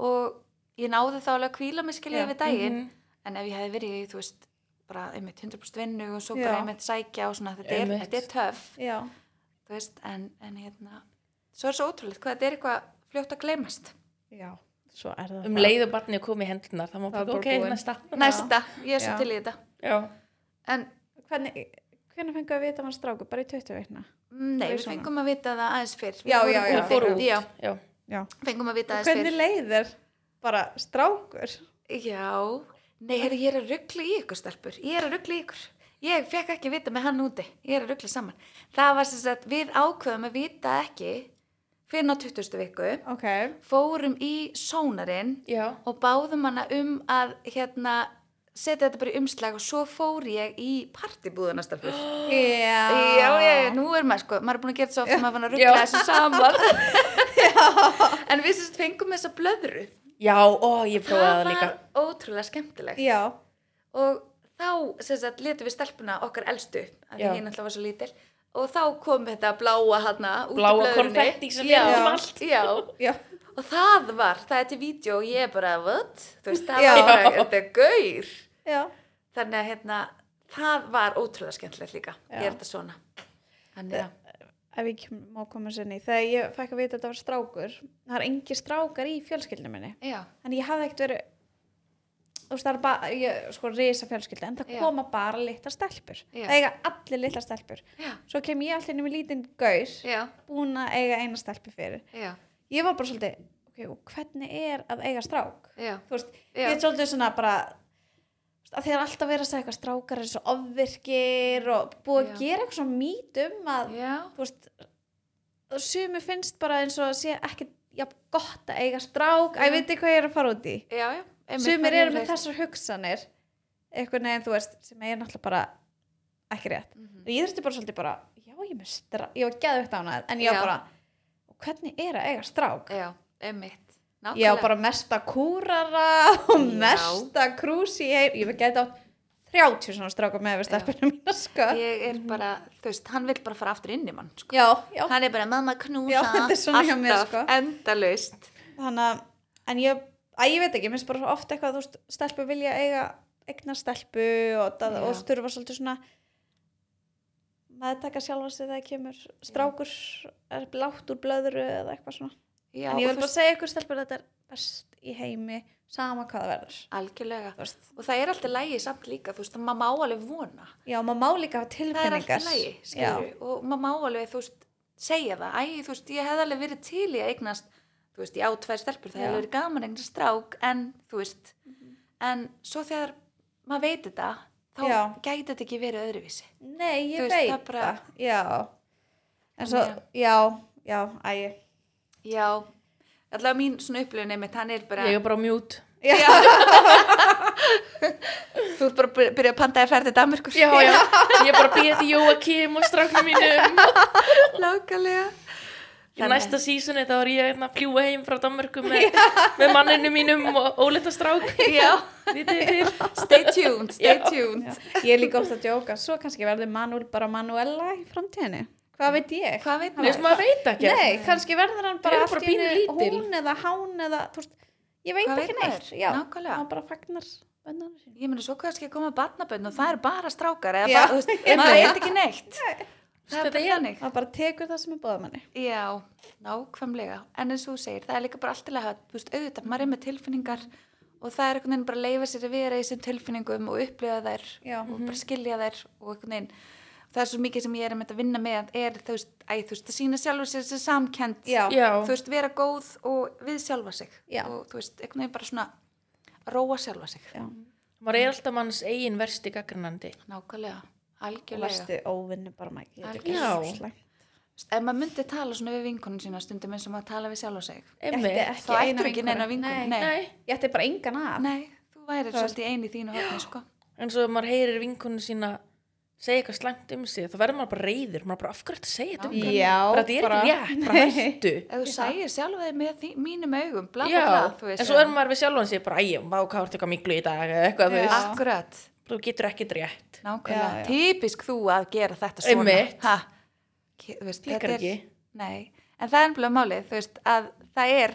[SPEAKER 3] og ég náði þá alveg að kvíla mig skilja
[SPEAKER 1] Já,
[SPEAKER 3] við daginn
[SPEAKER 2] mhm.
[SPEAKER 3] en ef ég hefði verið í, þú veist, bara einmitt 100% vinnu og svo
[SPEAKER 1] Já.
[SPEAKER 3] bara einmitt sækja og svona, þetta er,
[SPEAKER 2] Einmitt.
[SPEAKER 3] þetta er töff.
[SPEAKER 1] Já.
[SPEAKER 3] þú veist, en, en hérna svo er svo ótrúlegt hvað þetta er eitthvað fljótt að gleymast
[SPEAKER 1] já, svo er það
[SPEAKER 2] Um
[SPEAKER 1] það.
[SPEAKER 2] leiðu barni að koma í hendunar, það
[SPEAKER 1] Það
[SPEAKER 2] má
[SPEAKER 1] er
[SPEAKER 2] bara,
[SPEAKER 1] bara
[SPEAKER 2] ok,
[SPEAKER 1] búin.
[SPEAKER 2] næsta.
[SPEAKER 3] næsta, ég er svo
[SPEAKER 1] Já.
[SPEAKER 3] til í þetta
[SPEAKER 2] Já.
[SPEAKER 3] en
[SPEAKER 1] hvernig, hvernig fengið að vita að hann stráku bara í 20 veikna
[SPEAKER 3] mm, nei,
[SPEAKER 1] Það er
[SPEAKER 3] við
[SPEAKER 1] svona.
[SPEAKER 3] fengum að vita það aðeins fyrr Við
[SPEAKER 1] Já,
[SPEAKER 3] fórum
[SPEAKER 1] já, já.
[SPEAKER 3] úti.
[SPEAKER 2] Fóru út.
[SPEAKER 3] já,
[SPEAKER 2] Já.
[SPEAKER 1] já.
[SPEAKER 3] fengum að vita
[SPEAKER 1] og
[SPEAKER 3] aðeins
[SPEAKER 1] hvernig
[SPEAKER 3] fyrr
[SPEAKER 1] leiðir bara strákur
[SPEAKER 3] já, nei, heru, ég er að ruggla í ykkur stelpur, ég er að ruggla í ykkur ég fekk ekki að vita með hann úti ég er að ruggla saman, það var sem sagt við ákveðum að vita ekki fyrr á 20. viku
[SPEAKER 1] ok,
[SPEAKER 3] fórum í sónarinn
[SPEAKER 2] Já.
[SPEAKER 3] og báðum hana um að hérna, setja þetta bara í umslag og svo fór ég í partibúðuna stelpur.
[SPEAKER 1] já
[SPEAKER 3] Já, já, nú er maður sko, maður er búin að gera þetta svo ofta, maður er búin að ruggla
[SPEAKER 2] Já.
[SPEAKER 3] þessu
[SPEAKER 1] (laughs)
[SPEAKER 3] saman. en við sérst fengum þessa blöðru.
[SPEAKER 2] Já, ó, ég prófaði það líka.
[SPEAKER 3] var ótrúlega skemmtilegt.
[SPEAKER 1] já,
[SPEAKER 3] Og þá, sérst að, letum við stelpuna okkar elstu, af því
[SPEAKER 2] Já.
[SPEAKER 3] hinn alltaf var svo lítil. Og þá kom þetta bláa hana út
[SPEAKER 2] Bláa
[SPEAKER 3] af blöðrunni.
[SPEAKER 2] konfetti sem um
[SPEAKER 3] Já,
[SPEAKER 1] við notum
[SPEAKER 2] allt.
[SPEAKER 3] Já,
[SPEAKER 1] já,
[SPEAKER 3] Og það var, það er til vídeo og ég er bara, what? Þú veist, það
[SPEAKER 1] Já.
[SPEAKER 3] var bara, þetta er gaur.
[SPEAKER 1] já.
[SPEAKER 3] Þannig að hérna, það var ótrúlega skemmtilegt líka.
[SPEAKER 1] Já. Eh,
[SPEAKER 3] Ég er þetta svona. Þannig að,
[SPEAKER 1] ef ég kem- má koma sinni þegar ég fekk að vita að þetta var strákur það er engi strákar í fjölskyldinu minni
[SPEAKER 3] já,
[SPEAKER 1] þannig ég hafði ekkert verið þú veist það er bara, ég, sko risa fjölskylda en það
[SPEAKER 3] Já.
[SPEAKER 1] koma bara litla stelpur
[SPEAKER 3] Já.
[SPEAKER 1] það eiga allir litla stelpur
[SPEAKER 3] já,
[SPEAKER 1] svo kem ég allir með lítinn gaur
[SPEAKER 3] já,
[SPEAKER 1] búin að eiga eina stelpu fyrir
[SPEAKER 3] já,
[SPEAKER 1] ég var bara svolítið, ok, og hvernig er að eiga strák?
[SPEAKER 3] já,
[SPEAKER 1] þú veist,
[SPEAKER 3] Já.
[SPEAKER 1] ég er svolítið svona bara þú veist, að þegar alltaf verið að segja eitthvað strákar er svo ofvirkir og búið
[SPEAKER 3] Já.
[SPEAKER 1] að gera eitthvað svona mít um að
[SPEAKER 3] já,
[SPEAKER 1] þú veist sumu finnst bara eins og sé ekki jafn gott að eiga strák að ég
[SPEAKER 3] Já.
[SPEAKER 1] veit ekki hvað ég er að fara út í
[SPEAKER 3] já, já. Einmitt, það
[SPEAKER 1] sumir
[SPEAKER 3] er
[SPEAKER 1] eru með
[SPEAKER 3] hreint.
[SPEAKER 1] þessar hugsanir einhvern veginn, þú veist, sem er náttúrulega bara ekki rétt.
[SPEAKER 3] Mhm.
[SPEAKER 1] En Ég þurfti bara svolítið bara, já, ég er með strák ég var geðvegt ánað, en ég
[SPEAKER 3] Já.
[SPEAKER 1] var bara og hvernig er að eiga strák?
[SPEAKER 3] Já, einmitt.
[SPEAKER 1] Ég var bara mesta kúrara og
[SPEAKER 3] Já.
[SPEAKER 1] mesta krús í heim, ég var geðið átt 30 svona stráka með við
[SPEAKER 3] Já.
[SPEAKER 1] stelpunum mína, sko.
[SPEAKER 3] Ég er bara, þú veist, hann vil bara fara aftur inn í mann, sko.
[SPEAKER 1] Já, já.
[SPEAKER 3] Hann er bara, mamma knúsa,
[SPEAKER 1] Já, (laughs) þetta er svona hjá mér, sko.
[SPEAKER 3] endalaust.
[SPEAKER 1] þannig að, en ég, að ég veit ekki, mér finnst bara ofta eitthvað, þú veist, stelpu vilja eiga eigna stelpu og, það,
[SPEAKER 3] Já.
[SPEAKER 1] og þurfa svolítið svona meðtaka sjálfa sig þegar kemur strákur er blátt úr blöðru eða eitthvað svona.
[SPEAKER 3] Já,
[SPEAKER 1] en ég vil
[SPEAKER 3] og þú
[SPEAKER 1] bara
[SPEAKER 3] veist,
[SPEAKER 1] segja ykkur stelpur þetta er best í heimi sama hvað það verður
[SPEAKER 3] algjörlega.
[SPEAKER 1] Þú veist.
[SPEAKER 3] Og það er alltaf lægi samt líka, þú veist, maður má alveg vona.
[SPEAKER 1] já, maður má líka hafa
[SPEAKER 3] Það er
[SPEAKER 1] tilfinningar
[SPEAKER 3] alltaf lægi, skilju. Og maður má alveg, þú veist, segja það. Æ, þú veist, ég hef alveg verið til í að eignast, þú veist, ég á tvær stelpur,
[SPEAKER 1] Já.
[SPEAKER 3] það hefði alveg verið gaman að eignast strák, en, þú veist, en svo þegar maður veit þetta, þá
[SPEAKER 1] Já.
[SPEAKER 3] gæti þetta ekki verið öðruvísi.
[SPEAKER 1] Já. nei, ég
[SPEAKER 3] Þú veist,
[SPEAKER 1] veit
[SPEAKER 3] það
[SPEAKER 1] það,
[SPEAKER 3] bara-
[SPEAKER 1] já en svo,
[SPEAKER 3] Þannig
[SPEAKER 1] já, já, æg
[SPEAKER 3] Já, allavega mín svona upplifun einmitt, hann er bara,
[SPEAKER 2] Ég er bara á mjút.
[SPEAKER 3] þú ert bara að byrja að pantaði ferð til Danmörkur.
[SPEAKER 2] Já,
[SPEAKER 3] (laughs)
[SPEAKER 2] já, ég er bara að býja þetta Jóakim og stráknum mínum.
[SPEAKER 3] Lákalega.
[SPEAKER 2] Í næsta sísunni þá er ég hérna að fljúa heim frá Danmörku með, með manninu mínum og ólita strák.
[SPEAKER 3] Já,
[SPEAKER 2] Vitið þið til.
[SPEAKER 3] stay tuned, stay
[SPEAKER 2] Já.
[SPEAKER 3] tuned.
[SPEAKER 1] ég er líka oft að djóka svo kannski verður Manuel bara Manuela í framtíðinni hvað veit ég
[SPEAKER 3] Hvað veit
[SPEAKER 2] Nei, sem
[SPEAKER 3] maður?
[SPEAKER 2] maður veit ekki.
[SPEAKER 1] Nei, kannski verður hann bara
[SPEAKER 2] eru
[SPEAKER 1] allt
[SPEAKER 2] bara
[SPEAKER 1] í einu
[SPEAKER 2] pínulítil.
[SPEAKER 1] hún eða hán eða, þú veist, ég veit
[SPEAKER 3] Hvað
[SPEAKER 1] ekki
[SPEAKER 3] veit
[SPEAKER 1] neitt.
[SPEAKER 3] maður?
[SPEAKER 1] Já,
[SPEAKER 3] Nákvæmlega.
[SPEAKER 1] hann bara fagnar bönnarnar sín.
[SPEAKER 3] Ég meni svo kannski að koma barnabönn og það er bara strákar eða
[SPEAKER 1] Já.
[SPEAKER 3] bara, þú veist, maður veit ekki neitt. Það er
[SPEAKER 2] Þetta
[SPEAKER 3] bara
[SPEAKER 2] er-
[SPEAKER 3] þannig.
[SPEAKER 1] Hann bara tekur það sem er bóða manni.
[SPEAKER 3] Já, nákvæmlega. En eins og þú segir, það er líka bara allt til að hafa, þú veist, auðvitað, maður er með tilfinningar og það er einhvern veginn bara að leifa sér að vera í þessum tilfinningum og upplifa þær
[SPEAKER 1] Já.
[SPEAKER 3] og bara skilja þær og einhvern veginn. Það er svo mikið sem ég er einmitt að vinna með er, þú veist, æ, þú veist, að sína sjálfur sér þessi samkend.
[SPEAKER 1] Já.
[SPEAKER 2] Já,
[SPEAKER 3] þú veist, vera góð og við sjálfa sig
[SPEAKER 1] Já.
[SPEAKER 3] og þú veist, einhvern veginn bara svona að róa sjálfa sig
[SPEAKER 1] Já.
[SPEAKER 2] maður er alltaf manns eigin versti gaggrinandi.
[SPEAKER 3] nákvæmlega,
[SPEAKER 1] Og
[SPEAKER 3] algjörlega
[SPEAKER 1] verstu óvinni bara mæk.
[SPEAKER 2] Já.
[SPEAKER 3] ef maður myndi tala svona við vinkunum sína stundum eins og maður tala við sjálfa sig
[SPEAKER 2] Einmitt.
[SPEAKER 3] þá ættir ekki neina vinkun
[SPEAKER 1] Nei.
[SPEAKER 3] nei.
[SPEAKER 2] Nei,
[SPEAKER 1] Ég ætti bara engan að.
[SPEAKER 3] Nei, þú værir
[SPEAKER 1] Það-
[SPEAKER 3] svolítið eini þínu hóðni sko.
[SPEAKER 2] en svo ef maður heyrir vinkonu sína segja eitthvað slæmt um sig, þá verður maður bara reyður, maður bara af hverju þetta segja þetta um mig?
[SPEAKER 1] Já,
[SPEAKER 2] Bara þetta er ekki rétt, bara hættu.
[SPEAKER 3] (laughs) ef þú sæir sjálfa þig með því, mínum augum bla
[SPEAKER 2] Já,
[SPEAKER 3] bla bla þú
[SPEAKER 2] en svo er maður við sjálfan sig bara, æjum, vá, hvað ertu eitthvað miklu í dag eða eitthvað, þú
[SPEAKER 1] Já.
[SPEAKER 2] veist,
[SPEAKER 3] akkurat,
[SPEAKER 2] þú getur ekkert rétt.
[SPEAKER 1] Já, já.
[SPEAKER 3] nákvæmlega típisk þú að gera þetta svona
[SPEAKER 2] Einmitt.
[SPEAKER 3] ha, Ki- þú veist,
[SPEAKER 2] Klikkar
[SPEAKER 3] þetta er-
[SPEAKER 2] ekki.
[SPEAKER 3] Nei, en það er ennblega málið, þú veist, að það er,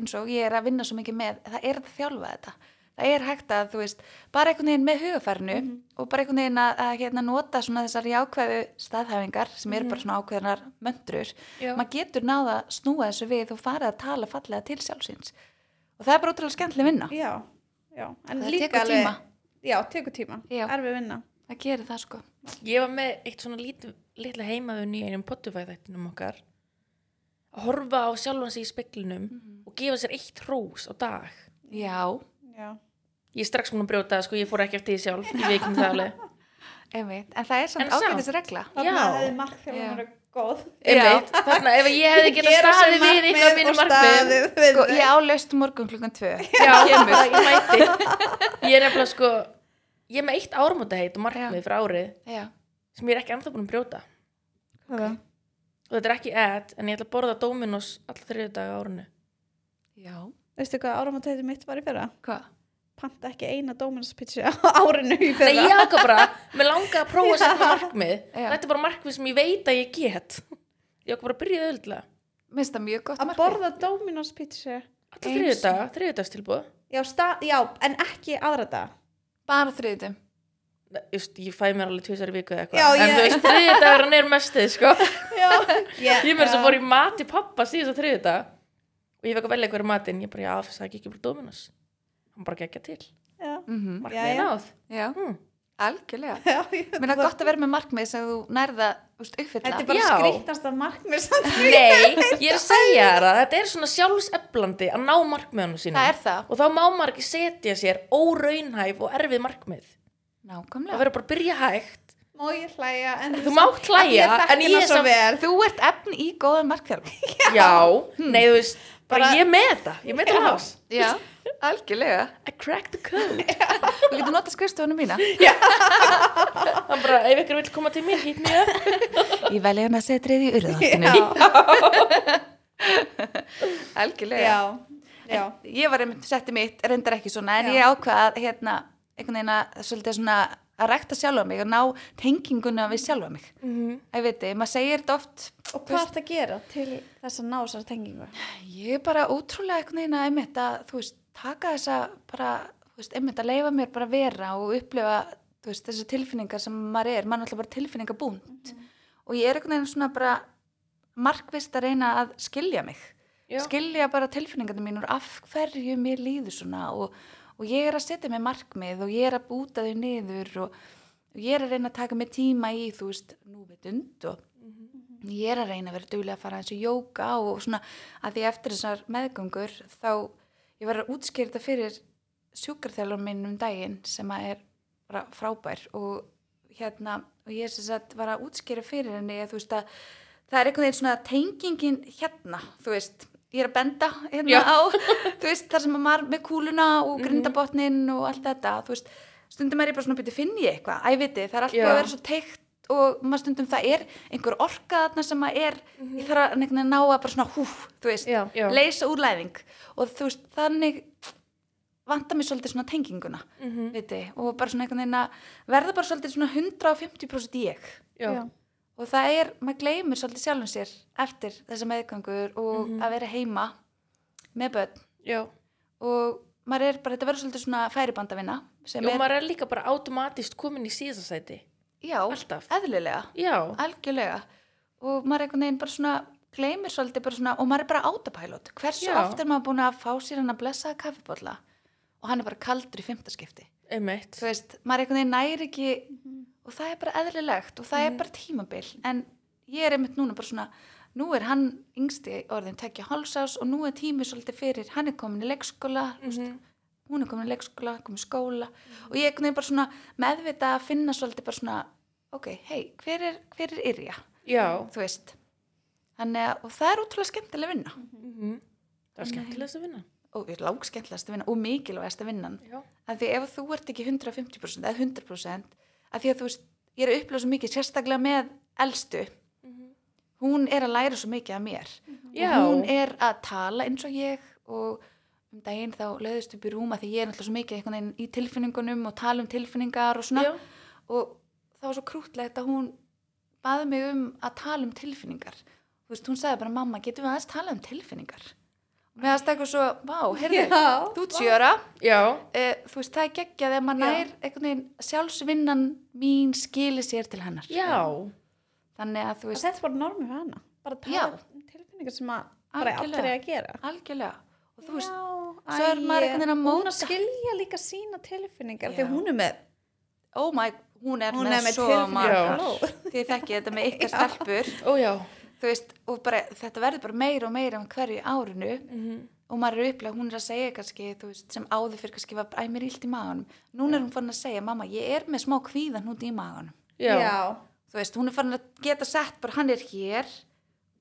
[SPEAKER 3] eins og ég er að vinna svo mikið með, það er að þjálfa þetta. Það er hægt að, þú veist, bara einhvern veginn með hugafærnu og bara einhvern veginn að, að hérna, nota svona þessar jákvæðu staðhæfingar sem eru bara svona ákveðnar möndrur.
[SPEAKER 2] Já.
[SPEAKER 3] Maður getur náða að snúa þessu við og farið að tala fallega til sjálfsins. Og það er bara ótrúlega skemmtileg vinna.
[SPEAKER 1] Já, já. En
[SPEAKER 3] Það
[SPEAKER 1] líka
[SPEAKER 3] tekur
[SPEAKER 1] alveg-
[SPEAKER 3] tíma.
[SPEAKER 1] Já, tekur tíma.
[SPEAKER 3] Já.
[SPEAKER 1] Erfið vinna.
[SPEAKER 3] Það gerir það sko.
[SPEAKER 2] Ég var með eitt svona lít, litla heimaðun í einum pottufæðættinum okkar að horfa á sjálfan sig í speklinum
[SPEAKER 3] Mm.
[SPEAKER 2] og gefa sér eitt hrós á dag.
[SPEAKER 3] Já,
[SPEAKER 1] Já.
[SPEAKER 2] Ég er strax múin að brjóta, það, sko, ég fór ekki eftir því sjálf, ég veikum það alveg.
[SPEAKER 3] einmitt. En það er
[SPEAKER 2] En
[SPEAKER 3] samt
[SPEAKER 2] samt.
[SPEAKER 3] ágætis regla.
[SPEAKER 2] Já.
[SPEAKER 1] Þarna hefði markþjálfurinn verið góð.
[SPEAKER 2] Einmitt, þarna ef ég hefði getað
[SPEAKER 1] Gera sér
[SPEAKER 2] staðið við
[SPEAKER 1] markmið
[SPEAKER 2] eitthvað mínu
[SPEAKER 1] og
[SPEAKER 2] markmið.
[SPEAKER 1] staðið við
[SPEAKER 3] Sko,
[SPEAKER 1] þau.
[SPEAKER 3] ég álaust morgun klukkan tvö.
[SPEAKER 2] Já, ég mæti. Ég er nefnilega sko, ég er með eitt ármótaheit og markmið fyrir árið
[SPEAKER 3] Já,
[SPEAKER 2] sem ég er ekki ennþá búin að brjóta.
[SPEAKER 1] Hvaða?
[SPEAKER 2] Og þetta er ekki ad, en ég ætla að borða Dominos alla þriðu daga árinu.
[SPEAKER 3] já.
[SPEAKER 1] Veistu hvað áramantæti mitt var í fyrra?
[SPEAKER 3] Hvað?
[SPEAKER 1] Panta ekki eina Dominus pizza á (laughs) árinu í
[SPEAKER 2] Nei,
[SPEAKER 1] fyrra.
[SPEAKER 2] ég ákvað bara, mér langaði að prófa að setja markmið.
[SPEAKER 3] Já.
[SPEAKER 2] Þetta er bara markmið sem ég veit að ég get. Ég ákvað bara að byrja auðvitað.
[SPEAKER 3] Minnst það mjög gott
[SPEAKER 1] að
[SPEAKER 3] markmið.
[SPEAKER 1] borða Dominos pizza
[SPEAKER 2] Alltaf þriðudaga, þriðudagstilbúð.
[SPEAKER 1] já, sta, já, en ekki aðra dag
[SPEAKER 3] Bara þriðutum.
[SPEAKER 2] Nei, Just, ég fæ mér alveg tvisar í viku eða
[SPEAKER 1] Já,
[SPEAKER 2] eitthvað. En
[SPEAKER 1] ég-
[SPEAKER 2] þú veist, þriðudagarinn er mestið, sko.
[SPEAKER 1] já,
[SPEAKER 2] Ég mér þess að fór í mat til pappa síðast að þriðudag. Og ég fekk að velja hverju matinn. Ég bara, já, þess að ekki bara Dominos. Hann bara gekkja til.
[SPEAKER 1] já,
[SPEAKER 3] Mm
[SPEAKER 2] Markmiðið
[SPEAKER 1] Jæja.
[SPEAKER 2] náð.
[SPEAKER 3] Já,
[SPEAKER 2] Hmm.
[SPEAKER 3] algjörlega.
[SPEAKER 1] já, ég-
[SPEAKER 3] Mér finnst það gott að vera með markmið sem þú nærða, þú veist, uppfylla.
[SPEAKER 1] þetta er bara
[SPEAKER 2] Já.
[SPEAKER 1] skrýttast af markmið samt.
[SPEAKER 2] Nei, ég er að segja þér að þetta er svona sjálfseflandi að ná markmiðunum sínum.
[SPEAKER 3] Það er það.
[SPEAKER 2] og þá má maður ekki setja sér óraunhæf og erfið markmið það
[SPEAKER 3] Nákvæmlega.
[SPEAKER 2] verður bara að byrja hægt
[SPEAKER 1] má ég hlæja en
[SPEAKER 2] þú mátt hlæja
[SPEAKER 1] ég
[SPEAKER 2] en
[SPEAKER 1] þekki
[SPEAKER 2] ég
[SPEAKER 1] hana
[SPEAKER 2] er
[SPEAKER 1] svo
[SPEAKER 2] samt
[SPEAKER 1] vel
[SPEAKER 3] Þú ert efni í góðan markþjálf.
[SPEAKER 2] já, Hmm. nei þú veist bara,
[SPEAKER 1] Bara-
[SPEAKER 2] ég með þetta, ég með þetta lás
[SPEAKER 3] (laughs) Já, algjörlega.
[SPEAKER 2] I cracked the code (laughs)
[SPEAKER 3] Þú getur notað skrifstofunum mína.
[SPEAKER 2] það er bara, ef ykkur vil koma til mér, hýtt mér upp.
[SPEAKER 3] Ég velja hann að segja treði í urðartinu.
[SPEAKER 1] já,
[SPEAKER 2] (laughs)
[SPEAKER 3] Algjörlega.
[SPEAKER 1] já, já
[SPEAKER 3] Ég var einmitt setti mitt, reyndar ekki svona, en
[SPEAKER 1] Já.
[SPEAKER 3] ég ákvað að, hérna, einhvern veginn að, svolítið svona, að rækta sjálfa mig og ná tenginguna við sjálfa mig.
[SPEAKER 2] Mhm.
[SPEAKER 3] Æ, veit þið, maður segir þetta oft,
[SPEAKER 1] og hvað ert að gera til þess að ná þessari tengingu
[SPEAKER 3] Ég er bara ótrúlega einhvern veginn að einmitt að, þú veist, taka þessa bara, þú veist, einmitt að leifa mér bara að vera og upplifa, þú veist, þessar tilfinningar sem maður er, maður er alltaf bara tilfinningabúnd og ég er einhvern veginn svona bara markvist að reyna að skilja mig
[SPEAKER 2] Já.
[SPEAKER 3] skilja bara tilfinningarnir mínur af hverju mér líður svona og, og ég er að setja mig markmið og ég er að búta þau niður og, og ég er að reyna að taka mig tíma í, þú veist, núvitund og ég er að reyna að vera duglega að fara eins og jóka og svona að því eftir þessar meðgöngur þá ég var að útskýra þetta fyrir sjúkarþjálfum minn um daginn sem að er bara frábær og hérna og ég sem sagt var að útskýra fyrir henni að þú veist að það er einhvern veginn svona tengingin hérna, þú veist ég er að benda hérna
[SPEAKER 2] Já.
[SPEAKER 3] á þú veist þar sem að maður með kúluna og grindabotnin og allt þetta þú veist stundum er ég bara svona byrja finn ég eitthvað æviti það er alltaf
[SPEAKER 2] Já.
[SPEAKER 3] að vera svo teikt og maður stundum það er einhver orka þarna sem að er ég þarf að einhvern veginn ná að bara svona húf, þú veist
[SPEAKER 1] Já.
[SPEAKER 2] Mhm. Já.
[SPEAKER 3] leysa úr læðing og þú veist þannig vantar mér svolítið svona tenginguna
[SPEAKER 2] Mhm.
[SPEAKER 3] viti, og bara svona einhvern veginn að verða bara svolítið svona 150% ég
[SPEAKER 2] Já.
[SPEAKER 1] Já.
[SPEAKER 3] og það er, maður gleymir svolítið sjálfum sér eftir þessa meðgangur og
[SPEAKER 2] Mhm.
[SPEAKER 3] að vera heima með börn
[SPEAKER 2] Já.
[SPEAKER 3] og maður er bara, þetta verður svolítið svona færibandavinna sem
[SPEAKER 2] og
[SPEAKER 3] er,
[SPEAKER 2] maður er líka bara automatist komin í síðasta sæti
[SPEAKER 3] já,
[SPEAKER 2] alltaf.
[SPEAKER 3] eðlilega
[SPEAKER 2] Já,
[SPEAKER 3] algjörlega og maður einhvern veginn bara svona gleymir svolítið bara svona og maður er bara autopilot hversu
[SPEAKER 2] Já.
[SPEAKER 3] oft er maður búin að fá sér hann að blessa kaffibólla og hann er bara kaldur í fymtaskipti
[SPEAKER 2] einmitt
[SPEAKER 3] þú veist, maður einhvern veginn næri ekki og það er bara eðlilegt og það
[SPEAKER 2] Mhm.
[SPEAKER 3] er bara tímabil en ég er einmitt núna bara svona nú er hann yngsti orðin tekja hálsás og nú er tími svolítið fyrir hann er komin í leikskóla, mm
[SPEAKER 2] Mhm.
[SPEAKER 3] hún er komin í leikskóla, komin í skóla og ég er einhvern veginn bara svona meðvita að finna svolítið bara svona ok, hei, hver er, hver er yrja?
[SPEAKER 2] Já,
[SPEAKER 3] þú veist Þannig, að- og það er ótrúlega skemmtileg vinna
[SPEAKER 2] Mhm. það var skemmtilegast að vinna
[SPEAKER 3] og langskemmtilegast vinna og mikilvægast vinnan
[SPEAKER 2] Já,
[SPEAKER 3] af því ef þú ert ekki 150% eða 100% af því að þú veist, ég er að upplifa svo mikið sérstaklega með elstu hún er að læra svo mikið af mér
[SPEAKER 2] Já.
[SPEAKER 3] og hún er að tala eins og ég og um daginn þá löðist upp í rúma því ég er náttúrulega svo mikið einhvern veginn í tilfinningunum og tala um tilfinningar og svona
[SPEAKER 2] já,
[SPEAKER 3] og það var svo krútlegt að hún baði mig um að tala um tilfinningar þú veist, hún sagði bara mamma, getum við aðeins tala um tilfinningar og mér aðeins eitthvað svo, vá, heyrðu
[SPEAKER 1] Já,
[SPEAKER 3] þú tjóra,
[SPEAKER 2] já,
[SPEAKER 3] e, þú veist, það er geggjað þegar maður
[SPEAKER 1] Já.
[SPEAKER 3] nær einhvern veginn sjálfsvinnan mín skili sér til hennar
[SPEAKER 2] já,
[SPEAKER 3] þannig að þú
[SPEAKER 1] Og
[SPEAKER 3] veist,
[SPEAKER 1] þetta er bara normið fyrir hana. Bara tala
[SPEAKER 3] Já.
[SPEAKER 1] um tilfinningar sem að bara
[SPEAKER 3] Algjörlega.
[SPEAKER 1] allir er að gera.
[SPEAKER 3] algjörlega og þú veist,
[SPEAKER 1] Já,
[SPEAKER 3] svo er maður einhvern veginn að
[SPEAKER 1] og Hún
[SPEAKER 3] móta.
[SPEAKER 1] að skilja líka sína tilfinningar því
[SPEAKER 3] Já.
[SPEAKER 1] hún er með,
[SPEAKER 3] oh my, hún er
[SPEAKER 1] hún
[SPEAKER 3] með,
[SPEAKER 1] er með
[SPEAKER 3] svo
[SPEAKER 1] tilfinningar.
[SPEAKER 3] margar
[SPEAKER 1] Halló.
[SPEAKER 3] því þekki þetta
[SPEAKER 1] (laughs)
[SPEAKER 3] með ykkar stelpur
[SPEAKER 2] ó já
[SPEAKER 3] þú veist, og bara, þetta verður bara meira og meira um hverju árinu
[SPEAKER 2] Mhm.
[SPEAKER 3] og maður er upplega, hún er að segja kannski þú veist, sem áður fyrir kannski var æ, mér illt í maganum núna er hún farin að segja, mamma, ég er með smá kvíðan út í maganum
[SPEAKER 2] Já, já,
[SPEAKER 3] þú veist, hún er farin að geta sett bara, hann er hér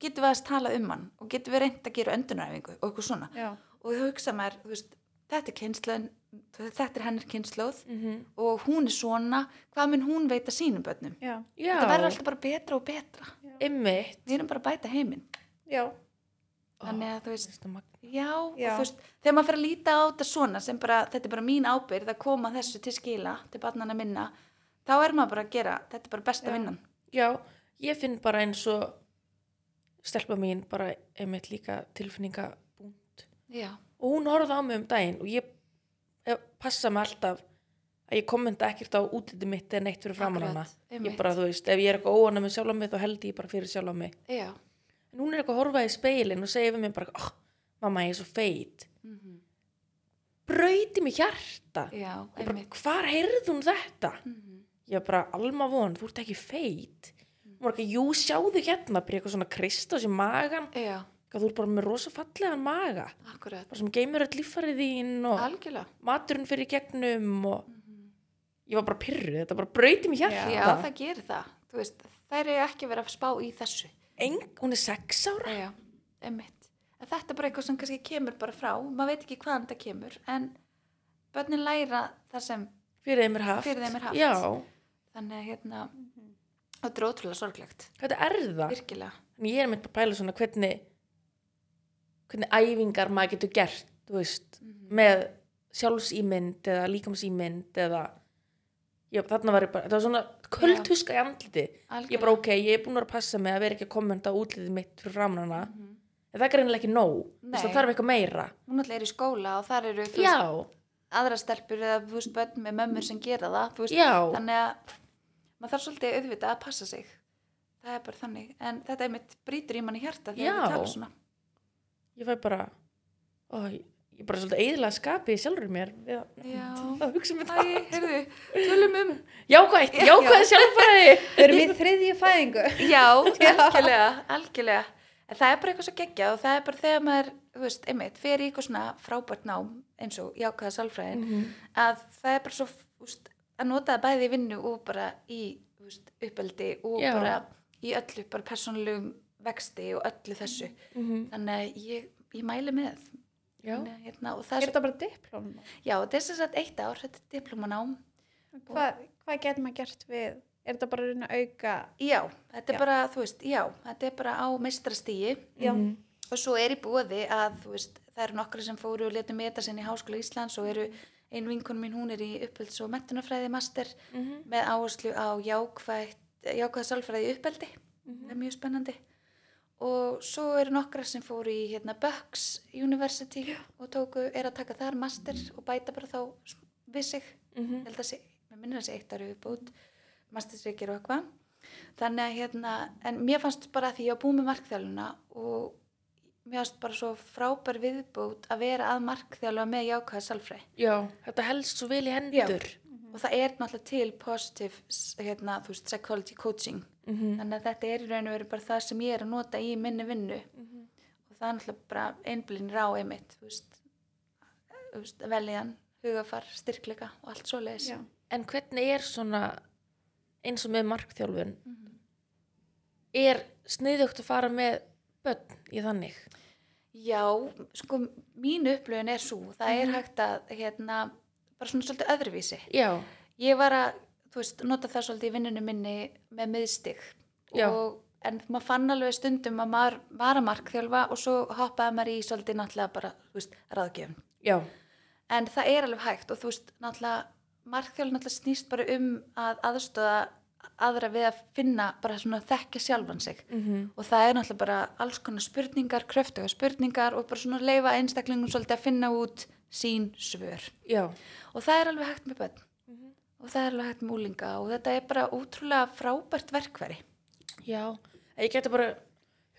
[SPEAKER 3] getum við að tala um hann og getum við reynd að gera öndunaræfingu og eitthvað svona
[SPEAKER 1] Já.
[SPEAKER 3] og þú hugsa maður, þú veist, þetta er kynslan þetta er hennar kynsluð
[SPEAKER 2] Mhm.
[SPEAKER 3] og hún er svona, hvað mun hún veita sínum börnum?
[SPEAKER 1] Já.
[SPEAKER 2] já.
[SPEAKER 3] Þetta verður alltaf bara betra og betra
[SPEAKER 2] einmitt
[SPEAKER 3] við erum bara að bæta heiminn
[SPEAKER 1] Já.
[SPEAKER 3] Þannig að þú veist-
[SPEAKER 2] þetta er magn-
[SPEAKER 3] Já,
[SPEAKER 1] Já.
[SPEAKER 3] og þú veist, þegar maður fer að líta á þetta svona sem bara, þetta er bara mín ábyrgð að koma þessu til skila, til barnana minna þá er maður bara að gera, þetta er bara besta
[SPEAKER 1] Já.
[SPEAKER 3] vinnan.
[SPEAKER 2] Já, ég finn bara eins og stelpa mín bara einmitt líka tilfinningabúnd
[SPEAKER 3] Já,
[SPEAKER 2] og hún horfði á mig um daginn og ég ég passa mig alltaf að ég kommenta ekkert á útliti mitt eða neitt fyrir framan hana
[SPEAKER 3] Akkurat,
[SPEAKER 2] ég
[SPEAKER 3] einmitt.
[SPEAKER 2] bara, þú veist, ef ég er eitthvað óana með sjálf á mig þá held ég bara fyrir sjálf á mig
[SPEAKER 3] já,
[SPEAKER 2] en hún er eitthvað að horfa í speilin og segja við mig bara, oh, mamma, ég er svo feit
[SPEAKER 3] Mhm.
[SPEAKER 2] brauti mig hjarta ég
[SPEAKER 3] já,
[SPEAKER 2] bara,
[SPEAKER 3] einmitt.
[SPEAKER 2] hvar heyrði hún þetta?
[SPEAKER 3] Mhm.
[SPEAKER 2] ég var bara alma von, þú ert ekki feit hún var ekki, jú, sjáðu hérna byrja eitthvað svona kristos í magan
[SPEAKER 3] Já,
[SPEAKER 2] þú ert bara með rosa fallegan maga
[SPEAKER 3] akkurat,
[SPEAKER 2] bara sem geymur öll líffarið þín og
[SPEAKER 3] algjörlega.
[SPEAKER 2] maturinn fyrir í gegnum og
[SPEAKER 3] Mhm.
[SPEAKER 2] ég var bara pyrruð, þetta bara brauti mér
[SPEAKER 3] Já,
[SPEAKER 2] hjarta
[SPEAKER 3] það gerir það, þú veist, þær eru ekki verið að spá í þessu.
[SPEAKER 2] Eng, hún er sex ára
[SPEAKER 3] Já, einmitt. En þetta er bara eitthvað sem kannski kemur bara frá, maður veit ekki hvaðan þetta kemur, en börnin læra það sem,
[SPEAKER 2] fyrir þeim er haft,
[SPEAKER 3] Fyrir þeim er haft.
[SPEAKER 2] Já,
[SPEAKER 3] þannig að hérna, þetta er ótrúlega sorglegt,
[SPEAKER 2] þetta er það
[SPEAKER 3] virkilega.
[SPEAKER 2] Þannig ég er mitt bara að pæla svona hvernig hvernig æfingar maður getur gert þú veist, með sjálfsýmynd eða líkamsýmynd eða ég, þarna var ég bara, þetta var svona kvöldhuska í andliti ég bara ok, ég er búin að vera að passa mig að vera ekki að kommenta á útlitið mitt fyrir framnana
[SPEAKER 3] Mhm.
[SPEAKER 2] en það er greinilega ekki nóg, þú veist,
[SPEAKER 3] Nei.
[SPEAKER 2] það þarf eitthvað meira
[SPEAKER 3] hún alltaf er í skóla og þar eru þú
[SPEAKER 2] Já,
[SPEAKER 3] veist, aðra stelpur eða þú veist, börn með mömmur sem gera það þú veist,
[SPEAKER 2] Já.
[SPEAKER 3] þannig að maður þarf svolítið auðvitað að passa sig það er bara þannig en þetta einmitt brýtur í manni
[SPEAKER 2] Já.
[SPEAKER 3] hjarta þegar við tala svona
[SPEAKER 2] ég fæ bara ó, ég ég bara svolítið eðilega skapið sjálfur mér við að,
[SPEAKER 3] Já.
[SPEAKER 2] að hugsa með
[SPEAKER 3] Æ,
[SPEAKER 2] það
[SPEAKER 3] heyrðu, tölum um
[SPEAKER 2] jákvætt, jákvæð sjálfræði
[SPEAKER 1] Þau eru við þriðju fæðingu.
[SPEAKER 3] Já, algjörlega, algjörlega. En það er bara eitthvað svo geggjað og það er bara þegar maður, þú veist, einmitt, fer í eitthvað svona frábært nám eins og jákaða sálfræðin,
[SPEAKER 2] Mhm,
[SPEAKER 3] að það er bara svo, þú veist, að nota það bæði í vinnu og bara í, þú veist, uppeldi og
[SPEAKER 2] Já.
[SPEAKER 3] bara í öllu, bara persónulegum vexti og öllu þessu.
[SPEAKER 2] Mhm.
[SPEAKER 3] Þannig að ég, ég mæli með.
[SPEAKER 2] já,
[SPEAKER 3] Þannig að, hérna, og það
[SPEAKER 1] Er
[SPEAKER 3] er, svo,
[SPEAKER 1] þetta bara diplóm?
[SPEAKER 3] já, þetta er sem sagt eitt ár, þetta er diplomanám.
[SPEAKER 1] Hvað, hvað getur maður gert við? Er þetta bara að reyna að auka?
[SPEAKER 3] Já, þetta er
[SPEAKER 1] Já.
[SPEAKER 3] bara, þú veist, já, þetta er bara á meistrastíi.
[SPEAKER 1] Já.
[SPEAKER 2] Mhm.
[SPEAKER 3] og svo er í bóði að þú veist, það eru nokkri sem fóru og letu meta sinni í Háskóla Íslands og eru ein vinkun mín, hún er í uppelds og mettunafræði master
[SPEAKER 2] Mhm.
[SPEAKER 3] með áherslu á jákvætt, jákvæða sálfræði í uppeldi
[SPEAKER 2] mhm,
[SPEAKER 3] það er mjög spennandi og svo eru nokkra sem fóru í hérna, Bucks University og tóku, er að taka þar master og bæta bara þá sm- við sig
[SPEAKER 2] Mhm.
[SPEAKER 3] held að sé, mér minnir að sé eitt ári viðbútt mastersreikir og eitthvað þannig að hérna, en mér fannst bara að því ég var búið með markþjáluna og mér fannst bara svo frábær viðbútt að vera að markþjálfa með jákvæða salfræ
[SPEAKER 2] já, þetta helst svo vel í hendur
[SPEAKER 3] og það er náttúrulega til positive s- hérna, þú veist, psychology coaching
[SPEAKER 2] Mhm.
[SPEAKER 3] þannig að þetta er í raun og veru bara það sem ég er að nota í minni vinnu og það er náttúrulega bara einblinn rá einmitt, þú veist, þú veist veljan, hugafar, styrkleika og allt svoleiðis
[SPEAKER 1] Já.
[SPEAKER 2] en hvernig er svona eins og með markþjálfun
[SPEAKER 3] Mhm.
[SPEAKER 2] er sniðugt að fara með börn í þannig
[SPEAKER 3] Já, sko, mín upplöfun er svo, það er hægt að, hérna, bara svona svolítið öðruvísi.
[SPEAKER 2] já,
[SPEAKER 3] Ég var að, þú veist, nota það svolítið í vinnunum minni með miðstig.
[SPEAKER 2] Já.
[SPEAKER 3] Og, en maður fann alveg stundum að maður var að markþjálfa og svo hoppaði maður í svolítið náttúrulega bara, þú veist, ráðgjöfn.
[SPEAKER 2] já,
[SPEAKER 3] En það er alveg hægt og þú veist, náttúrulega, markþjálf náttúrulega snýst bara um að aðstöða aðra við að finna bara svona þekkja sjálfan sig
[SPEAKER 2] Mhm.
[SPEAKER 3] og það er náttúrulega bara alls konar spurningar, kröftuga spurningar og bara svona leifa einstaklingum svolítið að finna út sín svör.
[SPEAKER 2] já
[SPEAKER 3] Og það er alveg hægt með börn
[SPEAKER 2] Mhm.
[SPEAKER 3] og það er alveg hægt með úlinga og þetta er bara útrúlega frábært verkveri.
[SPEAKER 2] já, að ég geti bara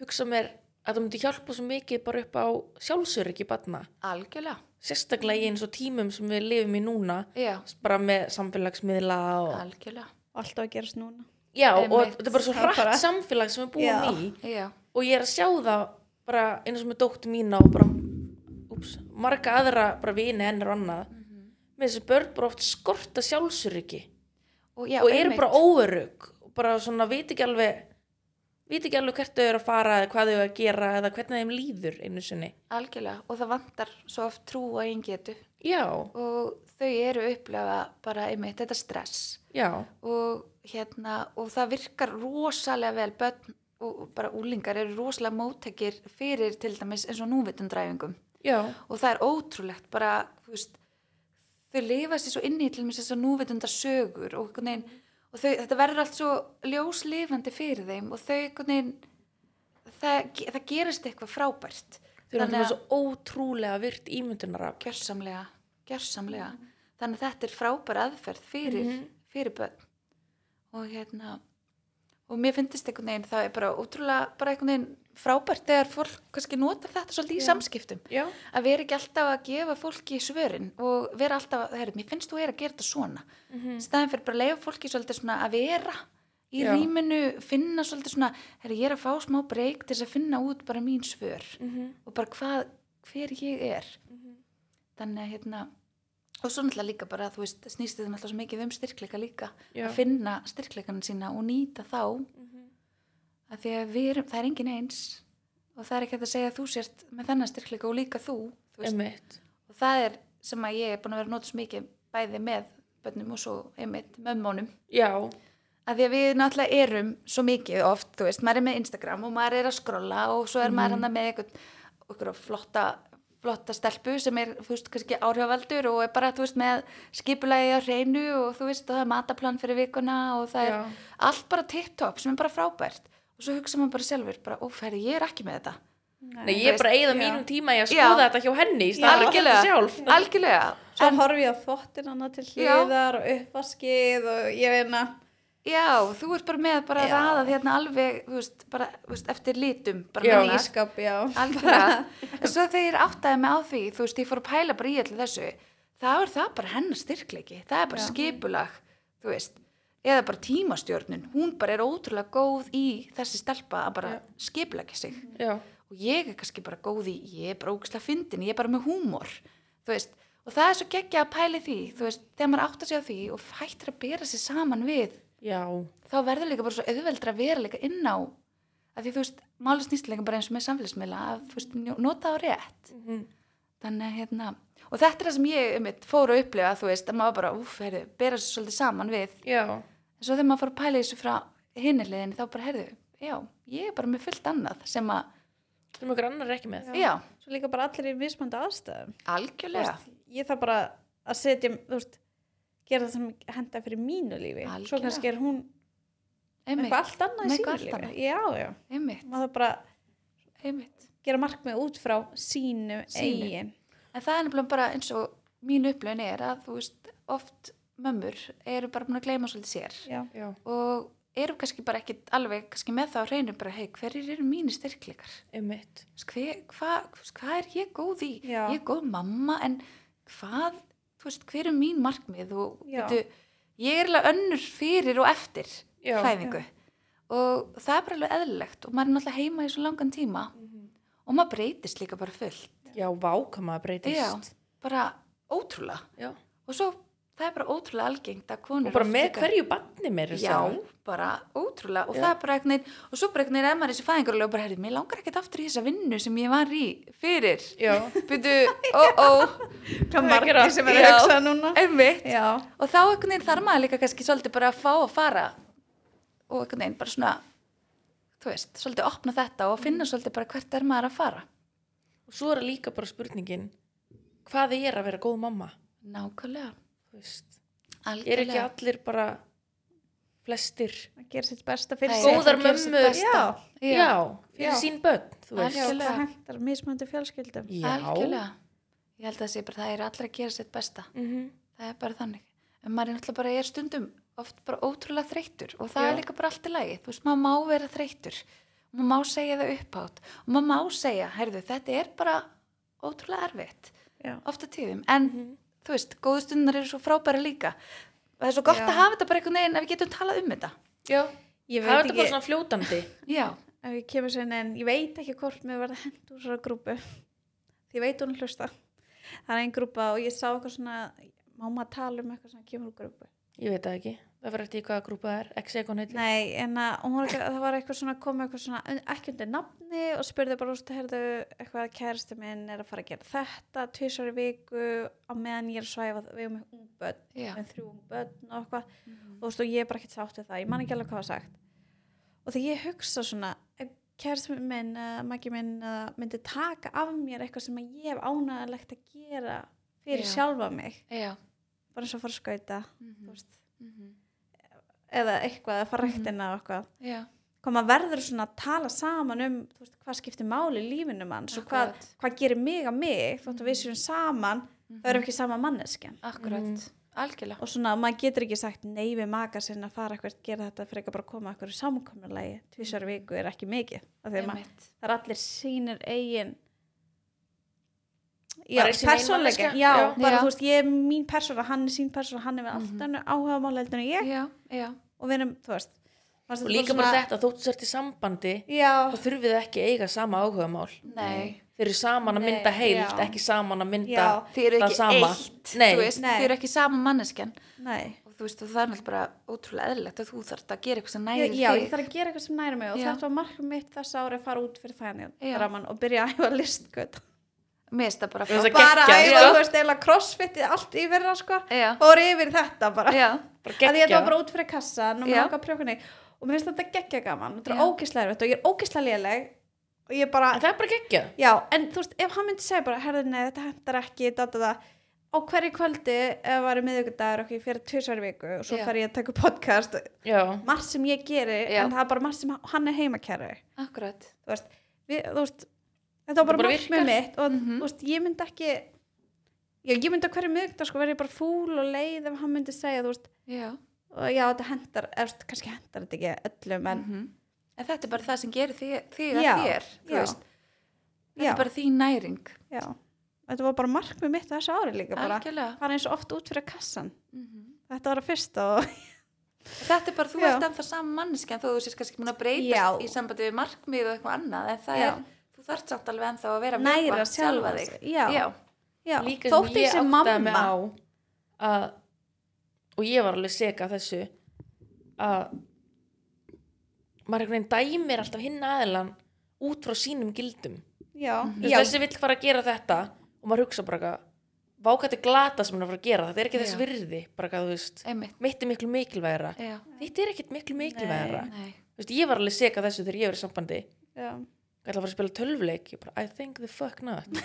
[SPEAKER 2] hugsa mér að það myndi hjálpa svo mikið bara upp á sjálfsöryggi barna
[SPEAKER 3] Algjörlega.
[SPEAKER 2] sérstaklega í eins og tímum sem við lifum í núna
[SPEAKER 3] Já,
[SPEAKER 2] bara með samfélagsmiðla og
[SPEAKER 3] algjörlega.
[SPEAKER 1] Allt á að gerast núna.
[SPEAKER 2] já, og
[SPEAKER 3] Einmitt.
[SPEAKER 2] þetta er bara svo
[SPEAKER 1] Það er
[SPEAKER 2] hratt
[SPEAKER 1] bara-
[SPEAKER 2] samfélag sem við búum
[SPEAKER 1] Já.
[SPEAKER 2] í
[SPEAKER 3] Já,
[SPEAKER 2] og ég er að sjá það bara eins og með dóttu mína og bara ups, marga aðra bara vini hennar og annað
[SPEAKER 3] Mhm.
[SPEAKER 2] með þessi börn bara oft skorta sjálfsöryggi
[SPEAKER 3] og, já,
[SPEAKER 2] og eru
[SPEAKER 3] einmitt.
[SPEAKER 2] bara óörug og bara svona veit ekki alveg veit ekki alveg hvert þau eru að fara eða hvað þau eru að gera eða hvernig þeim líður einu sinni
[SPEAKER 3] Algjörlega og það vantar svo oft trú og einn getu
[SPEAKER 2] já,
[SPEAKER 3] og þau eru upplefa bara einmitt þetta stress
[SPEAKER 2] já,
[SPEAKER 3] og hérna og það virkar rosalega vel börn og og bara úlingar eru rosalega móttekir fyrir til dæmis eins og núvitundræfingum
[SPEAKER 2] já
[SPEAKER 3] og það er ótrúlegt bara þú veist, þau lifa sér svo inni í til dæmis þessar núvitundar sögur og, einhvern veginn, og þau, þetta verður allt svo ljóslifandi fyrir þeim og þau einhvern veginn, það, ge- það gerist eitthvað frábært
[SPEAKER 2] þau eru
[SPEAKER 3] Þannig
[SPEAKER 2] náttúrulega
[SPEAKER 3] að-
[SPEAKER 2] svo ótrúlega virt ímyndunarafl
[SPEAKER 3] gjörsamlega, gjörsamlega þannig að þetta er frábær aðferð fyrir, fyrir börn og hérna og mér finnst einhvern veginn það er bara ótrúlega bara einhvern veginn frábært þegar fólk kannski notar þetta svolítið í
[SPEAKER 1] Já.
[SPEAKER 3] samskiptum
[SPEAKER 2] já,
[SPEAKER 3] að vera ekki alltaf að gefa fólki svörin og vera alltaf, að, herri, mér finnst þú er að gera þetta svona mm -hmm. staðin fyrir bara að leifa fólki svolítið svona að vera í
[SPEAKER 2] Já.
[SPEAKER 3] rýminu, finna svolítið svona herri, ég er að fá smá breyk til þess að finna út bara mín svör
[SPEAKER 2] Mhm.
[SPEAKER 3] og bara hvað, hver ég er þannig að hérna og svo náttúrulega líka bara, þú veist, snýst þetta náttúrulega svo mikið um styrkleika líka
[SPEAKER 2] Já. Mhm.
[SPEAKER 3] að finna styrkleikan sína og nýta þá að því að við erum, það er engin eins og það er ekki hægt að segja að þú sért með þennan styrkleika og líka þú, þú veist,
[SPEAKER 2] emitt
[SPEAKER 3] og það er sem að ég er búin að vera að nota svo mikið bæði með bönnum og svo einmitt mömmónum
[SPEAKER 2] já,
[SPEAKER 3] að því að við náttúrulega erum svo mikið oft, þú veist, maður er með Instagram og maður er að skrolla og svo er
[SPEAKER 2] Mhm.
[SPEAKER 3] maður hann með einhvern, einhverja flotta flotta stelpu sem er, þú veist, kannski áhrifavaldur og er bara, þú veist, með skipulagi á hreinu og þú veist, og það er mataplan fyrir vikuna og það
[SPEAKER 2] Já.
[SPEAKER 3] er allt bara tipptopp sem er bara frábært og svo hugsa maður bara sjálfur, bara, óferði, ég er ekki með þetta
[SPEAKER 2] Nei, ég er bara að eigða
[SPEAKER 1] já.
[SPEAKER 2] mínum tíma í að
[SPEAKER 3] Já.
[SPEAKER 2] skoða þetta hjá henni í staðan að geta sjálf
[SPEAKER 3] algjörlega
[SPEAKER 1] Svo horfi ég á þvottin hana til
[SPEAKER 3] Já.
[SPEAKER 1] hliðar og uppvaskið og ég hérna veina,
[SPEAKER 3] Já, þú ert bara með bara
[SPEAKER 1] Já.
[SPEAKER 3] raðað hérna alveg, þú veist, bara, þú veist, eftir litum, bara
[SPEAKER 2] Já.
[SPEAKER 3] nánast.
[SPEAKER 1] Ískap, já.
[SPEAKER 3] Algjörlega. (laughs) En svo þegar ég áttaði mig á því, þú veist, ég fór að pæla bara í allir þessu, þá er það bara hennar styrkleiki, það er bara
[SPEAKER 1] Já.
[SPEAKER 3] skipulag, þú veist, eða bara tímastjórnun, hún bara er ótrúlega góð í þessi stelpa að bara
[SPEAKER 2] Já.
[SPEAKER 3] skipulagja sig.
[SPEAKER 2] já,
[SPEAKER 3] Og ég er kannski bara góð í, ég er bara ógislega fyndin, ég er bara með húmor, þú veist, og það er svo geggja að pæli því, þú veist, þegar maður áttar sig á því og hættir að bera sig saman við
[SPEAKER 2] já,
[SPEAKER 3] þá verður líka bara svo auðveldra að vera líka inn á að því þú veist, máli snýst líka bara eins og með samfélagsmiðla að þú veist, njó- nota á rétt
[SPEAKER 2] Mhm.
[SPEAKER 3] þannig að hérna og þetta er það sem ég um fór að upplifa þú veist, að maður bara, úf, herðu, bera svo svolítið saman við
[SPEAKER 2] já,
[SPEAKER 3] en svo þegar maður fór að pæla í þessu frá hinni hliðinni þá bara, herðu, já, ég er bara með fullt annað sem að,
[SPEAKER 2] sem okkur annar er ekki með.
[SPEAKER 3] já,
[SPEAKER 1] Svo líka bara allir í mismöndu aðstæðum. Þú
[SPEAKER 3] algjörlega
[SPEAKER 1] veist, ég þarf bara að setja, þú veist, gera það sem henda fyrir mínu lífi. Svo
[SPEAKER 3] Algjörlega.
[SPEAKER 1] kannski er hún
[SPEAKER 3] einmitt,
[SPEAKER 1] eitthvað allt annað
[SPEAKER 3] Með
[SPEAKER 1] í
[SPEAKER 3] eitthvað
[SPEAKER 1] sínu
[SPEAKER 3] allt
[SPEAKER 1] lífi.
[SPEAKER 3] annað.
[SPEAKER 1] Já, já.
[SPEAKER 3] einmitt,
[SPEAKER 1] Maður þarf bara að
[SPEAKER 3] einmitt
[SPEAKER 1] gera markmið út frá sínu,
[SPEAKER 3] Sínu.
[SPEAKER 1] eigin.
[SPEAKER 3] en það er nefnilega bara eins og mín upplöðin er að þú veist, oft mömmur eru bara búin að gleyma svolítið sér
[SPEAKER 1] Já.
[SPEAKER 2] Já,
[SPEAKER 3] og eru kannski bara ekki alveg kannski með það á reynu bara hei, hverjir eru mínir styrkleikar
[SPEAKER 2] einmitt.
[SPEAKER 3] hvað hva, hva er ég góð í
[SPEAKER 1] Já.
[SPEAKER 3] ég er góð mamma en hvað, þú veist, hver er mín markmið og
[SPEAKER 1] Já.
[SPEAKER 3] veitu, ég er alveg önnur fyrir og eftir
[SPEAKER 2] Já.
[SPEAKER 3] fæðingu og það er bara alveg eðlilegt og maður er náttúrulega heima í svo langan tíma
[SPEAKER 2] Mhm.
[SPEAKER 3] og maður breytist líka bara fullt
[SPEAKER 2] Já, vákama breytist.
[SPEAKER 3] bara ótrúlega
[SPEAKER 2] Já.
[SPEAKER 3] og svo það er bara ótrúlega algengt að konur
[SPEAKER 2] Og bara
[SPEAKER 3] oft
[SPEAKER 2] með
[SPEAKER 3] líka-
[SPEAKER 2] hverju banni mér þess
[SPEAKER 3] Já, bara ótrúlega og
[SPEAKER 2] Já.
[SPEAKER 3] það er bara eitthvað og svo bara eitthvað er maður í þessu fæðingarlega og bara herri, mér langar ekkert aftur í þessa vinnu sem ég var í fyrir,
[SPEAKER 2] Já,
[SPEAKER 3] byrju, ó ó
[SPEAKER 1] Hvað
[SPEAKER 2] margir
[SPEAKER 1] margir
[SPEAKER 2] að-
[SPEAKER 1] sem er að
[SPEAKER 3] Já.
[SPEAKER 1] hugsa núna.
[SPEAKER 3] einmitt
[SPEAKER 1] Já.
[SPEAKER 3] og þá eitthvað þarf maður líka kannski svolítið bara að fá að fara og eitthvað bara svona þú veist, svolítið opna þetta og
[SPEAKER 2] Mm.
[SPEAKER 3] finna svolítið bara hvert er maður að fara
[SPEAKER 2] og svo er líka bara spurningin, hvað er að vera góð mamma?
[SPEAKER 3] Nákvæmlega,
[SPEAKER 2] Þú veist,
[SPEAKER 3] algjörlega
[SPEAKER 2] er ekki allir bara flestir?
[SPEAKER 1] Að gera sitt besta fyrir
[SPEAKER 3] Nei,
[SPEAKER 1] sig.
[SPEAKER 2] Góðar
[SPEAKER 3] að gera sitt
[SPEAKER 2] mömmur.
[SPEAKER 3] besta.
[SPEAKER 1] Já.
[SPEAKER 2] Já,
[SPEAKER 3] Já,
[SPEAKER 2] fyrir
[SPEAKER 1] Já.
[SPEAKER 2] sín börn, þú veist.
[SPEAKER 1] Já,
[SPEAKER 3] Algjörlega.
[SPEAKER 1] það hendar mismöndu fjölskyldum.
[SPEAKER 2] Já.
[SPEAKER 3] algjörlega ég held að það sé bara, það er allir að gera sitt besta
[SPEAKER 2] Mhm.
[SPEAKER 3] það er bara þannig en maður er náttúrulega bara er stundum oft bara ótrúlega þreyttur og það
[SPEAKER 2] Já.
[SPEAKER 3] er líka bara allt í lagi þú veist, maður má vera þreyttur maður má segja það upphátt og maður má segja, heyrðu, þetta er bara ótrúlega erfitt,
[SPEAKER 1] Já.
[SPEAKER 3] ofta tíðum en, þú veist, góðu stundunar eru svo frábæra líka það er svo gott
[SPEAKER 1] Já.
[SPEAKER 3] að hafa þetta bara einhvern veginn að við getum talað um þetta
[SPEAKER 2] Já,
[SPEAKER 1] Ég
[SPEAKER 2] það er
[SPEAKER 1] veit
[SPEAKER 2] þetta bara
[SPEAKER 1] ekki,
[SPEAKER 2] svona fljótandi.
[SPEAKER 3] já,
[SPEAKER 1] ef ég kemur sér en ég veit ekki hvort mér verða hend úr þessara grúpu. Því ég veit hún hlusta. Það er einn grúpa og ég sá eitthvað svona, má maður tala um eitthvað svona kemur úr grúpu.
[SPEAKER 2] Ég veit það ekki. Það fyrir eftir í hvaða grúpa það er, X-Egon heitir.
[SPEAKER 1] Nei, en að, og hún, var eitthvað- það var eitthvað svona, kom eitthvað svona, un- ekki undir nafni og spurði bara úrstu, heyrðu, eitthvað kæristi minn er að fara að gera þetta, tvisar í viku, á meðan ég er að svæfa, við erum með ung börn,
[SPEAKER 3] já,
[SPEAKER 1] með þrjú ung börn og eitthvað, og þú veist, og ég er bara ekkert sátt við það, ég man ekki alveg hvað var sagt. Og þegar ég hugsa svona, kæristi minn, uh, maki minn, uh, myndi taka af mér eitthvað sem að ég hef ánægilegt að gera fyrir
[SPEAKER 3] Já.
[SPEAKER 1] sjálfa mig,
[SPEAKER 3] já
[SPEAKER 1] bara eins og fara að skauta, þú
[SPEAKER 3] Mhm.
[SPEAKER 1] veist,
[SPEAKER 3] Mhm.
[SPEAKER 1] eða eitthvað, að fara rektina og eitthvað
[SPEAKER 3] já,
[SPEAKER 1] hvað maður verður svona að tala saman um þú veist, hvað skiptir máli í lífinu manns og hvað,
[SPEAKER 3] Akkurat.
[SPEAKER 1] hvað gerir mig að mig þótt að við séum saman, það
[SPEAKER 3] Mhm.
[SPEAKER 1] eru ekki sama manneskjan
[SPEAKER 3] akkurat
[SPEAKER 2] Mhm.
[SPEAKER 3] Mm. algjörlega,
[SPEAKER 1] og svona maður getur ekki sagt nei við maka sinna að fara eitthvað gera þetta fyrir ekki bara að koma að eitthvað samkommunlegi tvisar viku er ekki mikið af því að maður-
[SPEAKER 3] einmitt
[SPEAKER 1] það er allir sínir eigin já,
[SPEAKER 2] Bara sín eigin
[SPEAKER 1] persónleika
[SPEAKER 2] manneskja,
[SPEAKER 1] já,
[SPEAKER 2] já.
[SPEAKER 1] bara
[SPEAKER 3] Já.
[SPEAKER 1] þú veist, ég er mín persóna hann er sín persóna, hann er með allt
[SPEAKER 3] Mhm.
[SPEAKER 1] mm -hmm. áhuga máleldinu ég
[SPEAKER 3] já, já,
[SPEAKER 1] og við erum, þú veist fannst
[SPEAKER 2] Og
[SPEAKER 1] þetta
[SPEAKER 2] líka bara þetta, þóttu sért í sambandi,
[SPEAKER 1] já,
[SPEAKER 2] þá þurfið þið ekki að eiga sama áhugamál.
[SPEAKER 3] nei
[SPEAKER 2] Þeir eru saman að mynda
[SPEAKER 1] Nei,
[SPEAKER 2] heilt,
[SPEAKER 1] já.
[SPEAKER 2] ekki saman að mynda
[SPEAKER 1] Já.
[SPEAKER 3] þið eru
[SPEAKER 2] það
[SPEAKER 3] ekki
[SPEAKER 2] sama.
[SPEAKER 3] eitt,
[SPEAKER 2] Nei.
[SPEAKER 3] þú veist,
[SPEAKER 1] Nei.
[SPEAKER 3] þið eru ekki sama manneskjan
[SPEAKER 1] nei
[SPEAKER 3] og þú veist, og það er náttúrulega bara ótrúlega eðlilegt að þú þarft að gera eitthvað sem
[SPEAKER 1] Já,
[SPEAKER 3] næri
[SPEAKER 1] já, ég
[SPEAKER 3] þig
[SPEAKER 1] þarf að gera eitthvað sem næri mig og
[SPEAKER 3] Já.
[SPEAKER 1] þetta var markmið mitt þess ári að fara út fyrir þannig
[SPEAKER 3] Já.
[SPEAKER 1] raman og byrja að æfa listgöt
[SPEAKER 3] mér finnst það bara
[SPEAKER 2] Mér finnst
[SPEAKER 3] frábært.
[SPEAKER 2] það
[SPEAKER 1] bara að æfa,
[SPEAKER 2] Geggjað, sko.
[SPEAKER 1] þú veist, eiginlega crossfitið allt yfir það sko
[SPEAKER 3] já,
[SPEAKER 1] fór yfir þetta bara
[SPEAKER 3] já,
[SPEAKER 2] bara
[SPEAKER 1] að ég
[SPEAKER 2] geggja.
[SPEAKER 1] var bara út fyrir kassan og mér
[SPEAKER 3] Já.
[SPEAKER 1] ákvað að prjókunni og mér finnst þetta geggja gaman þetta
[SPEAKER 3] Já.
[SPEAKER 1] er ógislega erfitt og ég er ógislega léleg og ég bara,
[SPEAKER 2] En það er bara geggja.
[SPEAKER 1] já, en þú veist, ef hann myndi segja bara, herðu, nei, þetta hendar ekki da, da, da. á hverju kvöldi ef var í miðvikudagur okkur, ég fyrir tvisvar í viku og svo
[SPEAKER 3] Já.
[SPEAKER 1] fer ég að taka upp podcast
[SPEAKER 2] Já,
[SPEAKER 1] margt sem ég geri,
[SPEAKER 3] Já.
[SPEAKER 1] en það er bara margt sem hann er heimakæri
[SPEAKER 3] akkurat
[SPEAKER 1] þú veist, við, þú veist þetta var bara,
[SPEAKER 2] bara
[SPEAKER 1] bara
[SPEAKER 2] virkar.
[SPEAKER 1] markmið mitt og
[SPEAKER 3] Mhm.
[SPEAKER 1] þú veist, ég myndi ekki já, ég myndi að hverju miðvikta sko verði ég bara fúl og leið ef hann myndi segja, þú veist,
[SPEAKER 3] já,
[SPEAKER 1] og já, þetta hendar, eftir, kannski hendar þetta ekki öllum
[SPEAKER 2] Mm.
[SPEAKER 1] en
[SPEAKER 3] -hmm. en þetta er bara það sem gerir þig, þig að
[SPEAKER 1] Já,
[SPEAKER 3] þér þú
[SPEAKER 1] já.
[SPEAKER 3] veist. þetta
[SPEAKER 1] Já.
[SPEAKER 3] er bara þín næring
[SPEAKER 1] já, þetta var bara markmið mitt á þessu ári líka bara,
[SPEAKER 3] algjörlega
[SPEAKER 1] fara eins og oft út fyrir kassan
[SPEAKER 3] mm -hmm.
[SPEAKER 1] þetta var að fyrsta og
[SPEAKER 3] þetta er bara, þú
[SPEAKER 1] Já.
[SPEAKER 3] ert ennþá saman manneskja en þó þú sést kannski múin að breytast
[SPEAKER 1] Já.
[SPEAKER 3] í sambandi við markmið og eitthvað annað en það
[SPEAKER 1] Já.
[SPEAKER 3] er, þú þarft samt alveg ennþá að vera að
[SPEAKER 1] Næra
[SPEAKER 3] myrkva
[SPEAKER 1] sjálfa sig. Já.
[SPEAKER 3] Já.
[SPEAKER 1] já,
[SPEAKER 2] líka
[SPEAKER 1] þótt
[SPEAKER 2] sem ég
[SPEAKER 1] ég sem
[SPEAKER 2] áttaði mig
[SPEAKER 1] mamma
[SPEAKER 2] á að, og ég var alveg seka þessu að maður einhvern veginn dæmir alltaf hinn aðilan út frá sínum gildum
[SPEAKER 1] já,
[SPEAKER 2] Þú veist,
[SPEAKER 1] já,
[SPEAKER 2] þessi vill fara að gera þetta og maður hugsa bara eitthvað vákætti glata sem hann er að fara að gera þetta er ekki þess
[SPEAKER 3] Já.
[SPEAKER 2] virði bara eitthvað, þú veist
[SPEAKER 3] einmitt
[SPEAKER 2] mitt er miklu mikilvægra
[SPEAKER 3] já.
[SPEAKER 2] þetta er ekkert miklu mikilvægra
[SPEAKER 3] Nei.
[SPEAKER 2] Þú veist, ég var alveg seka þessu þegar ég var í sambandi ég
[SPEAKER 1] já,
[SPEAKER 2] ætla að fara að spila tölvuleik ég bara, I think the fuck
[SPEAKER 1] (laughs)
[SPEAKER 2] not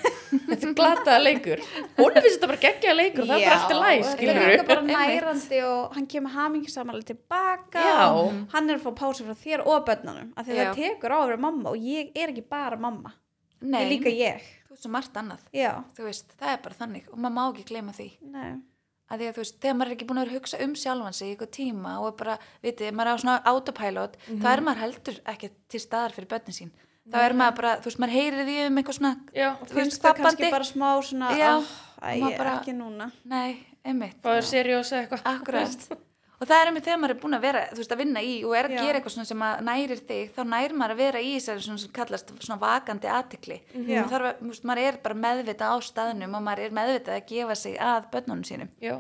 [SPEAKER 2] þetta er glataða leikur hún er vissi þetta bara geggjaða leikur og það er bara allt í læg,
[SPEAKER 1] þetta
[SPEAKER 2] skilur
[SPEAKER 1] er líka bara nærandi og hann kemur hamingisamalið tilbaka
[SPEAKER 2] Já.
[SPEAKER 1] og hann er að fá pásu frá þér og börnunum af því að
[SPEAKER 3] Já.
[SPEAKER 1] það tekur á að vera mamma og ég er ekki bara mamma,
[SPEAKER 3] Nei.
[SPEAKER 1] ég er líka ég
[SPEAKER 3] þú veist svo margt annað
[SPEAKER 1] já,
[SPEAKER 3] þú veist, það er bara þannig og maður má ekki gleyma því
[SPEAKER 1] nei,
[SPEAKER 3] að því að þú veist, þegar maður er ekki búin að vera að hugsa um sjálfan sig í eitthvað tíma og er bara, vitið, maður er á svona autopilot, þá er maður heldur ekki til staðar fyrir börnin sín þá er maður bara, þú veist, maður heyrir því um eitthvað svona
[SPEAKER 2] já,
[SPEAKER 3] Þú veist,
[SPEAKER 1] finnst það kannski
[SPEAKER 3] babbandi.
[SPEAKER 1] bara smá svona,
[SPEAKER 3] Já,
[SPEAKER 1] ah, æ,
[SPEAKER 3] maður bara-
[SPEAKER 1] ekki núna
[SPEAKER 3] nei, einmitt,
[SPEAKER 2] það er seriós eða
[SPEAKER 1] Ah.
[SPEAKER 2] eitthvað
[SPEAKER 3] akkurat og það er einmitt þegar maður er búin að vera, þú veist, að vinna í og er að
[SPEAKER 1] Já.
[SPEAKER 3] gera eitthvað svona sem að nærir þig þá nærir maður að vera í þessari svona sem kallast svona vakandi athygli
[SPEAKER 1] Já.
[SPEAKER 3] maður, þarf að, þú veist, maður er bara meðvita á staðnum og maður er meðvita að gefa sig að börnunum sínum
[SPEAKER 2] já,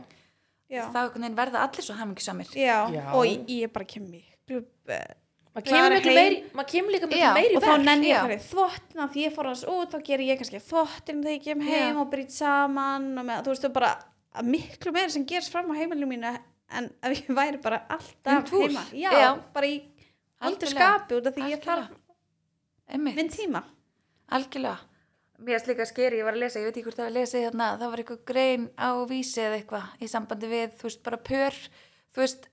[SPEAKER 1] já,
[SPEAKER 3] þá einhvern veginn verða allir svo hamingisamir
[SPEAKER 1] já.
[SPEAKER 2] Já.
[SPEAKER 1] og ég, ég bara kem miklu eh,
[SPEAKER 2] maður
[SPEAKER 1] Klara
[SPEAKER 2] kemur, miklu
[SPEAKER 1] heim.
[SPEAKER 2] meiri, maður kemur líka miklu
[SPEAKER 3] Já,
[SPEAKER 1] og
[SPEAKER 2] meiri í
[SPEAKER 1] þá
[SPEAKER 2] verk.
[SPEAKER 1] nenni ég
[SPEAKER 3] já.
[SPEAKER 1] að fara í þvottina því ég fór hans út, þá ger ég kannski þvottin þegar ég kem heim
[SPEAKER 3] Já.
[SPEAKER 1] og brýt saman og með, þú veistu bara að miklu meira sem gerst fram á heimilinu mínu en ef ég væri bara
[SPEAKER 3] Um
[SPEAKER 1] alltaf
[SPEAKER 3] túr.
[SPEAKER 1] heima já,
[SPEAKER 3] Já.
[SPEAKER 1] bara í aldrei
[SPEAKER 3] Algjörlega.
[SPEAKER 1] skapi út af því ég
[SPEAKER 3] Algjörlega.
[SPEAKER 1] þarf
[SPEAKER 3] einmitt
[SPEAKER 1] minn tíma
[SPEAKER 3] Algjörlega. Mér er slíka skeri, ég var að lesa, ég veit ekki hvort það var að lesa hérna, það var eitthvað grein á vísi eða eitthvað í sambandi við, þú veist, bara pör, þú veist,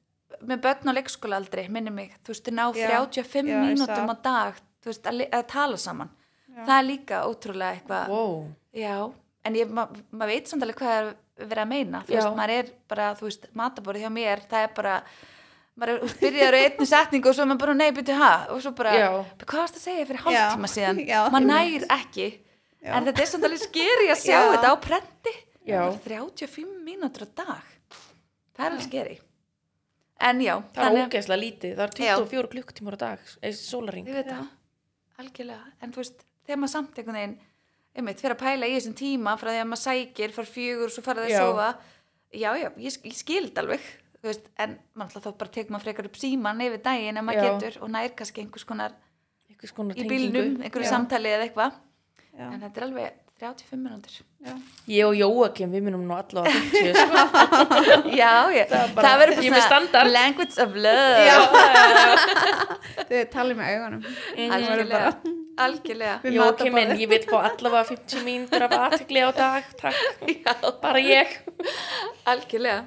[SPEAKER 3] með börn á leikskóla aldrei, minni mig, þú veist, þau ná
[SPEAKER 1] Já,
[SPEAKER 3] 35
[SPEAKER 1] já, ég
[SPEAKER 3] mínútum á
[SPEAKER 1] sá.
[SPEAKER 3] dag, þú veist, að, li- að tala saman. Það er líka ótrúlega eitthvað,
[SPEAKER 2] wow.
[SPEAKER 3] já, en ég, ma- maður veit samt alveg hvað er verið að meina, þú
[SPEAKER 2] Já.
[SPEAKER 3] veist, maður er bara, þú veist, matabórið hjá mér, það er bara, maður er, byrjar á einni setningu og svo er maður bara, nei, byrju, ha, og svo bara,
[SPEAKER 2] Já.
[SPEAKER 3] hvað varst að segja fyrir hálftíma
[SPEAKER 1] Já.
[SPEAKER 3] síðan
[SPEAKER 1] Já.
[SPEAKER 3] maður nær ekki
[SPEAKER 1] Já.
[SPEAKER 3] en þetta er samt alveg skeri að sjá
[SPEAKER 1] Já.
[SPEAKER 3] þetta á prenti
[SPEAKER 2] Já.
[SPEAKER 3] Bara 35 mínútur á dag það er alveg skeri en já,
[SPEAKER 2] það er ógeðslega lítið, það er
[SPEAKER 3] Já.
[SPEAKER 2] 24 klukkutímar á dag eða sólaring
[SPEAKER 3] ég veit það, algjörlega en þú veist, þegar maður samt einhvern veginn einmitt, fyrir að pæla í þessum tíma frá því að maður sækir, fara fjögur, svo fara það
[SPEAKER 2] Já.
[SPEAKER 3] að sofa já, já, ég, sk- ég skild alveg þú veist, en mann alltaf þá bara tekur maður frekar upp síman yfir daginn en maður
[SPEAKER 2] Já.
[SPEAKER 3] getur og nær kannski einhvers konar
[SPEAKER 2] einhvers konar
[SPEAKER 3] í
[SPEAKER 2] tengingu.
[SPEAKER 3] bílnum, einhverju
[SPEAKER 2] Já.
[SPEAKER 3] samtali eða eitthvað
[SPEAKER 1] já,
[SPEAKER 3] en þetta er alveg
[SPEAKER 2] (laughs)
[SPEAKER 3] 35 minútur
[SPEAKER 1] já.
[SPEAKER 2] ég og Jóakim, við minnum nú allavega
[SPEAKER 3] (laughs)
[SPEAKER 2] 50 sko.
[SPEAKER 3] já, ég,
[SPEAKER 2] Það er bara-
[SPEAKER 3] það verður
[SPEAKER 2] ég er með standard.
[SPEAKER 3] language of love
[SPEAKER 1] þau talið með augunum Það verður
[SPEAKER 3] algjörlega, algjörlega.
[SPEAKER 1] Við
[SPEAKER 2] Jóakim minn,
[SPEAKER 1] matarborðið.
[SPEAKER 2] ég vil fá allavega 50 mínútur af aðtegli á dag, takk bara ég
[SPEAKER 3] algjörlega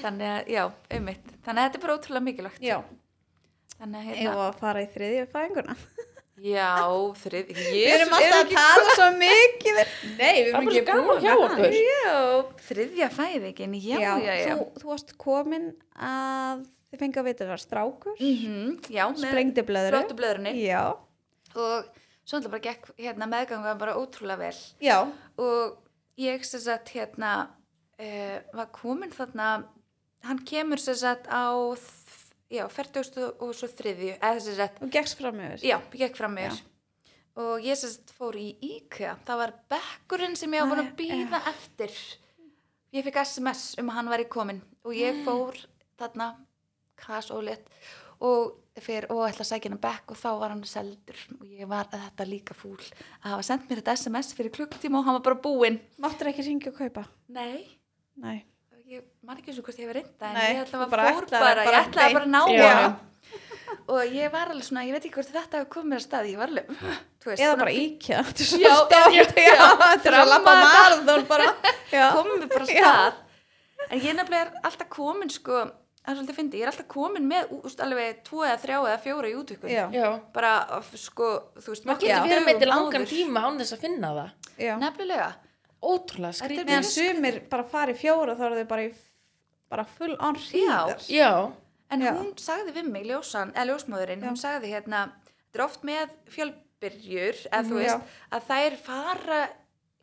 [SPEAKER 3] þannig að, já, einmitt þannig að þetta er bara ótrúlega mikilvægt
[SPEAKER 1] já,
[SPEAKER 3] þannig að,
[SPEAKER 1] ég
[SPEAKER 3] hérna,
[SPEAKER 1] var að fara í þriðju fæðinguna
[SPEAKER 3] já, þrið
[SPEAKER 1] við erum alltaf að tala svo mikið nei, við
[SPEAKER 2] það er
[SPEAKER 1] erum
[SPEAKER 2] bara
[SPEAKER 1] ekki
[SPEAKER 2] svo gaman hjá
[SPEAKER 1] búin
[SPEAKER 2] okkur
[SPEAKER 3] já, þriðja fæðingin já, já, já, já.
[SPEAKER 1] Þú, þú varst komin að þið fengið að vita að það var strákur
[SPEAKER 3] Mhm, já með
[SPEAKER 1] sprengdi blöðru
[SPEAKER 3] flottu blöðrunni
[SPEAKER 1] já,
[SPEAKER 3] og svo alltaf bara gekk hérna, meðganga bara ótrúlega vel
[SPEAKER 1] já,
[SPEAKER 3] og ég sem sagt hérna uh, var komin þarna hann kemur sem sagt á þ- já, 40 og svo þriðju eða sem sagt,
[SPEAKER 1] og gekkst fram yfir
[SPEAKER 3] já, ég gekk fram mér og ég sem sagt fór í IKEA það var bekkurinn sem ég var búin að býða eftir ég fekk sms um að hann væri komin og ég fór þarna kas og lit og fyrir og ætla að sækja hennar bekk og þá var hann seldur og ég var að þetta líka fúl að hafa sendt mér þetta sms fyrir klukkutíma og hann var bara búinn
[SPEAKER 1] máttur ekki ringja og kaupa
[SPEAKER 3] Nei,
[SPEAKER 1] nei,
[SPEAKER 3] ég man ekki eins og hvort ég hef reynda en
[SPEAKER 1] Nei,
[SPEAKER 3] ég ætlaði
[SPEAKER 1] þú
[SPEAKER 3] að
[SPEAKER 1] bara
[SPEAKER 3] fór
[SPEAKER 1] ætlaðir
[SPEAKER 3] bara, ég
[SPEAKER 1] bara
[SPEAKER 3] ætlaði bara að ná
[SPEAKER 2] beint. Já.
[SPEAKER 3] honum og ég var alveg svona, ég veit ekki hvort þetta hefur komið mér að staði, ég var alveg þú veist,
[SPEAKER 1] eða
[SPEAKER 3] svona,
[SPEAKER 1] bara íkja þetta er
[SPEAKER 3] Já,
[SPEAKER 1] svo stórt
[SPEAKER 3] já, já.
[SPEAKER 1] (laughs) þetta er svo
[SPEAKER 3] Ramma
[SPEAKER 1] labba
[SPEAKER 3] þetta.
[SPEAKER 1] marður
[SPEAKER 3] (laughs)
[SPEAKER 1] bara (laughs) já,
[SPEAKER 3] komið mér bara að stað en ég nefnilega er alltaf komin sko, það er svolítið fyndi, ég er alltaf komin með úst, alveg tvo eða þrjá eða fjóra í útvikun
[SPEAKER 1] Já.
[SPEAKER 2] já,
[SPEAKER 3] bara, f- sko, þú veist,
[SPEAKER 2] maður getur verið með þetta í langan
[SPEAKER 3] tíma
[SPEAKER 2] tíma án þess að finna það
[SPEAKER 1] já.
[SPEAKER 3] nefnilega,
[SPEAKER 2] ótrúlega
[SPEAKER 3] Þetta er
[SPEAKER 2] skrítið
[SPEAKER 3] sko-
[SPEAKER 1] meðan sumir bara fara í fjóra þá eru þau bara í bara full on hríðar
[SPEAKER 2] Já,
[SPEAKER 3] En
[SPEAKER 1] Já.
[SPEAKER 3] hún sagði við mig, ljósan, eða ljósmóðurinn, hún sagði hérna, þetta er oft með fjölbyrjur, ef þú
[SPEAKER 1] Mhm.
[SPEAKER 3] veist, að þær fara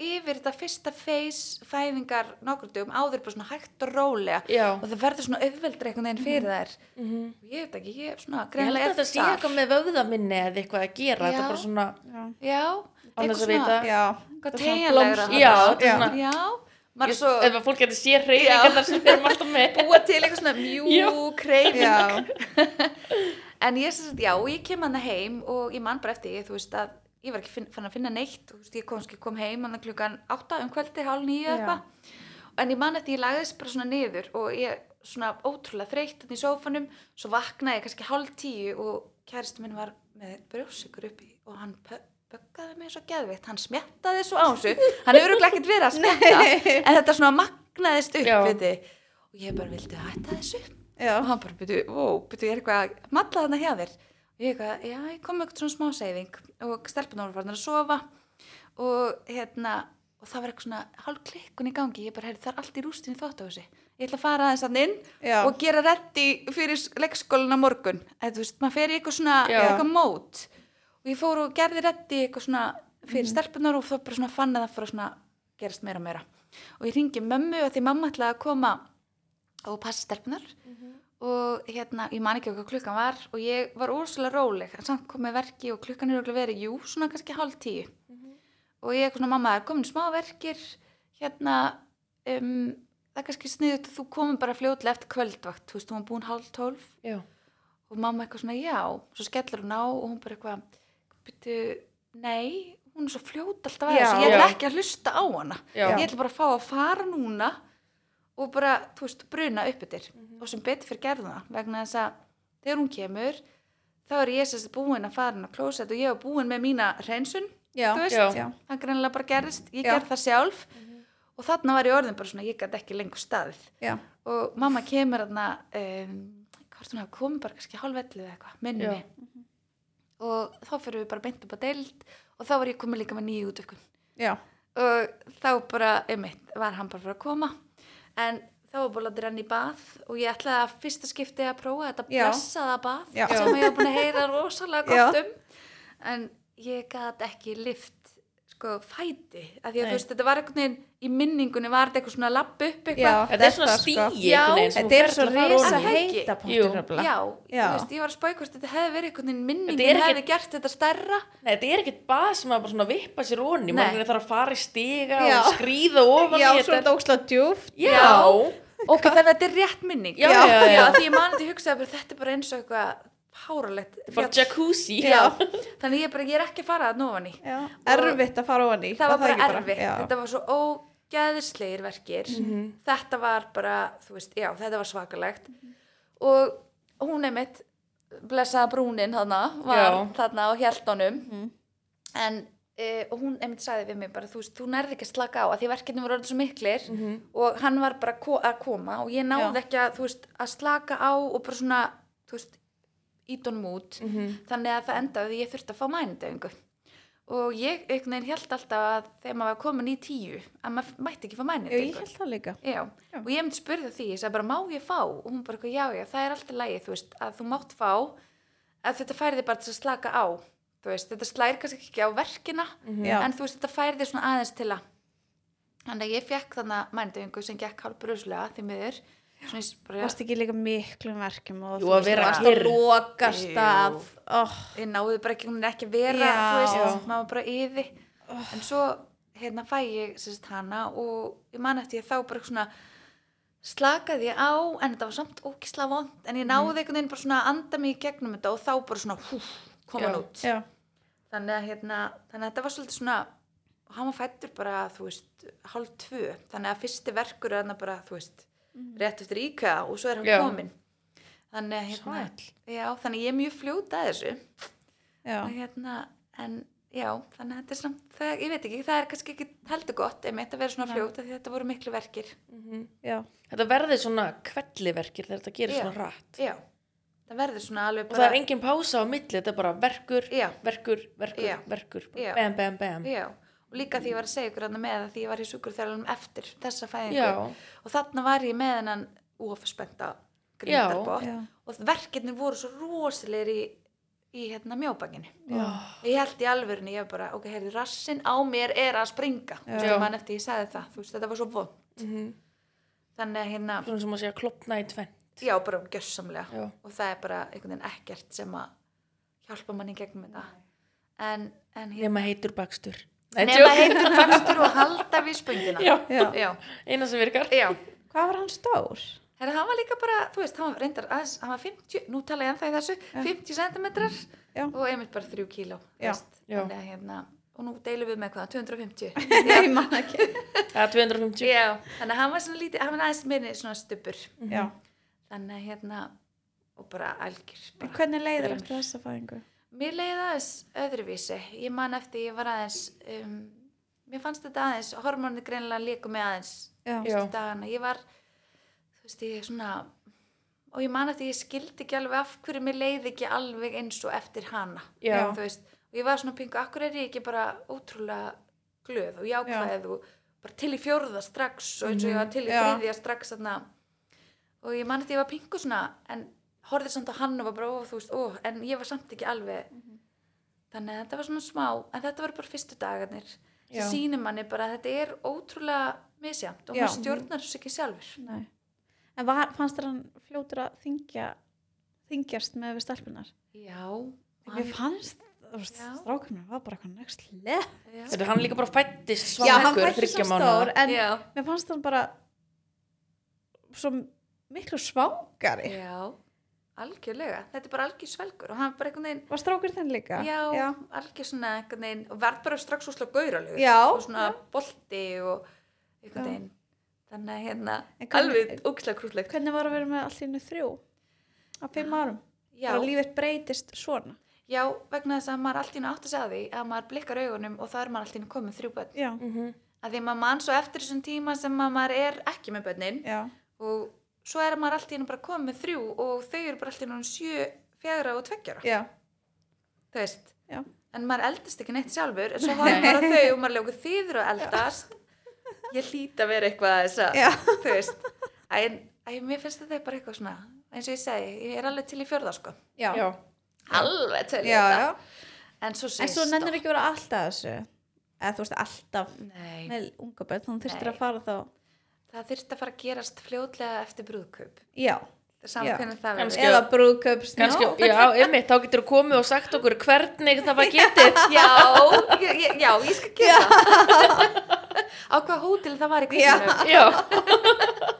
[SPEAKER 3] yfir þetta fyrsta feys fæðingar nokkur dögum áður bara svona hægt og rólega
[SPEAKER 2] já.
[SPEAKER 3] og það verður svona auðveldur einhvern veginn fyrir þær.
[SPEAKER 2] Mm
[SPEAKER 3] Ég veit ekki, ég er svona
[SPEAKER 2] Ég held
[SPEAKER 3] greinlega
[SPEAKER 2] að þetta sé eitthvað með vöðaminni eða eitthvað að gera. Þetta
[SPEAKER 3] Já.
[SPEAKER 2] er bara svona,
[SPEAKER 1] Já,
[SPEAKER 3] Já,
[SPEAKER 2] Án þess að vita.
[SPEAKER 1] já.
[SPEAKER 3] Hvað
[SPEAKER 1] Þetta er svona
[SPEAKER 3] teygjanlegra
[SPEAKER 1] blóms-
[SPEAKER 2] já, þetta er
[SPEAKER 1] Já.
[SPEAKER 2] svona,
[SPEAKER 3] Já, maður
[SPEAKER 2] ég,
[SPEAKER 3] er svo
[SPEAKER 2] ef að fólk getur sér reyningarnar sem við erum alltaf með.
[SPEAKER 3] (laughs) búa til eitthvað svona mjúk reyfing (laughs)
[SPEAKER 1] Já,
[SPEAKER 3] En ég sem sagt, já, ég kem hann heim og ég man bara eftir, ég, þú veist að ég var ekki finn, fann að finna neitt, þú veist, ég kom, sko, ég kom heim hann klukkan átta um kvöldi, hálf
[SPEAKER 1] Já.
[SPEAKER 3] nýju eða eitthvað, en ég man eftir, ég lagðist bara svona niður og ég svona ótrúlega þreytt hann í sófanum, svo vaknaði ég kannski hálf tíu og kæristu minn var með brjósikur uppi og hann pö- böggaði mig svo geðveitt, hann smjattaði svo á þessu, hann hefur örugglega ekkert verið að smjatta, en þetta svona magnaðist upp,
[SPEAKER 2] Já.
[SPEAKER 3] við þið, og ég bara vildi hætta þessu
[SPEAKER 1] já,
[SPEAKER 3] og hann bara, byrju, ó, byrju, ég er eitthvað að matla þarna hjá þér og ég eitthvað, já, ég kom með eitthvað svona smá seyfing og stelpunar voru farin að sofa og hérna og það var eitthvað svona hálf klikkun í gangi ég bara, heyrðu, það er allt í rústin í þóttahúsi ég ætla að fara aðeins hann inn
[SPEAKER 1] já.
[SPEAKER 3] og gera reddi fyrir leikskólan á morgun eða þú veist, maður fer í eitthvað svona
[SPEAKER 2] Já.
[SPEAKER 3] eitthvað mót og ég fór og gerði reddi eitthvað svona fyrir stelpunar og þá bara svona fann að það fór að svona gerast meira og meira og ég ringi mömmu og því mamma ætlaði að koma og passa stelpunar og hérna, ég man ekki hvað klukkan var og ég var úrslega róleg en samt kom með verki og klukkan er örugglega verið jú, svona kannski hálf tíu og ég er svona, mamma, það er komin smá verkir hérna um, það er kannski sniðut að þú komum bara fljótlega eftir kvöldvakt, þú veist, hún var búin hálf tólf
[SPEAKER 2] Já,
[SPEAKER 3] og mamma eitthvað svona já svo skellur hún á og hún bara eitthvað byrju, nei hún er svo fljót alltaf að
[SPEAKER 1] Já.
[SPEAKER 3] þessu, ég ætla
[SPEAKER 2] Já.
[SPEAKER 3] ekki að hlusta á hana
[SPEAKER 2] já,
[SPEAKER 3] ég ætla bara að fá að fara núna og bara, þú veist, bruna upp yfir og sem betur fyrir gerðuna vegna þess að þegar hún kemur þá er ég sérst búin að fara inn á klósett og ég var búin með mína hreinsun
[SPEAKER 1] já,
[SPEAKER 3] þú veist,
[SPEAKER 1] já.
[SPEAKER 3] það greinlega bara gerðist, ég
[SPEAKER 1] Já.
[SPEAKER 3] gerð það sjálf og þarna var ég orðin bara svona, ég gæti ekki lengur staðið
[SPEAKER 1] já.
[SPEAKER 3] og mamma kemur þarna um, hvort hún hafa komið bara kannski hálfvellið eða eitthvað, minni
[SPEAKER 2] Já.
[SPEAKER 3] mig og þá fyrir við bara beint upp á deild og þá var ég komið líka með nýju útökun
[SPEAKER 1] já.
[SPEAKER 3] og þá bara, einmitt, var hann bara fyrir að koma en þá var bara látið renni í bað og ég ætlaði að fyrsta skipti að prófa þetta
[SPEAKER 1] Já.
[SPEAKER 3] blessaða bað
[SPEAKER 1] Já.
[SPEAKER 3] sem ég var búin að heyra rosalega
[SPEAKER 1] Já.
[SPEAKER 3] gott um en ég gat ekki lift sko fæti af því að
[SPEAKER 2] Nei.
[SPEAKER 3] þú veist, þetta var einhvern veginn í minningunni var þetta eitthvað svona lapp upp eitthvað
[SPEAKER 2] Þetta er svona stígi
[SPEAKER 3] Já.
[SPEAKER 1] sko. Þetta
[SPEAKER 2] einhvern veginn sem þú
[SPEAKER 1] er
[SPEAKER 2] ferð
[SPEAKER 1] svo
[SPEAKER 2] til að fara
[SPEAKER 1] risa
[SPEAKER 2] ofan í.
[SPEAKER 3] hei-
[SPEAKER 1] heita
[SPEAKER 2] Jú.
[SPEAKER 1] punktur nefnilega.
[SPEAKER 3] Já,
[SPEAKER 1] Já.
[SPEAKER 3] Þú veist, ég var að spói hvort þetta hefði verið einhvern veginn minningin
[SPEAKER 2] Þetta er
[SPEAKER 3] hefði gert þetta stærra
[SPEAKER 2] Nei, þetta er ekkert bað sem að bara svona vippa sér onni.
[SPEAKER 3] Nei.
[SPEAKER 2] Maður þarf að fara í stiga
[SPEAKER 1] Já.
[SPEAKER 2] og skríða ofan
[SPEAKER 1] Já, svo
[SPEAKER 2] í
[SPEAKER 1] er
[SPEAKER 2] þetta.
[SPEAKER 1] þetta ókslega djúft.
[SPEAKER 2] Já,
[SPEAKER 3] ok, þannig að þetta er rétt minning
[SPEAKER 2] Já, já, já.
[SPEAKER 3] af Því ég mani til að hugsa að þetta er bara eins og eitthvað páralegt
[SPEAKER 2] bara
[SPEAKER 3] fjall.
[SPEAKER 2] jacuzzi.
[SPEAKER 3] Já. Þannig að ég, bara, ég er ekki að fara að nófan í
[SPEAKER 1] Já. Erfitt að fara ofan í.
[SPEAKER 3] Það var bara
[SPEAKER 1] ekki
[SPEAKER 3] erfitt,
[SPEAKER 1] Já. Mhm.
[SPEAKER 3] þetta var svo ógæðislegir verkir Þetta var bara, þú veist, já, þetta var svakalegt Og hún einmitt blessaða brúnin þarna var
[SPEAKER 2] Já.
[SPEAKER 3] þarna á hjaltanum
[SPEAKER 1] Mhm.
[SPEAKER 3] en e, og hún einmitt sagði við mig bara þú veist, þú nærði ekki að slaka á að því verkefni voru orðin svo miklir
[SPEAKER 2] Mhm.
[SPEAKER 3] og hann var bara ko að koma og ég náði ekki að, þú veist, að slaka á og bara svona, þú veist, ít honum út
[SPEAKER 1] Mm.
[SPEAKER 2] Mhm.
[SPEAKER 3] þannig að það endaði því ég þurfti að fá mænudöfingu og ég einhvern veginn held alltaf að þegar maður var komin í tíu að maður mætti ekki fá
[SPEAKER 1] Já, ég
[SPEAKER 3] mænudöfingu
[SPEAKER 1] held það líka.
[SPEAKER 3] já. og ég myndi spurði því, ég sagði bara má ég fá og hún bara, eitthvað, já já, það er alltaf lægi þú veist, að þú mátt fá að þetta færi þig bara til að slaka á þú veist, þetta slæri kannski ekki á verkina
[SPEAKER 1] Já.
[SPEAKER 3] en þú veist, þetta færi þig svona aðeins til að þannig að ég fekk þannig mænudöfingu sem gekk hálf bruslega því miður Svona ég bara-
[SPEAKER 1] Varst ekki líka miklum verkjum og
[SPEAKER 2] Jú,
[SPEAKER 1] þú
[SPEAKER 2] að
[SPEAKER 1] veist,
[SPEAKER 2] vera
[SPEAKER 1] varst að
[SPEAKER 2] kyrr.
[SPEAKER 1] lokast að oh,
[SPEAKER 3] ég náði bara ekki, hún er ekki að vera
[SPEAKER 1] Já. Oh.
[SPEAKER 3] þú veist,
[SPEAKER 2] Já.
[SPEAKER 3] maður var bara yði en svo hérna fæ ég sérst hana og ég man eftir ég þá bara svona slakaði ég á en þetta var samt ókisla vond
[SPEAKER 1] Mhm.
[SPEAKER 3] en ég náði einhvern veginn bara svona að anda mig í gegnum þetta og þá bara svona hú, kom hann
[SPEAKER 2] Já.
[SPEAKER 3] út
[SPEAKER 1] Já,
[SPEAKER 3] þannig að hérna, þannig að þetta var svolítið svona og hann var fættur bara, þú veist hálf tvö, þannig að fyrsti verkur er hann bara, þú veist, rétt eftir íkja og svo er hann
[SPEAKER 2] Já.
[SPEAKER 3] kominn þannig að hérna,
[SPEAKER 2] Sæll.
[SPEAKER 3] já, þannig að ég er mjög fljóta þessu
[SPEAKER 1] já,
[SPEAKER 3] og hérna, en já, þannig að þetta er svona, það, ég veit ekki, það er kannski ekki heldur gott, ef mitt að vera svona fljóta því þetta voru miklu verkir.
[SPEAKER 1] já,
[SPEAKER 2] Mhm. Þetta verður svona kvelliverkir þegar þetta gerir
[SPEAKER 3] Já.
[SPEAKER 2] svona rætt.
[SPEAKER 3] Já, það verður svona alveg
[SPEAKER 2] Og
[SPEAKER 3] bara...
[SPEAKER 2] það er engin pása á milli, þetta er bara verkur,
[SPEAKER 3] Já.
[SPEAKER 2] verkur, verkur,
[SPEAKER 3] Já.
[SPEAKER 2] verkur,
[SPEAKER 3] Já.
[SPEAKER 2] bam, bam, bam.
[SPEAKER 3] Já, og líka því ég var að segja ykkur annað með að því ég var í sjúkurþjálunum eftir þessa fæðingu
[SPEAKER 2] Já,
[SPEAKER 3] og þarna var ég með hennan ofspenta grindarbótt
[SPEAKER 1] já.
[SPEAKER 3] og verkefni voru svo rosalegir í, í hérna mjóbakinu
[SPEAKER 1] Já.
[SPEAKER 3] ég held í alvörinu, ég var bara, ok, heyrðu, rassin á mér er að springa þú veist,
[SPEAKER 2] Já.
[SPEAKER 3] mann eftir ég sagði það, þú veist, þetta var svo von
[SPEAKER 2] Mhm.
[SPEAKER 3] þannig að hérna,
[SPEAKER 2] Svona sem að segja klopna í tvenn.
[SPEAKER 3] já, bara gjössamlega
[SPEAKER 2] Já.
[SPEAKER 3] og það er bara einhvern veginn ekkert sem að hjálpa manni í gegnum þetta en, en hérna,
[SPEAKER 2] Nema heitur bakstur. Nei,
[SPEAKER 3] nema
[SPEAKER 2] djók.
[SPEAKER 3] heitur bakstur og halda við spöngina
[SPEAKER 2] Já,
[SPEAKER 1] Já.
[SPEAKER 3] já,
[SPEAKER 2] eina sem virkar.
[SPEAKER 3] já.
[SPEAKER 1] Hvað var hann stór?
[SPEAKER 3] Herra, hann var líka bara, þú veist, hann var reyndar aðeins, hann var 50, nú tala ég ennþá í þessu, 50 centimetrar
[SPEAKER 1] Já.
[SPEAKER 3] og einmitt bara 3 kíló, þú
[SPEAKER 1] Já.
[SPEAKER 3] veist,
[SPEAKER 2] Já.
[SPEAKER 3] þannig að hérna, og nú deilum við með hvað,
[SPEAKER 1] (laughs)
[SPEAKER 3] 250.
[SPEAKER 1] Nei, mann ekki.
[SPEAKER 2] Það er 250.
[SPEAKER 3] já, þannig að hann var svona lítið, hann var aðeins minni svona stubbur,
[SPEAKER 1] Mhm.
[SPEAKER 2] Mhm.
[SPEAKER 1] Já.
[SPEAKER 3] þannig að hérna, og bara algjör,
[SPEAKER 1] En
[SPEAKER 3] bara
[SPEAKER 1] Hvernig leiðir
[SPEAKER 3] Grimmur.
[SPEAKER 1] eftir þessa fæðingu?
[SPEAKER 3] Mér leiði það aðeins öðruvísi. Ég man eftir, ég var aðeins, um, mér fannst þetta aðeins, hormónið greinilega líku mig aðeins
[SPEAKER 1] Já.
[SPEAKER 2] Já.
[SPEAKER 3] fyrstu dagana. Ég var, þú veist, ég svona, og ég man eftir, ég skildi ekki alveg af hverju mér leiði ekki alveg eins og eftir hana.
[SPEAKER 2] Já.
[SPEAKER 3] Þú veist, og ég var svona pingu, akkur er ég ekki bara ótrúlega glöð og jákvæð og bara til í fjórða strax og eins og ég var
[SPEAKER 2] Mhm.
[SPEAKER 3] til í
[SPEAKER 1] Já.
[SPEAKER 3] þriðja strax þarna. Og ég man eftir, ég var pingu svona, en horfði samt á hann og var bara, ó, þú veist, ó, en ég var samt ekki alveg
[SPEAKER 2] Mhm.
[SPEAKER 3] þannig að þetta var svona smá en þetta var bara fyrstu dagarnir
[SPEAKER 2] Já.
[SPEAKER 3] sem sýnir manni bara að þetta er ótrúlega misjæmt og
[SPEAKER 1] Já.
[SPEAKER 3] maður stjórnar þessu ekki sjálfur
[SPEAKER 1] Nei. En var, fannst þér hann fljótur að þingja, þingjast með við stelpunar?
[SPEAKER 3] já,
[SPEAKER 1] Mér fannst, þú veist,
[SPEAKER 3] Já.
[SPEAKER 1] strákurinn var bara eitthvað next level.
[SPEAKER 3] já.
[SPEAKER 2] Þetta er hann líka bara fættist
[SPEAKER 1] Já, hann
[SPEAKER 2] svangur
[SPEAKER 1] fættist svo
[SPEAKER 2] þryggja
[SPEAKER 1] stór,
[SPEAKER 2] mánu.
[SPEAKER 1] en
[SPEAKER 3] já,
[SPEAKER 1] mér fannst hann bara svo miklu svangari.
[SPEAKER 3] já algjörlega, þetta er bara algjör svelgur og hann bara einhvern veginn
[SPEAKER 1] Var strákur þinn líka?
[SPEAKER 3] já,
[SPEAKER 1] Já.
[SPEAKER 3] algjör svona einhvern veginn og verð bara strax úslega gauralegur
[SPEAKER 1] Já.
[SPEAKER 3] og svona bolti og
[SPEAKER 1] Já.
[SPEAKER 3] einhvern veginn þannig að hérna,
[SPEAKER 1] En hvernig-
[SPEAKER 3] alveg ógislega krútlegt
[SPEAKER 1] Hvernig var að vera með allir innu þrjú? Á fimm árum?
[SPEAKER 3] já,
[SPEAKER 1] Og lífið breytist svona?
[SPEAKER 3] já, vegna þess að maður allt í nú átt að segja því að maður blikkar augunum og það er maður allt í nú komið þrjú börn
[SPEAKER 1] Já.
[SPEAKER 2] Mhm.
[SPEAKER 3] að því maður mann svo eftir þessum tíma sem að maður er ekki með börnin
[SPEAKER 1] Já.
[SPEAKER 3] og svo er maður allt í hennu bara komið með þrjú og þau eru bara allt í hennu sjö, fjagra og tveggjara,
[SPEAKER 1] Já.
[SPEAKER 3] þú veist
[SPEAKER 1] Já.
[SPEAKER 3] en maður eldist ekki neitt sjálfur en svo horfum bara á þau og maður ljóku þýður að eldast ég hlýt að vera eitthvað að þess
[SPEAKER 1] Já.
[SPEAKER 3] að, þú veist en, en mér finnst þetta bara eitthvað svona eins og ég segi, ég er alveg til í fjörða sko
[SPEAKER 1] Já.
[SPEAKER 2] Já.
[SPEAKER 3] alveg til í
[SPEAKER 1] Já,
[SPEAKER 3] þetta
[SPEAKER 1] já.
[SPEAKER 3] en svo
[SPEAKER 1] En
[SPEAKER 3] segist
[SPEAKER 1] svo nennir ekki að vera alltaf þessu. Eða þú veist, alltaf
[SPEAKER 3] Nei,
[SPEAKER 1] með unga börn, þannig þurftir
[SPEAKER 3] Nei.
[SPEAKER 1] að fara þá.
[SPEAKER 3] það þyrfti að fara að gerast fljótlega eftir brúðkaup
[SPEAKER 1] Já. Já.
[SPEAKER 3] saman hvernig það
[SPEAKER 2] Kannski
[SPEAKER 3] verður
[SPEAKER 1] Eða brúðkaup
[SPEAKER 2] Kannski, já, einmitt, þá getur þú komið og sagt okkur hvernig það var getið.
[SPEAKER 3] já, ég- ég- já, ég skal gera það (laughs) á hvað hótel það var í kvíðinu
[SPEAKER 2] (laughs) Já,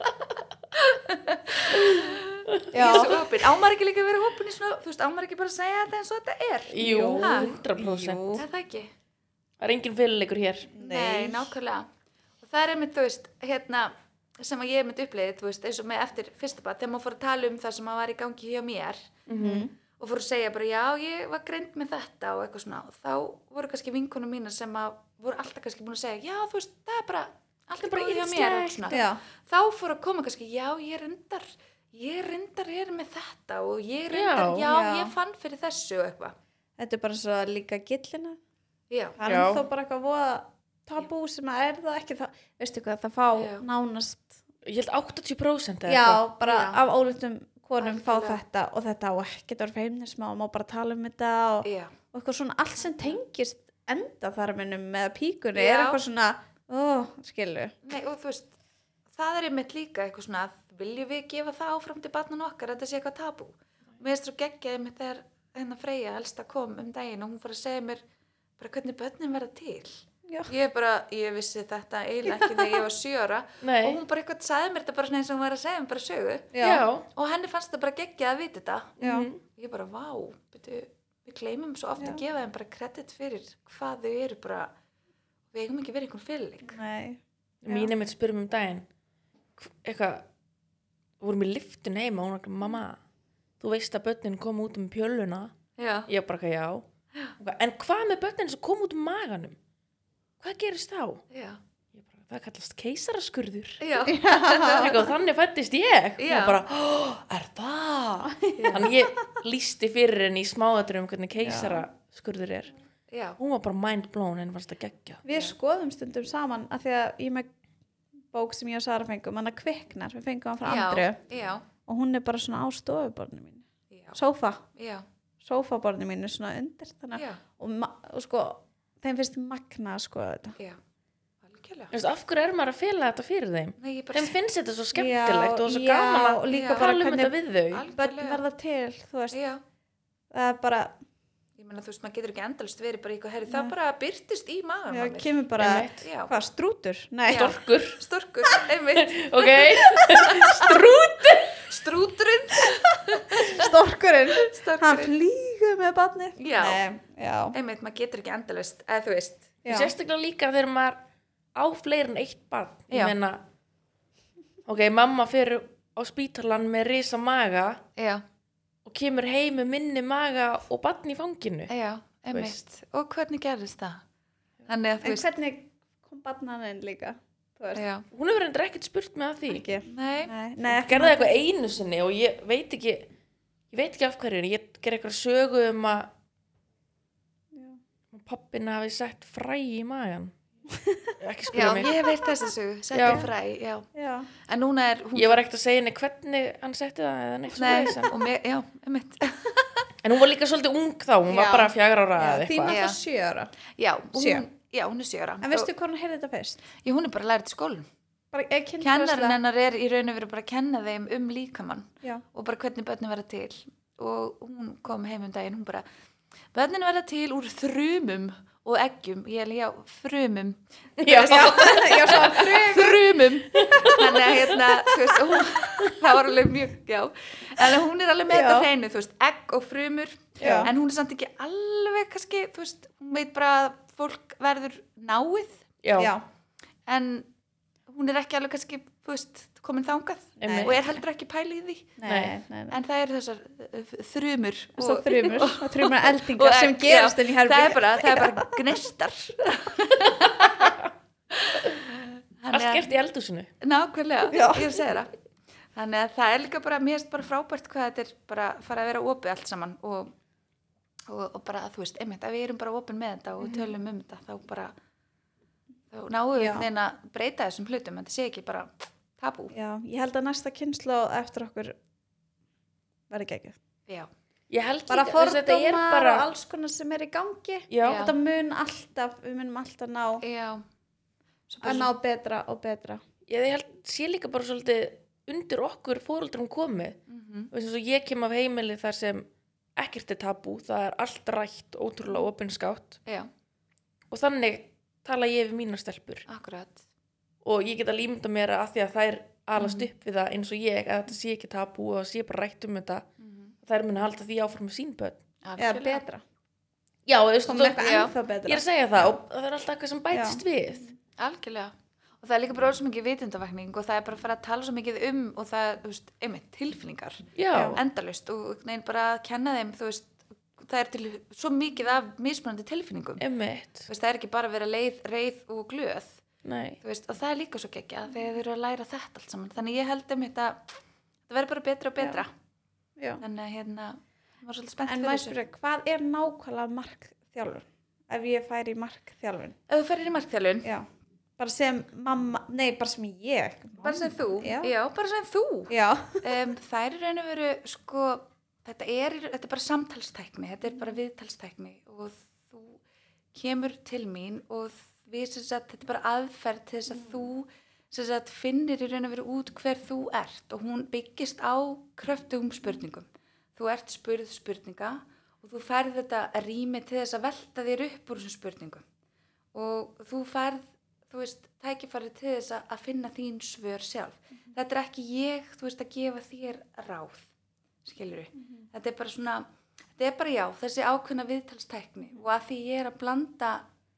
[SPEAKER 1] Já.
[SPEAKER 3] ég er svo opinn, ámar ekki líka að vera opinn í svona, þú veist, ámar ekki bara að segja þetta eins og þetta er
[SPEAKER 2] jú,
[SPEAKER 3] Ha?
[SPEAKER 2] 100%.
[SPEAKER 3] Er það ekki,
[SPEAKER 2] Það er enginn fyrirleikur hér.
[SPEAKER 3] nei, nákvæmlega og það er einmitt, þú veist, hérna sem að ég einmitt uppleiði, þú veist, eins og með eftir fyrsta bara, þegar maður fór að tala um það sem að var í gangi hjá mér
[SPEAKER 1] Mhm.
[SPEAKER 3] og fór að segja bara, já, ég var greind með þetta og eitthvað svona, og þá voru kannski vinkunum mínar sem að voru alltaf kannski búin að segja, já, þú veist, það er bara allt er
[SPEAKER 2] bara
[SPEAKER 3] bara í hjá mér og eitthvað
[SPEAKER 2] ýmislegt,
[SPEAKER 3] svona.
[SPEAKER 1] Já.
[SPEAKER 3] þá fór að koma kannski, já, ég reyndar ég reyndar er með þetta og ég reyndar,
[SPEAKER 2] Já.
[SPEAKER 3] já,
[SPEAKER 1] Já.
[SPEAKER 3] ég fann fyrir þessu og eitthvað,
[SPEAKER 1] Þetta er bara svo líka gillina.
[SPEAKER 3] já,
[SPEAKER 1] Það
[SPEAKER 2] Já.
[SPEAKER 1] er þó bara eitthvað voða tabú sem að er það ekki það. Veistu hvað, það fá
[SPEAKER 3] Já.
[SPEAKER 1] nánast.
[SPEAKER 2] Ég held 80% eða
[SPEAKER 1] Já,
[SPEAKER 2] eitthvað.
[SPEAKER 1] bara
[SPEAKER 3] Já.
[SPEAKER 1] af ólítum konum fá
[SPEAKER 3] Algjörlega.
[SPEAKER 1] þetta og þetta á ekki það er feimnism og má bara tala um þetta og,
[SPEAKER 3] já,
[SPEAKER 1] og eitthvað svona allt sem tengist enda þar minnum með píkunni
[SPEAKER 3] Já.
[SPEAKER 1] er eitthvað svona, ó, skilu.
[SPEAKER 3] nei, og þú veist það er einmitt líka eitthvað svona viljum við gefa það áfram til barnan okkar þetta sé eitthvað tabú, mér er svo geggjaði einmitt þegar hennar Freyja elsta kom um daginn og hún fór að segja mér bara hvernig börnin verða til
[SPEAKER 1] Já.
[SPEAKER 3] ég er bara, ég vissi þetta eiginlega ekki þegar ég var sjö ára
[SPEAKER 2] Nei.
[SPEAKER 3] og
[SPEAKER 1] Oh
[SPEAKER 3] hún bara eitthvað sagði mér þetta bara svona eins og hún var að segja mér bara sögu
[SPEAKER 1] Já.
[SPEAKER 3] og henni fannst það bara geggjað að vita þetta
[SPEAKER 1] Já.
[SPEAKER 2] Mhm.
[SPEAKER 3] ég bara, vá, byrju, við gleymum svo ofta að gefa þeim bara kredit fyrir hvað þau eru bara, við eigum ekki verið einhvern fyrirleik.
[SPEAKER 1] Nei.
[SPEAKER 2] Mín einmitt spurum um daginn hv- eitthvað við vorum í liftun heima og hún var eitthvað, mamma, þú veist að börnin kom út um pjöluna
[SPEAKER 3] Já.
[SPEAKER 2] ég bara eitthvað já
[SPEAKER 1] (gasps)
[SPEAKER 2] Hún eitthvað, en hvað með börnin sem kom út um maganum hvað gerist þá?
[SPEAKER 3] Já.
[SPEAKER 2] Ég bara, það kallast keisaraskurður
[SPEAKER 3] Já.
[SPEAKER 1] (laughs)
[SPEAKER 2] eitthvað, og þannig fættist ég og
[SPEAKER 3] Já.
[SPEAKER 2] hún bara, "Ó, er
[SPEAKER 1] (laughs)
[SPEAKER 2] það? þannig ég lísti fyrir henni í smáðaturum hvernig keisaraskurður er
[SPEAKER 3] Já.
[SPEAKER 2] hún var bara mind blown en fannst það geggja
[SPEAKER 1] Við skoðum stundum saman að því að ég er með bók sem ég og Sara fengum, hann að kviknar, við fengum hann frá Andru
[SPEAKER 3] já, já,
[SPEAKER 1] og hún er bara svona á stofuborðinu mínu,
[SPEAKER 3] já,
[SPEAKER 1] sófa,
[SPEAKER 3] já,
[SPEAKER 1] sófaborðinu mínu svona undir þannig,
[SPEAKER 3] já,
[SPEAKER 1] að- og, ma- og sko, þeim finnst magna að skoða þetta.
[SPEAKER 3] já, algjörlega.
[SPEAKER 2] Veist, af hverju er maður að fela þetta fyrir þeim?
[SPEAKER 3] Nei, ég bara
[SPEAKER 2] Þeim finnst þetta svo skemmtilegt og svo
[SPEAKER 1] já,
[SPEAKER 2] gaman að
[SPEAKER 1] og líka
[SPEAKER 3] já.
[SPEAKER 1] bara
[SPEAKER 2] tala um þetta
[SPEAKER 1] hvernig
[SPEAKER 2] við þau.
[SPEAKER 1] börn
[SPEAKER 3] algjörlega.
[SPEAKER 1] verða til, þú veist,
[SPEAKER 3] Já,
[SPEAKER 1] það er bara,
[SPEAKER 3] ég meina þú veist, maður getur ekki endalist verið bara í eitthvað, herri, það
[SPEAKER 1] Nei.
[SPEAKER 3] bara byrtist í maður
[SPEAKER 1] já, kemur bara,
[SPEAKER 2] Einmitt.
[SPEAKER 3] Já.
[SPEAKER 1] hvað, strútur? Nei,
[SPEAKER 3] Já.
[SPEAKER 2] Storkur,
[SPEAKER 3] Storkur, einmitt,
[SPEAKER 2] (laughs) ok?
[SPEAKER 3] strúturinn,
[SPEAKER 1] storkurinn, hann
[SPEAKER 3] storkurinn.
[SPEAKER 1] flýgur með barnið.
[SPEAKER 3] Já.
[SPEAKER 1] Nei, já.
[SPEAKER 3] Einmitt, maður getur ekki endalist, eða þú veist.
[SPEAKER 1] (laughs) Já.
[SPEAKER 2] Sérstaklega líka þegar maður á fleiri en eitt barn.
[SPEAKER 3] Já.
[SPEAKER 2] Ég meina, ok, mamma fyrir á spítalan með risa maga
[SPEAKER 3] Já,
[SPEAKER 2] og kemur heim með minni maga og barn í fanginu.
[SPEAKER 3] já, einmitt.
[SPEAKER 2] Veist.
[SPEAKER 3] Og hvernig gerðist það? Þannig að þú
[SPEAKER 1] En
[SPEAKER 3] veist,
[SPEAKER 1] hvernig kom barnaninn líka? Þú veist,
[SPEAKER 3] já,
[SPEAKER 2] Hún hefur endur ekkert spurt með að því.
[SPEAKER 1] ekki.
[SPEAKER 3] nei,
[SPEAKER 1] Nei, nei,
[SPEAKER 2] Ég gerði eitthvað einu sinni og ég veit ekki ég veit ekki af hverju, en ég gerði eitthvað sögu um að pappin hafi sett fræ í magan
[SPEAKER 1] (laughs)
[SPEAKER 2] ekki
[SPEAKER 3] já,
[SPEAKER 2] spyrja mig
[SPEAKER 3] ég hef veirt þess að sögu,
[SPEAKER 2] Já.
[SPEAKER 3] setti fræ, já.
[SPEAKER 1] Já,
[SPEAKER 3] En núna er hún,
[SPEAKER 2] ég var ekkert að segja henni hvernig hann setti það eða neitt
[SPEAKER 3] nei,
[SPEAKER 2] svoleiðis, en-
[SPEAKER 3] og mig, já, einmitt.
[SPEAKER 2] en hún var líka svolítið ung þá, hún
[SPEAKER 3] Já.
[SPEAKER 2] var bara fjagra ára eða
[SPEAKER 1] já þín
[SPEAKER 2] eitthvað
[SPEAKER 1] er
[SPEAKER 3] Já.
[SPEAKER 1] það sjö ára.
[SPEAKER 3] Já, og
[SPEAKER 1] Sjö.
[SPEAKER 3] hún, já, hún er sjöra.
[SPEAKER 1] En veistu hvað hún heyrði þetta fyrst?
[SPEAKER 3] Já, hún er bara lærið í skólum.
[SPEAKER 1] Bara, er kynfræðsla-
[SPEAKER 3] Kennarinn hennar er í raun og veru bara að kenna þeim um líkamann
[SPEAKER 1] Já,
[SPEAKER 3] og bara hvernig börnin verða til. Og hún kom heim um daginn, hún bara, börnin verða til úr þrumum og eggjum. Ég er já, frumum. (laughs)
[SPEAKER 2] já,
[SPEAKER 1] já, svo frug.
[SPEAKER 3] Þrumum. Þannig að hérna, þú veist, hún, (laughs) það var alveg mjög, já. En hún er alveg með
[SPEAKER 1] Já.
[SPEAKER 3] þetta á hreinu, þú veist, egg og frumur.
[SPEAKER 1] Já.
[SPEAKER 3] En hún er samt ekki alveg kannski, þú veist, hún veit bara að fólk verður náið.
[SPEAKER 2] já,
[SPEAKER 1] Já,
[SPEAKER 3] en hún er ekki alveg kannski þú veist, komin þangað
[SPEAKER 2] Einmitt.
[SPEAKER 3] og er heldur ekki pæli í því
[SPEAKER 1] nei, nei, nei.
[SPEAKER 3] en það eru þessar uh, þrumur
[SPEAKER 1] Og svo
[SPEAKER 3] og-
[SPEAKER 1] þrjumur,
[SPEAKER 3] og-
[SPEAKER 1] og þrjumur
[SPEAKER 3] og
[SPEAKER 1] eldingar sem
[SPEAKER 3] egg,
[SPEAKER 1] gerast
[SPEAKER 3] já,
[SPEAKER 1] inn í
[SPEAKER 3] (laughs) það er
[SPEAKER 1] herbyggja.
[SPEAKER 3] bara, það er bara gnistar
[SPEAKER 2] allt gert í eldusinu
[SPEAKER 3] nákvæmlega,
[SPEAKER 1] Já.
[SPEAKER 3] ég er að segja það þannig að það er líka bara, mér erst bara frábært hvað þetta er bara að fara að vera opið allt saman og, og, og bara þú veist, einmitt að við erum bara opið með þetta og tölum um þetta þá bara þá náum við
[SPEAKER 1] Mhm. Já.
[SPEAKER 3] einhvern veginn að breyta þessum hlutum en það sé ekki bara tabú
[SPEAKER 1] Já, ég held að næsta kynslu eftir okkur verði ekki.
[SPEAKER 3] já,
[SPEAKER 2] ég held
[SPEAKER 1] Bara
[SPEAKER 2] líka, þú veist, þetta er
[SPEAKER 1] fordómar
[SPEAKER 2] bara
[SPEAKER 1] og alls konar sem er í gangi.
[SPEAKER 2] já,
[SPEAKER 3] Já.
[SPEAKER 1] Þetta mun alltaf, við munum alltaf ná,
[SPEAKER 3] já. Svo bara
[SPEAKER 1] að ná betra og betra.
[SPEAKER 2] ég held sé líka bara svolítið undir okkur fóreldrum komið
[SPEAKER 3] Mhm.
[SPEAKER 2] og eins og ég kem af heimili þar sem ekkert er tabú, það er allt rætt ótrúlega opinskátt
[SPEAKER 3] Já,
[SPEAKER 2] og þannig tala ég við mínar stelpur
[SPEAKER 3] akkurat.
[SPEAKER 2] og ég get að límynda mér að af því að þær alast upp við það eins og ég að þetta sé ekki tabú og það sé bara rætt um þetta þær muni halda því áfram með sín börn
[SPEAKER 1] Eða Mhm. betra.
[SPEAKER 2] já, þú veist,
[SPEAKER 1] Komum
[SPEAKER 2] þú-
[SPEAKER 1] eitthvað
[SPEAKER 3] já.
[SPEAKER 1] ennþá
[SPEAKER 2] ég er
[SPEAKER 1] betra.
[SPEAKER 2] að segja það og það er alltaf eitthvað sem bætist við
[SPEAKER 3] Algjörlega. Og það er líka bara orðið svo mikið vitundavækning og það er bara að fara að tala svo mikið um og það, þú veist, einmitt, tilfinningar
[SPEAKER 2] já,
[SPEAKER 3] endalust og neinn bara að kenna þeim, þú veist, það er til svo mikið af mismunandi tilfinningum.
[SPEAKER 2] emmitt
[SPEAKER 3] Þú veist, það er ekki bara að vera leið, reið og glöð,
[SPEAKER 2] nei,
[SPEAKER 3] þú veist, og það er líka svo geggjað þegar þeir eru að læra þetta allt saman. Þannig ég held einmitt að það verður bara betra og betra.
[SPEAKER 1] Já.
[SPEAKER 3] Þannig að hérna, ég var svolítið spennt
[SPEAKER 1] En
[SPEAKER 3] fyrir
[SPEAKER 1] maður
[SPEAKER 3] þessu.
[SPEAKER 1] spyrja, hvað er nákvæmlega markþjálfun? Ef ég færi í markþjálfun,
[SPEAKER 3] Ef þú ferir í markþjálun,
[SPEAKER 1] já. Bara sem mamma, nei, bara sem ég.
[SPEAKER 3] bara sem þú,
[SPEAKER 1] Já.
[SPEAKER 3] já bara sem þú.
[SPEAKER 1] Já,
[SPEAKER 3] um, það er raun og veru sko, þetta er, þetta er bara samtalstækni, þetta er bara viðtalstækni og þú kemur til mín og við sem sagt, þetta er bara aðferð til þess að þú sem sagt, finnir í raun og veru út hver þú ert og hún byggist á kröftugum spurningum. Þú ert spurð spurninga og þú færð þetta rými til þess að velta þér upp úr þessum spurningum og þú færð þú veist, tækifæri til þess að að finna þín svör sjálf þetta er ekki ég, þú veist, að gefa þér ráð, skilur þetta er bara svona, þetta er bara já þessi ákveðna viðtalstækni og að því ég er að blanda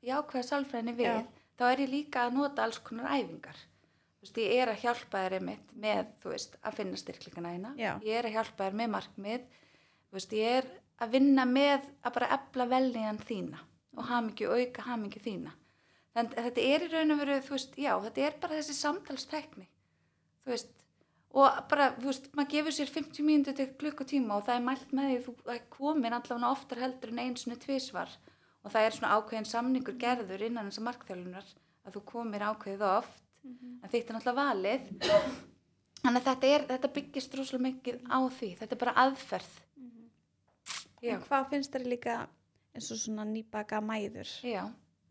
[SPEAKER 3] jákvæða sálfræðinni við,
[SPEAKER 1] Já.
[SPEAKER 3] þá er ég líka að nota alls konar æfingar þú veist, ég er að hjálpa þér einmitt með, þú veist, að finna styrklingana eina
[SPEAKER 1] Já.
[SPEAKER 3] ég er að hjálpa þér með markmið þú veist, ég er að vinna með að bara efla velniðan þína og hamingju, auka hamingju þína þannig að þetta er í raun og veru, þú veist, já þetta er bara þessi samtalstekni þú veist, og bara, þú veist maður gefur sér 50 mínútur til klukkutíma og það er mælt með því að þú það er komin allavega oftar heldur en einsinu tvisvar og það er svona ákveðin samningur gerður innan þessar markþjálfunar að þú komir ákveðið oft en þitt er náttúrulega valið þannig að þetta, er, þetta byggist rosalega mikið á því þetta er bara aðferð já,
[SPEAKER 1] En hvað finnst þér líka eins og svona nýbaka mæður
[SPEAKER 3] já,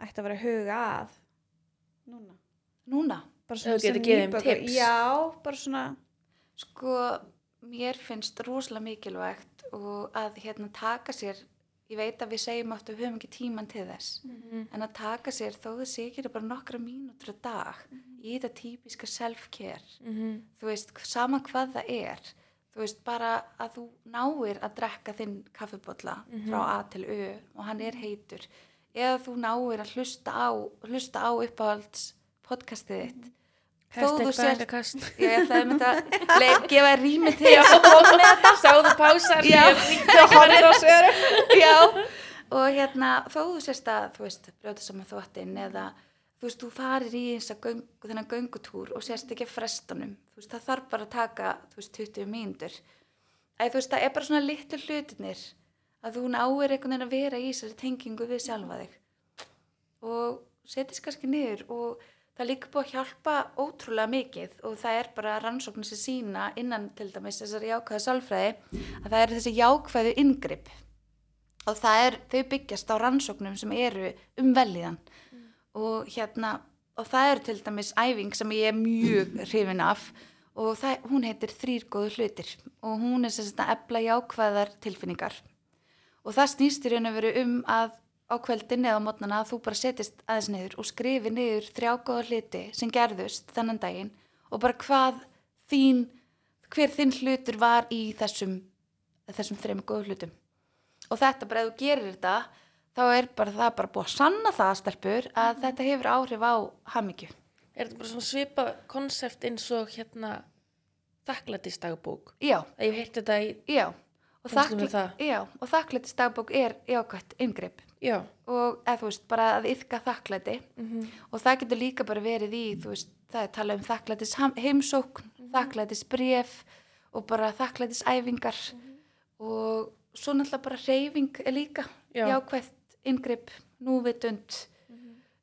[SPEAKER 1] ætti að vera að huga að núna?
[SPEAKER 3] núna
[SPEAKER 1] Bara
[SPEAKER 2] Ef þú getur gefið þeim
[SPEAKER 1] nýbakar-
[SPEAKER 2] tips.
[SPEAKER 1] Já, bara svona
[SPEAKER 3] sko, mér finnst rosalega mikilvægt og að hérna taka sér ég veit að við segjum oft að við höfum ekki tíman til þess
[SPEAKER 2] Mhm.
[SPEAKER 3] en að taka sér þó það sé ekki bara nokkra mínútur á dag í þetta típiska self-care
[SPEAKER 2] Mhm.
[SPEAKER 3] þú veist, sama hvað það er þú veist, bara að þú náir að drekka þinn kaffibotla frá A til Ö og hann er heitur eða þú náir að hlusta á hlusta á uppáhalds podcastið þitt
[SPEAKER 2] Hashtag
[SPEAKER 3] þú sért-
[SPEAKER 2] bæðakast
[SPEAKER 3] ég ætlaði með þetta leif, gefa rými til
[SPEAKER 2] Já, (laughs) sáðu pásar
[SPEAKER 3] Já.
[SPEAKER 2] ég horfði á sér
[SPEAKER 3] já og hérna þó þú sérst að þú veist brjóta saman þvottin eða þú veist þú farir í eins að göng, þennan göngutúr og sérst ekki að frestunum þú veist það þarf bara að taka þú veist 20 mínútur að þú veist það er bara svona litlu hlutinir að þú náir einhvern veginn að vera í þessari tengingu við sjálfa þig og setjast kannski niður og það er líka búið að hjálpa ótrúlega mikið og það er bara rannsóknir sem sína innan til dæmis þessari jákvæðu sálfræði að það eru þessi jákvæðu yngrip og það er, þau byggjast á rannsóknum sem eru um velíðan og hérna og það er til dæmis æfing sem ég er mjög hrifin af og það, hún heitir þrýr góðu hlutir og hún er sem sagt að ebla jákvæðar tilfinningar og það snýst í raun og veru um að á kveldin eða á mótnana að þú bara setjast aðeins niður og skrifi niður þrjá góða hluti sem gerðust þennan daginn og bara hvað þín hver þinn hlutur var í þessum þessum þreim góðu hlutum og þetta bara ef þú gerir þetta þá er bara það bara búið að sanna það stelpur að
[SPEAKER 2] Mhm.
[SPEAKER 3] þetta hefur áhrif á hamingju
[SPEAKER 2] Er þetta bara svona svipa konsept eins og hérna þakklættistagbók
[SPEAKER 3] já,
[SPEAKER 2] að ég heilt þetta í,
[SPEAKER 3] já og,
[SPEAKER 2] Fannstu mér það?
[SPEAKER 3] já, og þakklætis dagbók er jákvætt yngripp
[SPEAKER 2] já
[SPEAKER 3] og eða þú veist bara að yfka þakklæti og það getur líka bara verið í þú veist, það er talað um þakklætis ham- heimsókn, þakklætis bref og bara þakklætis æfingar og svo náttúrulega bara reyfing er líka
[SPEAKER 2] Já.
[SPEAKER 3] jákvætt yngripp, núvitund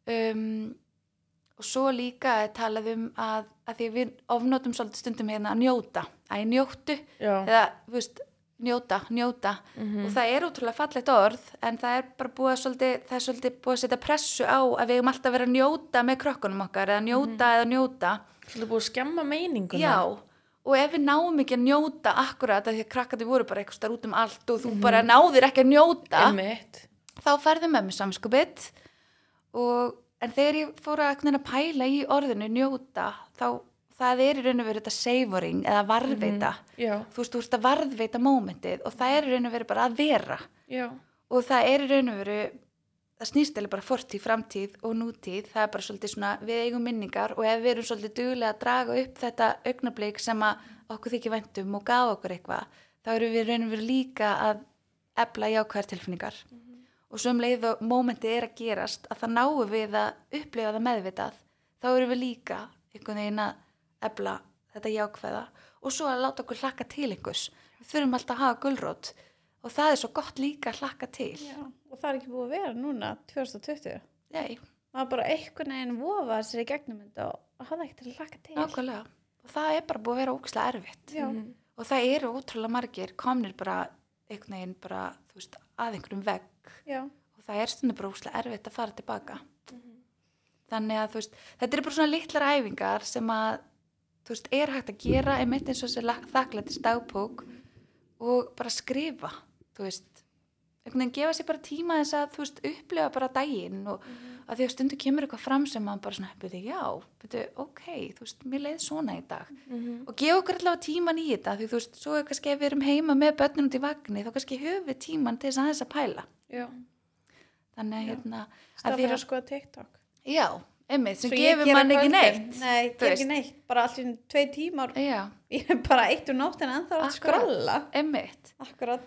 [SPEAKER 3] um, og svo líka er talað um að, að því við ofnotum svolítið stundum hérna að njóta, að ég njóttu
[SPEAKER 2] Já, mhm.
[SPEAKER 3] eða, þú veist, njóta, njóta og það er ótrúlega fallegt orð en það er bara búið að svolítið, það er svolítið búið að setja pressu á að við eigum alltaf að vera að njóta með krökkunum okkar eða njóta eða njóta
[SPEAKER 2] svolítið búið að skemma meininguna
[SPEAKER 3] já, og ef við náum ekki að njóta akkurat af því að krakkandi voru bara eitthvað starf út um allt og þú bara náðir ekki að njóta
[SPEAKER 2] Einmitt.
[SPEAKER 3] þá færðu með mér samskupið og en þegar ég fór að, einhvern veginn að pæla í orðinu njóta þá það er í raun og veru þetta savoring eða varðveita
[SPEAKER 2] Mhm. Já,
[SPEAKER 3] þú veist, þú ert að varðveita mómentið og það er í raun og veru bara að vera
[SPEAKER 2] já,
[SPEAKER 3] og það er í raun og veru það snýst eða bara fortíð, framtíð og nútíð það er bara svolítið svona, við eigum minningar og ef við erum svolítið duglega að draga upp þetta augnablík sem að okkur þykir væntum og gaf okkur eitthvað þá erum við í raun og veru líka að ebla jákvæðar tilfinningar og svo um leið og mómentið er að gerast að það náum við að upplifa það meðvitað þá erum við líka einhvern veginn að ebla þetta jákvæða og svo að láta okkur hlakka til einhvers við þurfum alltaf að hafa gulrót og það er svo gott líka að hlakka til
[SPEAKER 1] Já, og það er ekki búið að vera núna 2020.
[SPEAKER 3] Nei,
[SPEAKER 1] Maður bara einhvern veginn vofa sér í gegnum þetta og hafði ekkert til að laka til.
[SPEAKER 3] nákvæmlega Mm. og það er bara búið að vera ógislega erfitt
[SPEAKER 1] Já,
[SPEAKER 3] og það eru ótrúlega margir komnir bara einhvern veginn bara þú veist, að einhverjum vegg
[SPEAKER 1] já.
[SPEAKER 3] og það er stundum bara ógislega erfitt að fara tilbaka
[SPEAKER 2] Mhm.
[SPEAKER 3] þannig að þú veist þetta eru bara svona litlar æfingar sem að þú veist, er hægt að gera einmitt eins og þessi þakklættis dagbók og bara skrifa þú veist, einhvern veginn gefa sér bara tíma þess að þú veist, upplifa bara daginn og að því að stundu kemur eitthvað fram sem maður bara svona, byrju, já, byrju, ok þú veist, mér leið svona í dag
[SPEAKER 2] Mhm.
[SPEAKER 3] og gefa okkur allavega tíman í þetta því þú veist, svo er kannski ef við erum heima með börnun út í vagni, þá kannski höfum við tíman til þess aðeins að pæla
[SPEAKER 2] já
[SPEAKER 3] þannig að hérna að
[SPEAKER 1] Það
[SPEAKER 3] því
[SPEAKER 1] fyrir
[SPEAKER 3] að
[SPEAKER 1] að skoða TikTok.
[SPEAKER 3] Já, einmitt, sem
[SPEAKER 1] Svo ég
[SPEAKER 3] gefur
[SPEAKER 1] geri á
[SPEAKER 3] mann ekki
[SPEAKER 1] kvöldin.
[SPEAKER 3] neitt.
[SPEAKER 1] Nei, ger
[SPEAKER 3] þú veist.
[SPEAKER 1] ekki neitt. Bara allir tvei tímar.
[SPEAKER 3] Já,
[SPEAKER 1] Ég er bara eitt um nóttina en það er að
[SPEAKER 3] Akkurat.
[SPEAKER 1] skrolla.
[SPEAKER 3] einmitt.
[SPEAKER 1] Akkurat.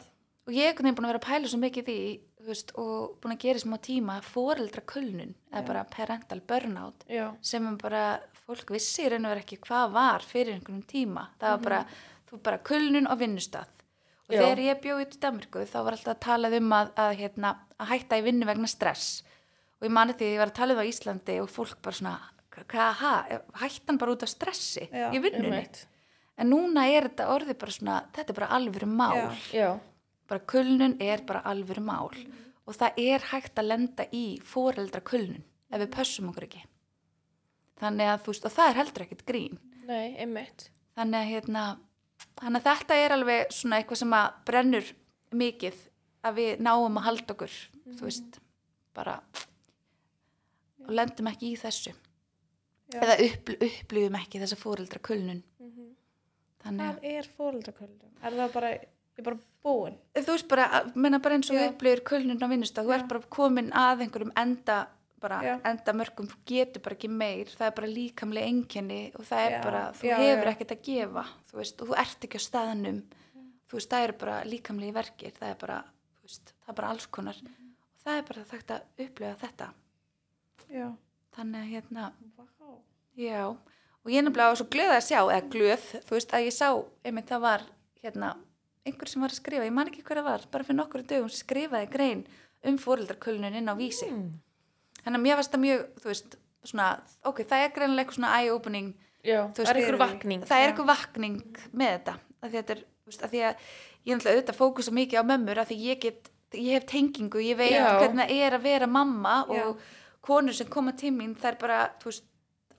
[SPEAKER 3] Og ég er einhvern veginn búin að vera að pæla svo mikið í því, þú veist, og búin að gera í smá tíma foreldra kulnun, eða bara parental burnout,
[SPEAKER 2] Já,
[SPEAKER 3] sem er bara, fólk vissi í raun og vera ekki hvað var fyrir einhvern tíma. Það var bara, þú bara kulnun og vinnustað. Og
[SPEAKER 2] Já.
[SPEAKER 3] þegar ég bjóði út í Danmarku þá var alltaf að tala um að, að, hérna, að hætta í vinnu vegna stress. Og ég mani því að ég var að tala um það á Íslandi og fólk bara svona, hva- hvað, ha, hættan bara út af stressi
[SPEAKER 1] Já.
[SPEAKER 3] í vinnunni.
[SPEAKER 2] Einmitt.
[SPEAKER 3] En núna er þetta orðið bara svona, þetta er bara alvöru mál.
[SPEAKER 1] Já.
[SPEAKER 2] Já,
[SPEAKER 3] Bara kulnun er bara alvöru mál. Og það er hægt að lenda í foreldra kulnun ef við pössum okkur ekki. Þannig að þú veist, og það er heldur ekkert grín.
[SPEAKER 2] nei, einmitt.
[SPEAKER 3] Þannig að, hérna, þannig að þetta er alveg svona eitthvað sem að brennur mikið að við náum að halda okkur,
[SPEAKER 1] Mhm.
[SPEAKER 3] þú veist, bara og lendum ekki í þessu.
[SPEAKER 1] Já.
[SPEAKER 3] Eða upp, upplifum ekki þessa fóreldra kulnun. Þannig
[SPEAKER 1] Hvað er fóreldraköldun? Er það bara, ég er bara búin?
[SPEAKER 3] að þú veist bara, að- meina bara eins og
[SPEAKER 1] Já.
[SPEAKER 3] við upplifir kulnun á vinnustaf, þú
[SPEAKER 1] Já.
[SPEAKER 3] ert bara komin að einhverjum enda bara
[SPEAKER 1] Já.
[SPEAKER 3] enda mörgum, þú getur bara ekki meir það er bara líkamlega einkenni og það er
[SPEAKER 1] Já,
[SPEAKER 3] bara, þú
[SPEAKER 1] já,
[SPEAKER 3] hefur
[SPEAKER 1] já.
[SPEAKER 3] ekkert að gefa þú veist, og þú ert ekki á staðnum þú veist, það eru bara líkamlega verkir það er bara, þú veist, það er bara alls konar
[SPEAKER 1] Mhm.
[SPEAKER 3] og það er bara þekkt að upplifa þetta
[SPEAKER 1] Já.
[SPEAKER 3] þannig að hérna,
[SPEAKER 1] Vá.
[SPEAKER 3] já og ég nefnilega var svo glöð að sjá, eða glöð þú veist, að ég sá, einmitt það var hérna, einhver sem var að skrifa, ég man ekki hver það var bara fyrir nokkru dögum skrifaði grein um fóreldarkölnun inn á vísi
[SPEAKER 2] Mm.
[SPEAKER 3] þannig að mér varst það mjög, þú veist svona, ok, það er greinilega eitthvað svona eye-opening
[SPEAKER 2] Já, það
[SPEAKER 3] Þú veist,
[SPEAKER 2] er einhver
[SPEAKER 1] fyrir-
[SPEAKER 2] vakning.
[SPEAKER 3] það er eitthvað vakning með þetta af því að þetta er, þú veist, af því að ég er náttúrulega auðvitað fókusa mikið á mömmur af því ég get, ég hef tengingu, ég veit
[SPEAKER 2] Já.
[SPEAKER 3] hvernig það er að vera mamma
[SPEAKER 1] Já.
[SPEAKER 3] og konur sem koma til mín það er bara, þú veist,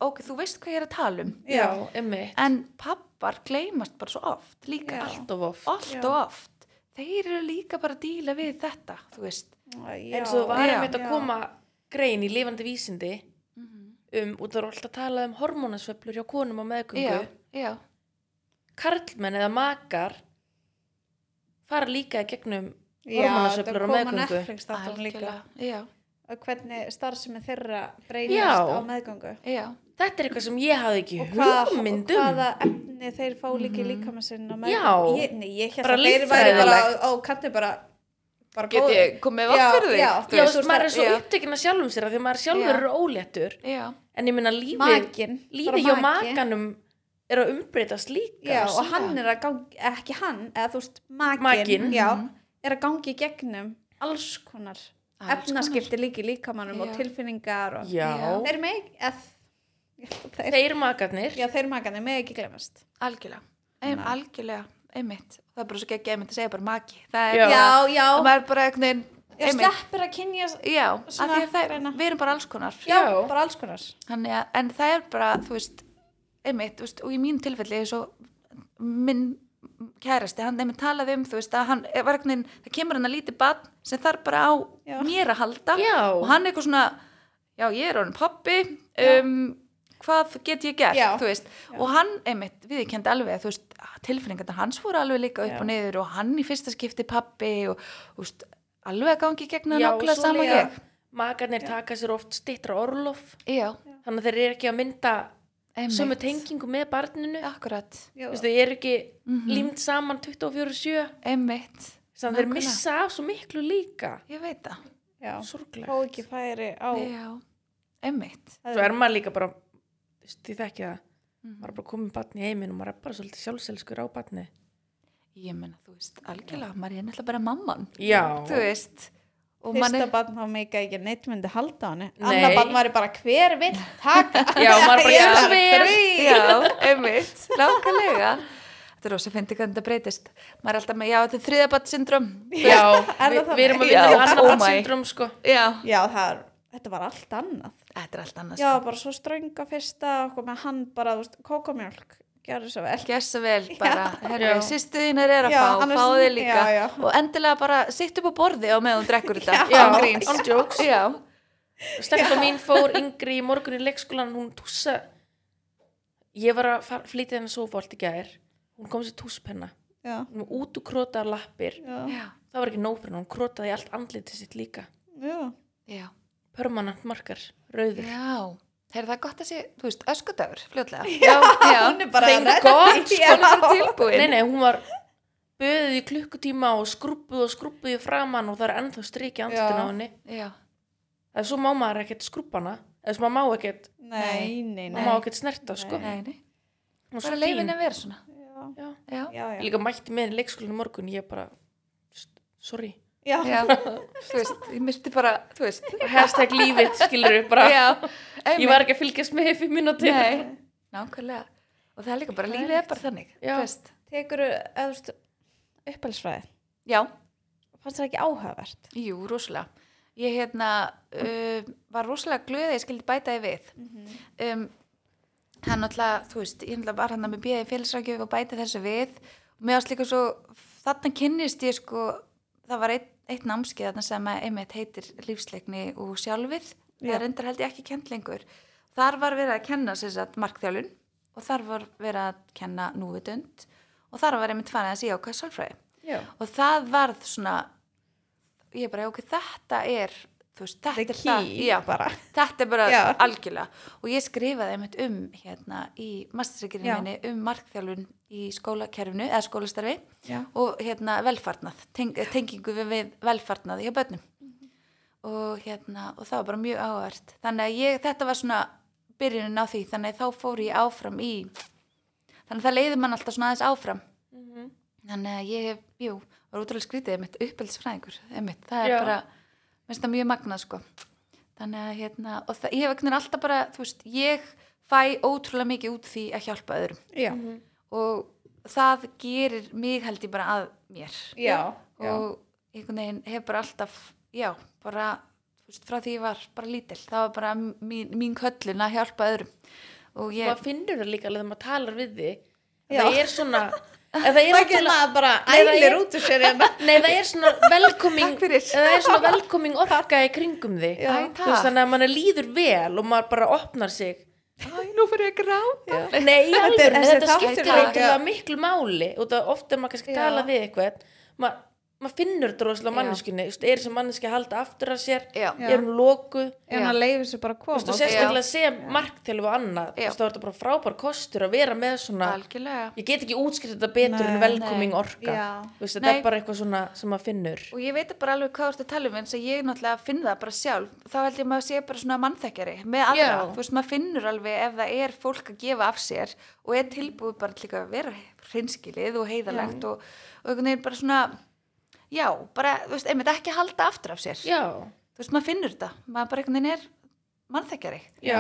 [SPEAKER 3] ok, þú veist hvað ég er að tala um
[SPEAKER 2] Já, einmitt.
[SPEAKER 3] en pappar gleymast bara svo oft líka,
[SPEAKER 1] Já.
[SPEAKER 3] allt,
[SPEAKER 2] Allt of oft.
[SPEAKER 3] allt
[SPEAKER 1] Já.
[SPEAKER 3] og oft þeir eru líka bara að díla við þetta þú veist
[SPEAKER 1] Já.
[SPEAKER 2] En svo var
[SPEAKER 3] Já.
[SPEAKER 2] einmitt að koma grein í lifandi vísindi um, og það er alltaf að tala um hormónasveiflur hjá konum á meðgöngu.
[SPEAKER 3] já, já,
[SPEAKER 2] Karlmenn eða makar fara líka í gegnum
[SPEAKER 1] hormonasöflur
[SPEAKER 2] hormónasveiflur á meðgöngu.
[SPEAKER 1] Netflix-þáttunum líka.
[SPEAKER 3] algjörlega, já,
[SPEAKER 1] Og hvernig starfsemi þeirra breynast
[SPEAKER 2] Já.
[SPEAKER 1] á meðgöngu.
[SPEAKER 3] já
[SPEAKER 2] Þetta er eitthvað sem ég hafði ekki um.
[SPEAKER 1] Og hvaða, og
[SPEAKER 2] hugmyndum.
[SPEAKER 1] hvaða efni þeir fá líka í líka með sinna meðgöngu.
[SPEAKER 2] Mhm. Já.
[SPEAKER 1] Ég, nei, ég hérst
[SPEAKER 2] Bara
[SPEAKER 1] að þeir væri bara
[SPEAKER 2] líffræðilegt.
[SPEAKER 1] á, á kanti bara, bara
[SPEAKER 3] get
[SPEAKER 1] góðir.
[SPEAKER 3] ég komið vart
[SPEAKER 1] Já,
[SPEAKER 3] fyrir þig
[SPEAKER 1] já.
[SPEAKER 3] þú
[SPEAKER 2] Já, þú
[SPEAKER 3] veist,
[SPEAKER 2] veist, maður er svo
[SPEAKER 3] já.
[SPEAKER 2] upptekinn af sjálfum sér af því að maður sjálfur
[SPEAKER 3] Já.
[SPEAKER 2] eru óléttur.
[SPEAKER 3] já,
[SPEAKER 2] En ég minna lífið,
[SPEAKER 1] Makin.
[SPEAKER 2] lífið hjá makanum er að umbreytast líka.
[SPEAKER 1] Já, og
[SPEAKER 3] Rosalega.
[SPEAKER 1] hann er að gangi, ekki hann, eða þú veist, makin,
[SPEAKER 2] Makinn.
[SPEAKER 1] já, er að gangi í gegnum alls konar
[SPEAKER 3] Alls
[SPEAKER 1] efnaskipti líka í líkamannum og
[SPEAKER 3] Já.
[SPEAKER 1] tilfinningar og
[SPEAKER 2] Já.
[SPEAKER 1] þeir með ekki, þeir,
[SPEAKER 2] Þeir makarnir.
[SPEAKER 1] já, þeir makanir með ekki glemast.
[SPEAKER 3] algjörlega, Ein, algjörlega einmitt, það er bara svo geggjað einmitt að segja bara maki, það er
[SPEAKER 2] Já.
[SPEAKER 1] Já, já,
[SPEAKER 3] það er bara einhvern veginn
[SPEAKER 1] ég
[SPEAKER 3] einmitt,
[SPEAKER 1] sleppir að kynja, já,
[SPEAKER 3] já, af því
[SPEAKER 1] Svona
[SPEAKER 3] að það,
[SPEAKER 1] reyna.
[SPEAKER 3] við erum bara alls konar
[SPEAKER 2] Já.
[SPEAKER 1] bara alls konar.
[SPEAKER 3] Þannig að, en það er bara, þú veist einmitt, þú veist, og í mín tilfelli eins og minn kærasti, hann einmitt talaði um, þú veist, að hann var einhvern veginn, það kemur hann að lítið barn sem þarf bara á
[SPEAKER 1] Já.
[SPEAKER 3] mér að halda
[SPEAKER 2] Já.
[SPEAKER 3] og hann eitthvað svona, já, ég er orðin pappi
[SPEAKER 1] Já.
[SPEAKER 3] um, hvað get ég gert,
[SPEAKER 1] Já.
[SPEAKER 3] þú veist, og hann einmitt, viðkendi alveg að, þú veist, tilfinningarnar hans fóru alveg líka upp
[SPEAKER 1] Já.
[SPEAKER 3] og niður og hann í fyrsta skipti pappi og, þú veist, alveg að gangi í gegna nokkla
[SPEAKER 2] svo
[SPEAKER 3] sama
[SPEAKER 2] líka
[SPEAKER 3] ég.
[SPEAKER 2] Makarnir taka sér oft stittra orlof,
[SPEAKER 3] Já,
[SPEAKER 2] þannig að þeir eru ekki að mynda
[SPEAKER 3] einmitt.
[SPEAKER 2] sömu tengingu með barninu.
[SPEAKER 3] Akkurat,
[SPEAKER 1] Já, Mhm.
[SPEAKER 2] Þú veist, þeir eru ekki límt saman 24-7,
[SPEAKER 3] einmitt.
[SPEAKER 2] þannig að þeir
[SPEAKER 3] Nákvæmlega.
[SPEAKER 2] missa af svo miklu líka.
[SPEAKER 3] Ég veit það.
[SPEAKER 1] já, fá
[SPEAKER 2] Sorglegt.
[SPEAKER 1] ekki færi á,
[SPEAKER 3] Já, emmitt.
[SPEAKER 2] Svo er maður líka bara, þú veist, ég þekki það,
[SPEAKER 3] Mhm.
[SPEAKER 2] maður er bara komið barn í heiminn og maður er bara svolítið sjálfselskur á barni.
[SPEAKER 3] Ég menna, þú veist, algjörlega, maður er nefnilega bara mamman.
[SPEAKER 2] Já.
[SPEAKER 3] Þú veist, og mann
[SPEAKER 1] fyrsta
[SPEAKER 3] er,
[SPEAKER 1] barn þá meika ekki neitt myndi halda á henni,
[SPEAKER 2] Nei.
[SPEAKER 1] annað barn væri bara hver vill taka.
[SPEAKER 2] Já, maður
[SPEAKER 1] (laughs)
[SPEAKER 2] bara,
[SPEAKER 1] Ég
[SPEAKER 2] já,
[SPEAKER 1] er svo
[SPEAKER 2] vel.
[SPEAKER 1] þrý.
[SPEAKER 3] já, emmitt, langarlega. Þetta er rosa fyndi hvernig þetta breytist. Maður er alltaf með, já, þetta er þriðabattsyndrom.
[SPEAKER 2] (laughs) Já,
[SPEAKER 1] Er
[SPEAKER 2] vi,
[SPEAKER 1] það þannig?
[SPEAKER 2] við erum að vinna
[SPEAKER 3] Já,
[SPEAKER 2] við annar
[SPEAKER 3] oh my.
[SPEAKER 2] barnsyndrom, sko.
[SPEAKER 3] Já,
[SPEAKER 1] Já, það er, þetta var allt annað.
[SPEAKER 3] þetta er allt sko. annars.
[SPEAKER 1] Já, bara svo strönga fyrsta okkur með hann bara, þú veist, kókomjölk, gerðu svo vel.
[SPEAKER 3] Gjör svo vel, bara, herru,
[SPEAKER 2] Já.
[SPEAKER 3] sýstu þínar er að
[SPEAKER 1] Já,
[SPEAKER 3] fá,
[SPEAKER 1] annars-
[SPEAKER 3] fá þig líka.
[SPEAKER 1] já, já.
[SPEAKER 3] Og endilega bara, sitt upp á borði á meðan þú drekkur þetta.
[SPEAKER 2] Já,
[SPEAKER 3] án gríns.
[SPEAKER 2] án jokes.
[SPEAKER 3] Já,
[SPEAKER 2] Stelpa mín fór yngri í morgun í leikskólan, hún tússa ég var að far- flytja henni sófólt í gær hún kom sér túspenna
[SPEAKER 1] Já,
[SPEAKER 2] hún var út og krótaði lappir
[SPEAKER 1] já,
[SPEAKER 3] já,
[SPEAKER 2] það var ekki nóg fyrir henni, hún krótaði allt andlitið sitt líka
[SPEAKER 1] já.
[SPEAKER 3] já.
[SPEAKER 2] permanent markar, rauður
[SPEAKER 3] Já, heyrðu það er gott að sé, þú veist, öskudagur, fljótlega.
[SPEAKER 1] Já, hún er bara
[SPEAKER 2] Thank
[SPEAKER 1] redda
[SPEAKER 2] God,
[SPEAKER 1] því,
[SPEAKER 2] sko,
[SPEAKER 1] já.
[SPEAKER 2] hún er bara nei,
[SPEAKER 3] Tilbúin.
[SPEAKER 2] nei, hún var böðið í klukkutíma og skrúpuð og skrúpuð í framann og það er ennþá strikið andlitin
[SPEAKER 1] Já.
[SPEAKER 2] á henni
[SPEAKER 3] Já,
[SPEAKER 2] það er svo má maður ekkert skrúpana eða svo maður má ekkert,
[SPEAKER 1] Nei, nei,
[SPEAKER 2] maður
[SPEAKER 1] nei.
[SPEAKER 2] má ekkert snerta sko.
[SPEAKER 3] nei, nei.
[SPEAKER 2] hún var
[SPEAKER 3] Bara
[SPEAKER 2] svo
[SPEAKER 3] leifin
[SPEAKER 2] fín
[SPEAKER 3] að vera svona.
[SPEAKER 1] Já,
[SPEAKER 2] Já.
[SPEAKER 3] Já,
[SPEAKER 1] já,
[SPEAKER 2] Ég
[SPEAKER 1] já.
[SPEAKER 2] líka mætti með henni í leikskólinu í morgun ég bara, st- sorry
[SPEAKER 1] Já.
[SPEAKER 2] (laughs)
[SPEAKER 3] já, þú veist, ég misti bara, þú veist,
[SPEAKER 2] hashtag lífið skilur upp bara
[SPEAKER 3] já,
[SPEAKER 2] ég var ekki að fylgjast með í fimm mínúti
[SPEAKER 3] nei, nákvæmlega, og það er líka bara, lífið er bara þannig,
[SPEAKER 2] Já.
[SPEAKER 3] þú veist,
[SPEAKER 1] Tekur upphaldsfræði.
[SPEAKER 3] já,
[SPEAKER 1] Fannst það ekki áhugavert?
[SPEAKER 3] jú, rosalega, ég hérna uh, var rosalega glöð að ég skildi bæta því við, um, hann náttúrulega, þú veist, ég náttúrulega var hann með bíða í félagsrákjöf og bæti þessu við og mér ást líka svo, þarna kynnist ég sko, það var eitt, eitt námskeið þarna sem að einmitt heitir lífsleikni og sjálfið,
[SPEAKER 1] Já.
[SPEAKER 3] það reyndar held ég ekki kent lengur, þar var verið að kenna sér satt markþjálun og þar var verið að kenna núvitund og þar var einmitt farið að í ákvæð sálfræði
[SPEAKER 2] já,
[SPEAKER 3] og það varð svona ég bara, ok, þetta er þú veist, þetta
[SPEAKER 1] The
[SPEAKER 3] er það,
[SPEAKER 1] key
[SPEAKER 3] já,
[SPEAKER 1] bara.
[SPEAKER 3] þetta er bara
[SPEAKER 1] Já.
[SPEAKER 3] algjörlega og ég skrifaði einmitt um hérna í mastergrinni
[SPEAKER 1] Já.
[SPEAKER 3] minni um markþjálfun í skólakerfinu eða skólastarfi
[SPEAKER 1] Já.
[SPEAKER 3] og hérna velfarnað teng, tengingu við, við velfarnað hjá börnum og hérna og það var bara mjög áhvert þannig að ég, þetta var svona byrjunin á því þannig að þá fór ég áfram í þannig að það leiði mann alltaf svona aðeins áfram þannig að ég, hef, jú, var útrúlega skrítið einmitt uppeldsfræðingur, einmitt, það er
[SPEAKER 2] Já.
[SPEAKER 3] bara mér finnst það mjög magnað sko þannig að hérna, og það, ég hef einhvern veginn alltaf bara þú veist, ég fæ ótrúlega mikið út því að hjálpa öðrum
[SPEAKER 1] Já.
[SPEAKER 3] Mhm. og það gerir mig held ég bara að mér
[SPEAKER 1] Já. Já.
[SPEAKER 3] og einhvern veginn hef bara alltaf já, bara, þú veist, frá því ég var bara lítil, það var bara mín, mín köllun að hjálpa öðrum og ég,
[SPEAKER 2] maður finnur það líka alveg þegar maður talar við þig
[SPEAKER 1] Já.
[SPEAKER 2] það er svona ef það er
[SPEAKER 1] Það getur
[SPEAKER 2] náttúrulega-
[SPEAKER 1] maður bara
[SPEAKER 2] Nei, það
[SPEAKER 1] ælir
[SPEAKER 2] er-
[SPEAKER 1] út úr sér hérna.
[SPEAKER 2] Nei, það er
[SPEAKER 1] (laughs)
[SPEAKER 2] svona velkoming
[SPEAKER 3] Takk fyrir.
[SPEAKER 2] Það er svona velkoming orka í kringum þig
[SPEAKER 1] Já.
[SPEAKER 3] Æ,
[SPEAKER 2] Þú veist
[SPEAKER 3] takk.
[SPEAKER 2] þannig að mann líður vel og maður bara opnar sig
[SPEAKER 3] (laughs) æ, nú fyrir ég að gráta
[SPEAKER 2] Nei, í
[SPEAKER 1] Þetta er-
[SPEAKER 2] alvöru,
[SPEAKER 1] þessi
[SPEAKER 2] þetta
[SPEAKER 1] þáttur
[SPEAKER 2] skiptir
[SPEAKER 1] líka-
[SPEAKER 2] eitthvað miklu máli og það ofta maður kannski
[SPEAKER 1] Já.
[SPEAKER 2] tala við eitthvað maður ma finnur droslega manneskunni er sem manneski að halda aftur að sér
[SPEAKER 3] já,
[SPEAKER 1] Já.
[SPEAKER 2] er hún lokuð
[SPEAKER 1] En hann leifir sér bara að koma.
[SPEAKER 2] Þú veist, og sérstaklega sem marktelfu annað
[SPEAKER 3] Já.
[SPEAKER 2] Þú veist, þá er þetta bara frábær kostur að vera með svona
[SPEAKER 3] algjörlega
[SPEAKER 2] ég get ekki útskrift þetta betur
[SPEAKER 1] Nei,
[SPEAKER 2] en velkoming
[SPEAKER 3] nei.
[SPEAKER 2] orka
[SPEAKER 1] Já.
[SPEAKER 2] Þú veist, þetta
[SPEAKER 3] Nei.
[SPEAKER 2] er bara eitthvað svona sem maður finnur
[SPEAKER 3] og ég veit bara alveg hvað þú ert að tala um eins og ég náttúrulega finn það bara sjálf þá held ég maður sé bara svona mannþekkjari með aðra,
[SPEAKER 2] Já.
[SPEAKER 3] þú veist maður finnur alveg ef það er fólk að gefa af sér og er tilbúið bara líka að vera hreinskilið og heiðalegt og, og einhvern veginn bara svona já, bara, þú veist, einmitt ekki að halda aftur af sér
[SPEAKER 2] Já,
[SPEAKER 3] þú veist maður finnur þetta, maður bara einhvern veginn er mannþekkjari
[SPEAKER 2] já,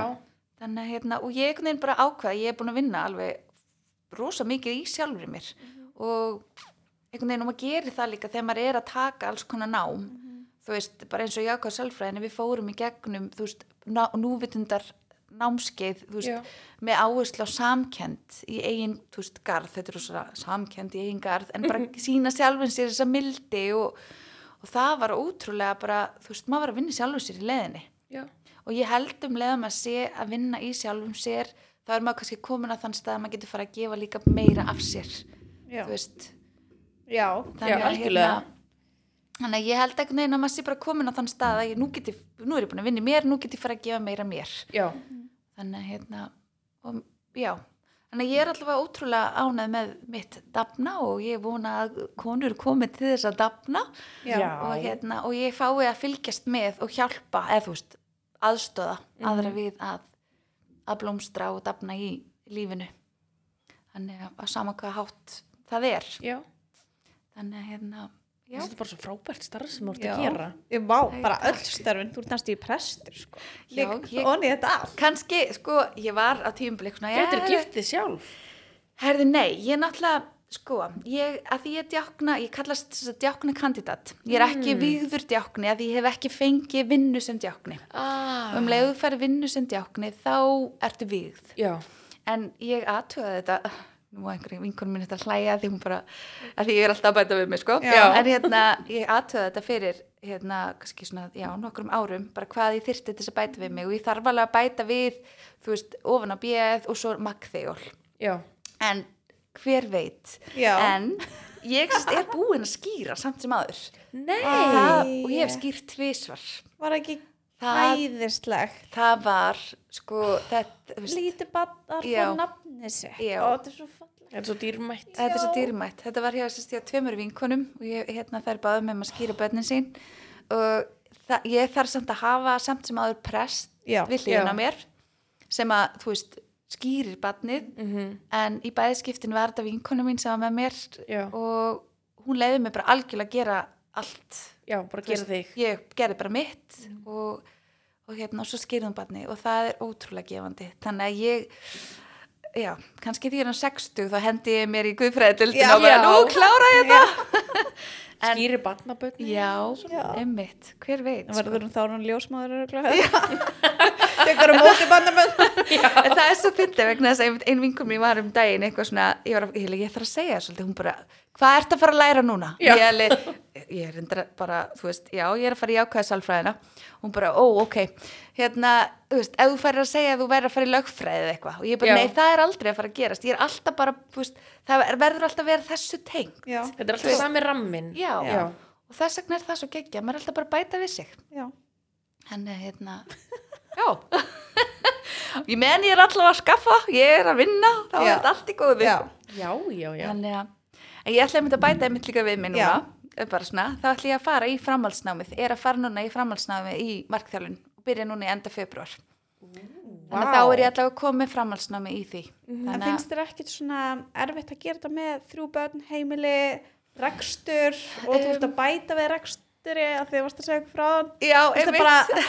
[SPEAKER 3] þannig að hérna, og ég einhvern veginn bara ákvað ég er búin að vinna alveg rosa mikið í sjálfri mér og einhvern veginn og maður gerir það líka þegar maður er að taka alls konar nám þú veist, bara eins og ég ákvað sjálfræðinni við fórum í gegnum, þú veist ná, núvitundar námskeið þú veist,
[SPEAKER 2] Já.
[SPEAKER 3] með áherslu á samkend í eigin, þú veist, garð þetta er rosa samkend í eigin garð en bara sína sjálfin sér þessa mildi og, og það var ótrúlega bara, þú veist, maður var að vinna sjálfin sér í leðinni
[SPEAKER 2] já.
[SPEAKER 3] og ég held um leiðum að sé að vinna í sjálfum sér þá er maður kannski komin að þann stað að maður getur fara að gefa líka meira af sér
[SPEAKER 1] Já.
[SPEAKER 3] þú veist hérna
[SPEAKER 1] Já.
[SPEAKER 2] Já, algjörlega.
[SPEAKER 3] þannig að ég held ekki neina að maður sé bara komin að þann stað að ég nú geti, nú er ég búin að vinna í mér nú get ég fara að gefa meira mér
[SPEAKER 2] Já,
[SPEAKER 3] þannig að hérna og, já, þannig að ég er allavega ótrúlega ánæð með mitt dafna og ég vona að konur komi til þess að dafna
[SPEAKER 1] Já.
[SPEAKER 2] Já.
[SPEAKER 3] og, hérna, og ég fái að fylgjast með og hjálpa eða þú veist, aðstöða aðra við að, að blómstra og dafna í lífinu þannig að, að sama hvað hátt það er
[SPEAKER 2] já.
[SPEAKER 3] þannig að hérna já,
[SPEAKER 2] Þetta er bara svo frábært starf sem þú ert
[SPEAKER 1] Já.
[SPEAKER 2] að gera.
[SPEAKER 1] Ég má
[SPEAKER 3] Nei,
[SPEAKER 1] bara
[SPEAKER 3] takk.
[SPEAKER 1] öll störfin. Þú ert næstu í prestur, sko.
[SPEAKER 3] Já,
[SPEAKER 1] Líka,
[SPEAKER 3] ég-
[SPEAKER 1] onni þetta allt.
[SPEAKER 3] kannski, sko, ég var á tímublik svona,
[SPEAKER 2] Þetta er
[SPEAKER 3] "Já,
[SPEAKER 2] giftið sjálf.
[SPEAKER 3] Herði, nei, ég náttúrulega, sko, ég, að því ég djákna, ég kallast þess að djákna kandidat. Ég er ekki víður djákni að ég hef ekki fengið vinnu sem djákni.
[SPEAKER 2] Ah.
[SPEAKER 3] Um leiðu færi vinnu sem djákni, þá ertu vígð.
[SPEAKER 2] Já,
[SPEAKER 3] En ég aðtöða þetta, nú var einhverjum vinkunum minn þetta að hlæja því hún bara, að því ég er alltaf að bæta við mig, sko.
[SPEAKER 1] Já.
[SPEAKER 3] En hérna, ég aðtöða þetta fyrir, hérna, kannski svona, já, nokkrum árum, bara hvað ég þyrfti til þess að bæta við mig og ég þarf alveg að bæta við, þú veist, ofan á bjöð og svo magþegjól
[SPEAKER 2] já.
[SPEAKER 3] en hver veit
[SPEAKER 1] Já.
[SPEAKER 3] en ég sem sagt er búin að skýra samt sem aður
[SPEAKER 2] Nei.
[SPEAKER 3] það, og ég hef skýrt tvísvar
[SPEAKER 1] Var ekki
[SPEAKER 3] Það-
[SPEAKER 1] hæðislegt.
[SPEAKER 3] það var sko þetta, þú veist,
[SPEAKER 1] Lítið batnar
[SPEAKER 3] Já.
[SPEAKER 1] fór nafni sér.
[SPEAKER 3] Já.
[SPEAKER 1] Og þetta er svo fallegt.
[SPEAKER 2] Þetta er svo dýrmætt.
[SPEAKER 3] þetta er svo
[SPEAKER 1] Já.
[SPEAKER 3] dýrmætt þetta var hér sérst ég að tveimur vinkonum og ég, hérna þær báðum með maður að skýra börnin sín og það, ég þarf samt að hafa samt sem aður prest
[SPEAKER 1] Já.
[SPEAKER 3] við
[SPEAKER 2] Já.
[SPEAKER 3] hliðina á mér sem að þú veist skýrir barnið
[SPEAKER 2] Mhm.
[SPEAKER 3] en í bæðiskiptin var þetta vinkonu mín sem var með mér
[SPEAKER 2] Já.
[SPEAKER 3] og hún leiði mig bara algjörlega að gera allt
[SPEAKER 2] já, bara gera þig
[SPEAKER 3] ég gerði bara mitt og, og hérna og svo skýrðum barni og það er ótrúlega gefandi þannig að ég já, kannski því er hann 60 þá hendi ég mér í guðfræðildin
[SPEAKER 1] Já,
[SPEAKER 3] og bara
[SPEAKER 2] já.
[SPEAKER 3] nú klára ég þetta en-
[SPEAKER 2] skýri batnabötni
[SPEAKER 3] já,
[SPEAKER 1] Já.
[SPEAKER 3] einmitt, hver veit
[SPEAKER 1] Það
[SPEAKER 3] sko.
[SPEAKER 1] verður þá hann ljósmaður örugglega. (laughs) Tekur á móti bandamenn.
[SPEAKER 3] En það er svo fyndið vegna þess að ein, ein vinkum mín var um daginn eitthvað svona, ég var að, ég, ég þarf að segja þér svolítið, hún bara, hvað ert að fara að læra núna?
[SPEAKER 2] Já.
[SPEAKER 3] Ég, alveg, ég er reyndar bara, þú veist, já, ég er að fara í ákvæða salfræðina. Hún bara, ó, ok, hérna, þú veist, ef þú færir að segja að þú væri að fara í lögfræði eða eitthvað. Og ég bara,
[SPEAKER 2] Já.
[SPEAKER 3] nei, það er aldrei að fara að gerast. Ég er alltaf bara, þú veist, það er- verður alltaf að vera þessu tengt.
[SPEAKER 1] (laughs) Já,
[SPEAKER 2] þetta er alltaf sami rammin
[SPEAKER 3] Já.
[SPEAKER 2] Já.
[SPEAKER 3] Og þess vegna er það svo geggja, maður er alltaf bara að bæta við sig.
[SPEAKER 1] já.
[SPEAKER 3] Hann er hérna, (laughs) já, ég menn ég er allavega að skaffa, ég er að vinna, þá er
[SPEAKER 1] Já.
[SPEAKER 3] þetta allt í góðu.
[SPEAKER 1] Já.
[SPEAKER 2] já, já, já.
[SPEAKER 3] Þannig að, en ég ætla einmitt að bæta einmitt líka við mig núna,
[SPEAKER 1] Já.
[SPEAKER 3] eh, bara svona, þá ætla ég að fara í framhaldsnámið, er að fara núna í framhaldsnámið í markþjálun og byrja núna í enda februar. Þannig
[SPEAKER 2] Vá.
[SPEAKER 3] að þá er ég allavega komið framhaldsnámið í því.
[SPEAKER 1] En
[SPEAKER 3] Þannig
[SPEAKER 1] finnst þér ekkit svona erfitt að gera þetta með þrjú börn, heimili, rekstur og þú
[SPEAKER 3] Um,
[SPEAKER 1] ert að bæta við reksturi að þið varst að segja okkur frá hann.
[SPEAKER 3] já,
[SPEAKER 1] Finnst þér
[SPEAKER 3] einmitt.
[SPEAKER 1] bara,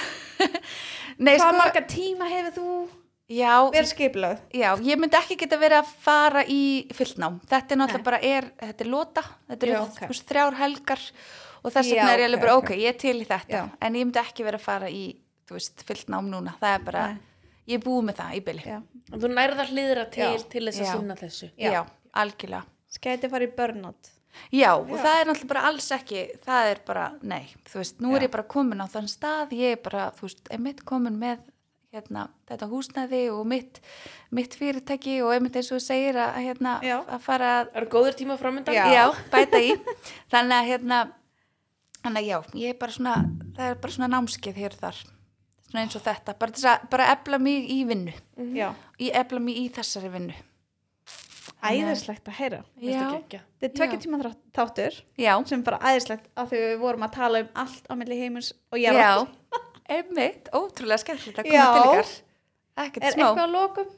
[SPEAKER 3] (laughs) Nei,
[SPEAKER 1] hvað
[SPEAKER 3] sko,
[SPEAKER 1] marga tíma hefur þú
[SPEAKER 3] já,
[SPEAKER 1] verið skipilöð?
[SPEAKER 3] já, ég myndi ekki geta verið að fara í fyllnám. Þetta er náttúrulega bara, er, þetta er lota, þetta eru
[SPEAKER 1] Já,
[SPEAKER 3] okay.
[SPEAKER 1] ok.
[SPEAKER 3] þrjár helgar og þess
[SPEAKER 1] Já,
[SPEAKER 3] vegna er ég alveg
[SPEAKER 1] ok,
[SPEAKER 3] bara,
[SPEAKER 1] ok.
[SPEAKER 3] ok, ég er til í þetta,
[SPEAKER 1] Já.
[SPEAKER 3] en ég myndi ekki verið að fara í, þú veist, fyllnám núna. Það er bara,
[SPEAKER 1] Nei.
[SPEAKER 3] ég er búið með það í byli.
[SPEAKER 1] Já.
[SPEAKER 2] En þú nærðar hlýðra til
[SPEAKER 1] Já.
[SPEAKER 2] til þess að
[SPEAKER 3] Já.
[SPEAKER 2] sinna þessu
[SPEAKER 1] Já.
[SPEAKER 3] já, algjörlega
[SPEAKER 1] Skæti að fara í burnout.
[SPEAKER 3] já, og það er náttúrulega bara alls ekki það er bara, nei, þú veist, nú er
[SPEAKER 1] Já.
[SPEAKER 3] ég bara komin á þann stað, ég er bara, þú veist einmitt komin með hérna, þetta húsnæði og mitt, mitt fyrirtæki og einmitt eins og þú segir að, hérna,
[SPEAKER 1] Já.
[SPEAKER 3] að fara að
[SPEAKER 2] Það eru góður tíma framöndan
[SPEAKER 1] Já.
[SPEAKER 3] já, (laughs) bæta í þannig að hérna þannig að já, ég er bara svona það er bara svona námskeið hér og þar svona eins og þetta, bara, til að, bara ebla mig í vinnu
[SPEAKER 1] Já.
[SPEAKER 3] ég ebla mig í þessari vinnu
[SPEAKER 1] Æðislegt að heyra.
[SPEAKER 3] já,
[SPEAKER 2] Já.
[SPEAKER 1] Þetta er tvekja
[SPEAKER 3] Já.
[SPEAKER 1] tíma þrá- þáttur
[SPEAKER 3] já,
[SPEAKER 1] sem er bara æðislegt að því við vorum að tala um allt á milli heimins og ég
[SPEAKER 3] Já, (laughs) einmitt, ótrúlega skemmtilegt að koma
[SPEAKER 1] Já.
[SPEAKER 3] til ykkar. Ekkert
[SPEAKER 1] Er
[SPEAKER 3] smá.
[SPEAKER 1] eitthvað að lokum?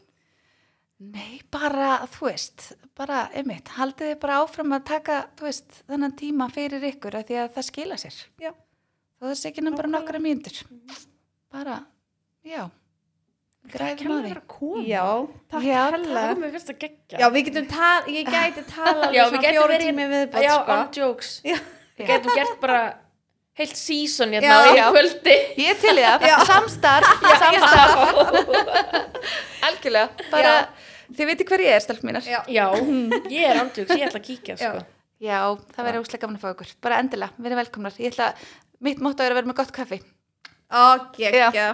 [SPEAKER 3] Nei, bara, þú veist, bara, einmitt, haldið þið bara áfram að taka, þú veist, þennan tíma fyrir ykkur af því að það skila sér.
[SPEAKER 1] Já.
[SPEAKER 3] Þú veist ekki nefnum bara
[SPEAKER 1] Nákvæmlega.
[SPEAKER 3] nokkra mínútur. Bara, já, græðum á
[SPEAKER 2] Kemur
[SPEAKER 3] því.
[SPEAKER 2] þér að koma
[SPEAKER 1] Já, takk
[SPEAKER 3] Já,
[SPEAKER 1] hella.
[SPEAKER 2] Takk mér fyrst að gegja
[SPEAKER 1] Já, við getum tala, ég gæti tala
[SPEAKER 2] Já,
[SPEAKER 1] alveg
[SPEAKER 2] við
[SPEAKER 1] svona
[SPEAKER 2] getum
[SPEAKER 1] fjóra
[SPEAKER 3] hérna.
[SPEAKER 2] verið-
[SPEAKER 1] tími viðbótt,
[SPEAKER 2] Já,
[SPEAKER 1] sko.
[SPEAKER 2] on jokes
[SPEAKER 1] Já.
[SPEAKER 2] Við getum gert bara heilt season
[SPEAKER 1] Já.
[SPEAKER 2] hérna á einu
[SPEAKER 3] Já.
[SPEAKER 2] kvöldi
[SPEAKER 3] (laughs) Ég er til í það, samstarf, samstarf, (laughs) algjörlega, bara, þið veitir hver ég er, stelp mínar.
[SPEAKER 1] Já.
[SPEAKER 2] Já, ég er on jokes, ég ætla að kíkja
[SPEAKER 1] Já.
[SPEAKER 2] sko.
[SPEAKER 3] Já, það verður úslega gaman að fá ykkur, bara endilega, verið velkomnar. Ég ætla, mitt mótt er að vera með gott kaffi.
[SPEAKER 1] Ok, ekki. (laughs)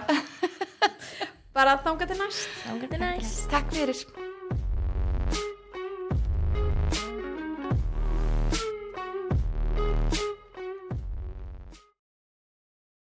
[SPEAKER 1] Bara þanga til næst.
[SPEAKER 2] Þangað til næst
[SPEAKER 3] Takk fyrir.